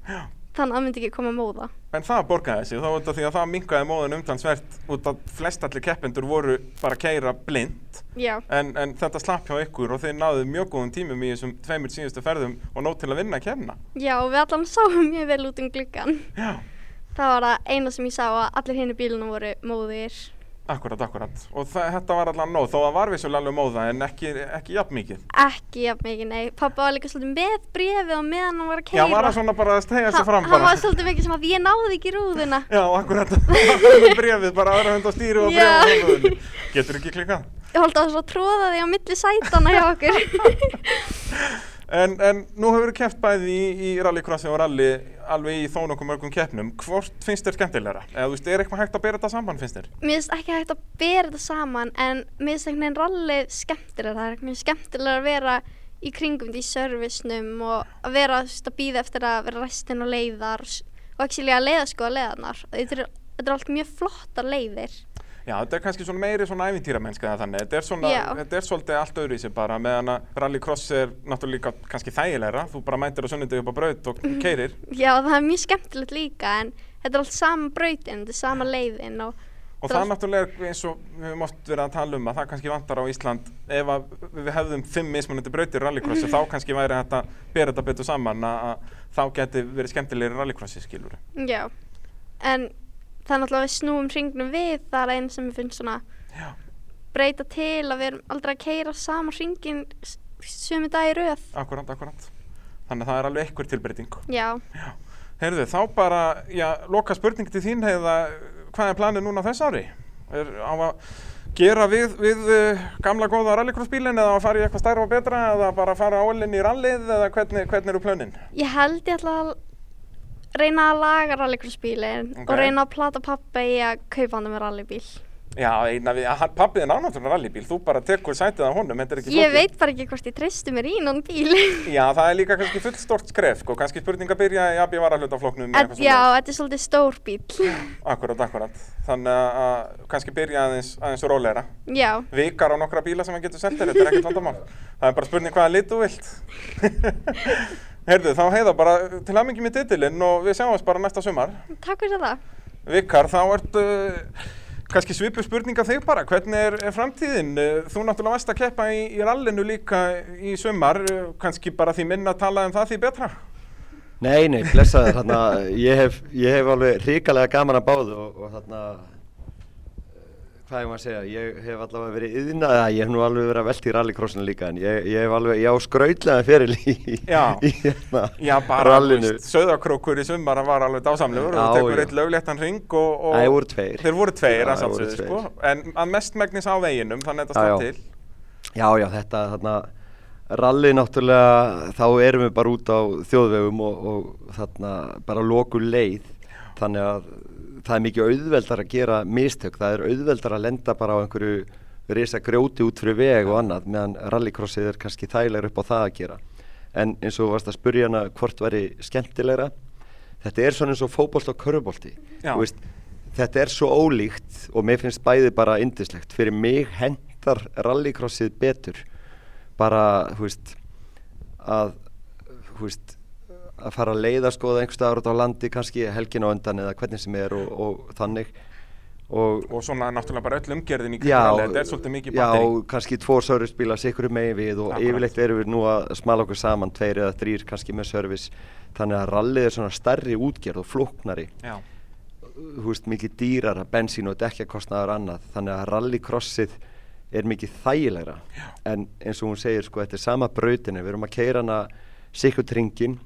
þannig að það myndi ekki koma móða
En það borgaði sig, þá út af því að það minkaði móðun umtansvert út af flestallir keppendur voru bara að keira blind
Já,
en, en þetta slapp hjá ykkur og þeir náðu mjög góðum tímum í þessum tveimur síðustu ferðum og nóg til að vinna að kemna
já, við allan sáum mjög vel út um gluggan
Já.
Það var það eina sem ég sá að allir hinn í bílunum voru móðir
Akkurat, akkurat Og það, þetta var allan nóg, þó að var vissulega alveg móða en ekki, ekki jafn mikið
Ekki jafn mikið, nei, pappa var líka svolítið með brefið og meðan hann var að
Já,
keira
var það svona bara að stegja sig fram
Hann
bara
var svolítið mikið sem að ég náði ekki í rúðuna
Já, akkurat, með brefið, bara aðra hund á stýri og
Já.
brefið á höfuðinu Getur ekki klikkað
Ég holdi að svona tróða því á milli sætana hjá okkur
En, en nú hefur þú keppt bæði í, í rallycrossi og rally alveg í þó nokkuð mörgum keppnum. Hvort finnst þér skemmtilegra? Eða þú veist, er eitthvað hægt að bera þetta saman finnst þér?
Mér finnst ekki hægt að bera þetta saman en mér finnst einhvern veginn rallið skemmtilega það er einhvern veginn skemmtilega að vera í kringum því servisnum og að vera þú veist, að býða eftir að vera restin og leiðar og ekki að leiða sko að leiðarnar þetta eru þetta er allt mjög flottar leiðir
Já, þetta er kannski svona meiri svona ævintýramennska eða þannig. Þetta er svona,
Já.
þetta er svolítið allt öðru í sig bara meðan að rallycross er náttúrulega líka kannski þægilegra. Þú bara mætir á sunnundegi upp á braut og
Mhm.
keirir
já það er mjög skemmtilegt líka en þetta er allt sama brautin, þetta er sama leiðin og,
Og það náttúrulega er eins og við höfum oft verið að tala um að það kannski vantar á Ísland ef að við hefðum fimm mismunandi brautir í rallycrossi
Mhm.
þá kannski væri þetta að bera þetta betur saman að, að þá geti verið skemmtilegri rallycrossi skilur.
Já, en það er náttúrulega að við snúum hringnum við, það er einn sem ég finnst svona
Já.
breyta til að við erum aldrei að keira sama hringin sömu dag í röð.
Akkurát, akkurát. Þannig að það er alveg einhver tilbreyting.
Já,
Heyrðu, þá bara, já, loka spurning til þín heiða, hvað er planið núna á þess ári? Er á að gera við, við uh, gamla góða rallycrossbílinn eða á að fara í eitthvað stærra og betra eða bara fara álinn í rallið eða hvernig, hvernig eru plönin?
ég held ég ætla að reyna að laga rallycrossbílinn
Ok.
og reyna að plata pappa í að kaupa hann með rallybíl.
Já, einna við, pappiðin á náttúrulega rallybíl, þú bara tekur sætið af honum, þetta er ekki
Ég
flókið.
veit bara ekki hvort ég treysti mér í innan bíl.
Já, það er líka kannski fullstort skref, sko, kannski spurning að byrja í AB varahlutafloknum eða
En,
eitthvað
já,
svona.
þetta er svolítið stór bíl.
Akkurat, akkurat. Þannig að- að kannski byrja aðeins, aðeins róleira.
já,
Vikar á nokkra bíla sem hann getur seltir, þetta er ekkert vandamál. Það er bara spurning hvaða lit þú vilt. Herðu, þá heiða bara til aðmengi með titilinn og við sjáumst bara næsta sumar.
takk fyrir það.
Vikar, þá ertu kannski svipu spurninga þig bara, hvernig er, er framtíðin? Eh, Þú náttúrulega varst að keppa í, í rallinu líka í sumar, eh, kannski bara því minna að tala um það því betra.
Nei, nei, blessaður, þarna, ég hef, ég hef alveg ríkalega gaman að báðu og, og þarna, eh, hvað ég maður að segja, ég hef allavega verið yðnað, ég hef nú alveg verið að velta í rallycrossinu líka, en ég, ég hef alveg, ég á skrautlega fyrir í,
Já.
í hérna,
Já, bara,
rallinu.
söðakrókur í sumar hann var alveg dásamlegur og
Já,
þú tekur
já.
eitt lögléttan ring og... og
Nei, voru tveir.
Þeir voru tveir,
Já,
að
voru
sjálfsögðu, sko, en að mestmægnis á veginum, þannig að
Já,
þetta stað
já.
til.
Já, já, þetta, þarna, rally náttúrulega, þá erum við bara út á þjóðvegum og, og þarna, bara loku leið, þannig að það er mikið auðveldar að gera mistök, það er auðveldar að lenda bara á einhverju risa grjóti út fyrir veg og annað, meðan rallycrossið er kannski þægilegur upp á það að gera. En eins og þú varst að spurja hana hvort væri skemmtilegra, þetta er svona eins og fótbolt og körfubolti,
Já.
þú veist, þetta er svo ólíkt og mér finnst bæði bara indislegt fyrir mig hendar rallycrossið betur bara, hú veist að, hú veist að fara að leiða skoða einhver staðar út á landi kannski helgin á undan eða hvernig sem er og, og þannig og,
og svona náttúrulega bara öll umgerðin í
já,
kringum rallið, þetta er svolítið mikið
já,
batteri.
kannski tvo servicebíla sikkur megin við og
Akkurat.
yfirleitt erum við nú að smala okkur saman tveir eða þrýr kannski með service þannig að rallið er svona stærri útgerð og flóknari
Já.
þú veist, mikið dýrara bensín og dekkjakostnaður annað þannig að rallycrossið er mikið þægilegra Já. en eins og hún segir sko, þetta er sama brautinni, við erum að keira hana sikkert ringin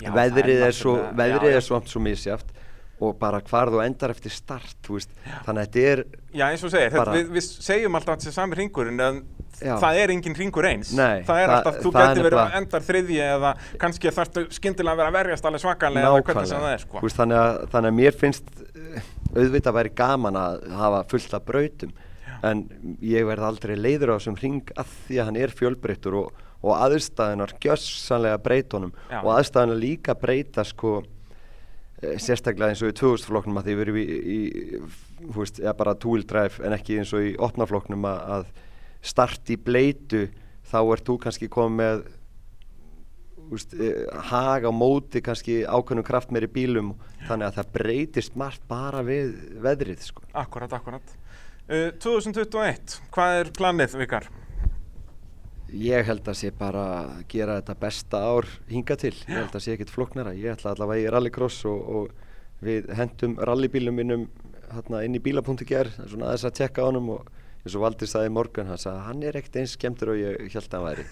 Já, það
veðrið
er
er svo,
náttúrulega- já,
veðrið
já.
er svo, svo misjaft og bara hvar þú endar eftir start þú veist, þannig að þetta er
Já, eins og segir, þetta,
bara-
við, við segjum alltaf að þetta er sami ringurinn, en
Já.
það er engin ringur eins.
Nei,
það er
það-
alltaf, þú
það er
gæti verið að
nefnilega-
endar þriðji eða kannski þarftu skyndilega að vera að verjast alveg svakalega eða hvernig sem það er, sko.
Þú veist, þannig, að, þannig að mér finnst eh, auðvitað væri gaman að hafa fullt af brautum en ég verð aldrei leiður á þessum hring að því að hann er fjölbreyttur og, og aðstæðunar gjössanlega breyta honum
Já.
og aðstæðunar líka breyta sko eh, sérstaklega eins og í 2000 flokknum að því við erum í, í þú veist, eða bara tool drive en ekki eins og í opna flokknum að, að start í bleitu þá ert þú kannski komið með úst, eh, haga á móti kannski ákveðnum kraft meiri bílum þannig að það breytist margt bara við veðrið sko.
Akkurat, akkurat. Uh, 2021, hvað er planið, Vikar?
Ég held að sé bara að gera þetta besta ár hinga til, ég held að sé ekkit flóknara, ég ætla allavega í rallycross og, og við hendum rallybílum minnum hérna, inn í bíla.gr, svona aðeins að tjekka á honum og eins og Valdi sagði í morgun, hann sagði hann er ekkert eins skemmtur og ég held að hann væri,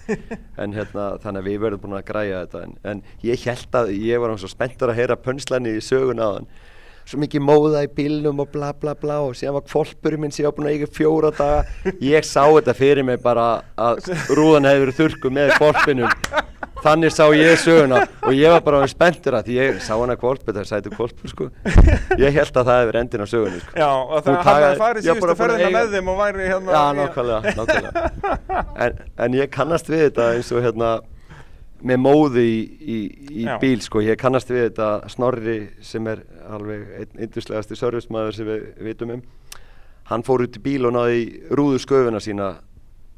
en hérna þannig að við verðum búin að græja þetta, en, en ég held að ég var hann svo spenntur að heyra pönslan í sögun á hann, svo mikið móða í bílnum og bla bla bla og síðan var kvolpurinn minn sem ég var búin að eiga í fjóra daga ég sá þetta fyrir mig bara að rúðan hefur þurrku með kvolpinum þannig sá ég söguna og ég var bara spenntur að því ég sá hana kvolpur það er sætu kvolpur sko ég held að það hefur endin á sögunu sko.
Já, og
Hún
það hann hefði
tagaði-
farið
ég var
síðustu
bara búin að
ferðina
eiga-
með þeim og væri hérna...
Já, nákvæmlega, nákvæmlega. en, en ég kannast við þetta eins og hérna með móði í, í, í
Já.
bíl sko, ég kannast við þetta Snorri sem er alveg einn yndislegasti servicemaður sem við vitum um hann fór út í bíl og náði í rúðu sköfuna sína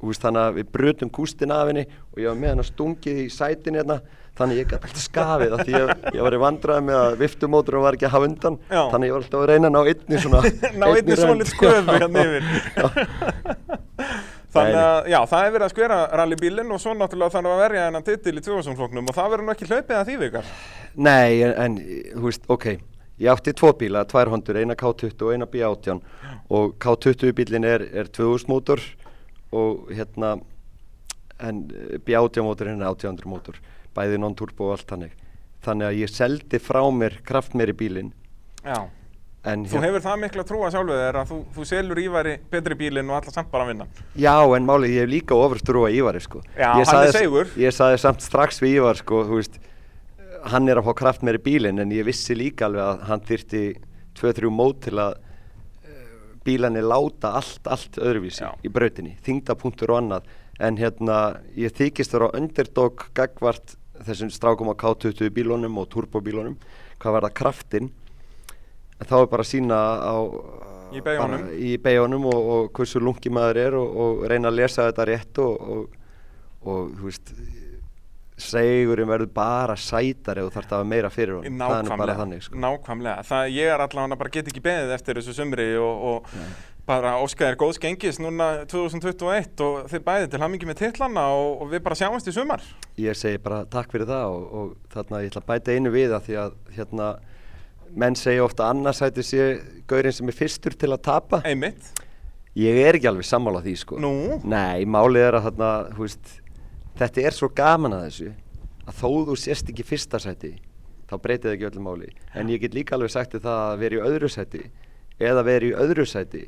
þú veist, þannig að við brutum kústin af henni og ég var með hann að stungið í sætin hérna þannig að ég gæti alltaf skafið af því ég, ég var í vandraði með að viftumóturum var ekki að hafa undan
Já.
þannig að ég var alltaf að reyna að ná einni svona
Ná
rönd.
einni
sko.
svolít sköfu hérna yfir. Þannig að, já, það er verið að skvera rallybílinn og svo náttúrulega þarf að verja hennan titil í 2000 floknum og það verður nú ekki hlaupið að því, Vikar.
Nei, en, en þú veist, ok, ég átti tvo bíla, tvær hondur, eina K20 og eina B18 og K20 bílinn er, er 2000 mótor og hérna, en eh, B18 mótor er 1800 mótor, bæði non-turbo og allt þannig. Þannig að ég seldi frá mér kraftmeri bílinn.
Já.
En,
Þú hefur það mikla trúa sjálfuð þér að þú, þú selur Ívari betri bílinn og alla samt bara að vinna.
Já, en málið, ég hef líka ofurstrúa Ívari, sko.
Já,
Ég
hann er
sagði-
seigur.
Ég saði samt strax við Ívar, sko, þú veist, hann er að fá kraft meiri bílinn en ég vissi líka alveg að hann þyrti 2-3 mót til að bílanir láta allt, allt öðruvísi í brautinni, þingdapunktur og annað en hérna ég þykist vera underdog gagvart þessum strákum á K20 bílunum og turbobílunum hvað verða kraftin en þá er bara að sína á
Í beygjunum.
bara í beigunum og, og hversu lungi maður er og, og reyna að lesa þetta rétt og, og, og þú veist segurinn verður bara sætari og þarf það að hafa meira fyrir honum það er nú bara
Nákvæmlega,
þannig sko.
nákvæmlega. Það, ég er allavega bara get ekki beðið eftir þessu sumri og, og bara óska þér góðs gengis núna 2021 og þið bæðið til hamingi með titlana og, og við bara sjáumst í sumar.
ég segi bara takk fyrir það og, og þarna ég ætla að bæta einu við að því að hérna, menn segja ofta annarsæti sé gaurinn sem er fyrstur til að tapa
Einmitt.
ég er ekki alveg sammála því sko
Nú?
nei, málið er að þarna, þú veist, þetta er svo gaman að þessu að þó þú sést ekki í fyrsta sæti þá breytir það ekki öllu máli en ég get líka alveg sagt þér það að vera í öðru sæti eða vera í öðru sæti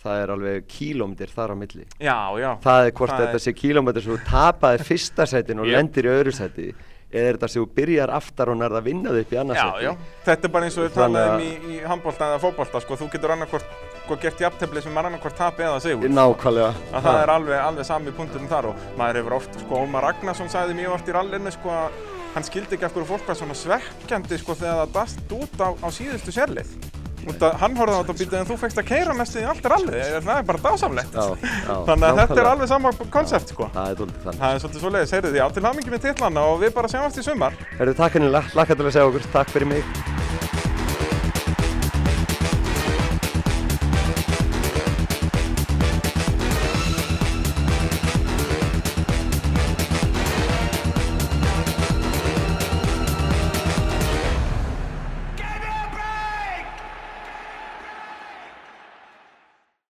það er alveg kílómdir þar á milli
Já, já.
það er hvort
Það er-
þetta sé kílómetri sem þú tapaði fyrsta sætin og
Jep.
lendir í öðru sæti eða er þetta sem þú byrjar aftar og nærða að vinna þau upp í annars
Já,
sæti
já. Þetta er bara eins og við
Þannig
talaðum í,
að-
í handbólta eða fótbólta, sko. Þú getur annarkvort sko, gert jafntefli sem er annarkvort tap eða sigur.
nákvæmlega
Að það er alveg, alveg sami punktum þar og maður hefur oft, sko, Ómar Ragnarsson sagði mjög oft í rallinu, sko, að hann skildi ekki af hverju fólk var svona svekkjandi, sko, þegar það dast út á, á síðustu sérlið. Út að hann horfði á þetta og býtaði en þú fegst að keira næstu í allt rallið, Ég- það er bara dásamlegt.
Já, já,
Þannig að þetta er
nákvæmlega.
alveg sama konsept, sko.
það er dólítið þannig
Það er svolítið svoleiðis, heyrðu því, á til hamingi með titlana og við bara sjáumst í sumar.
Herðu, takk henni, lakka til að segja okkur, takk fyrir mig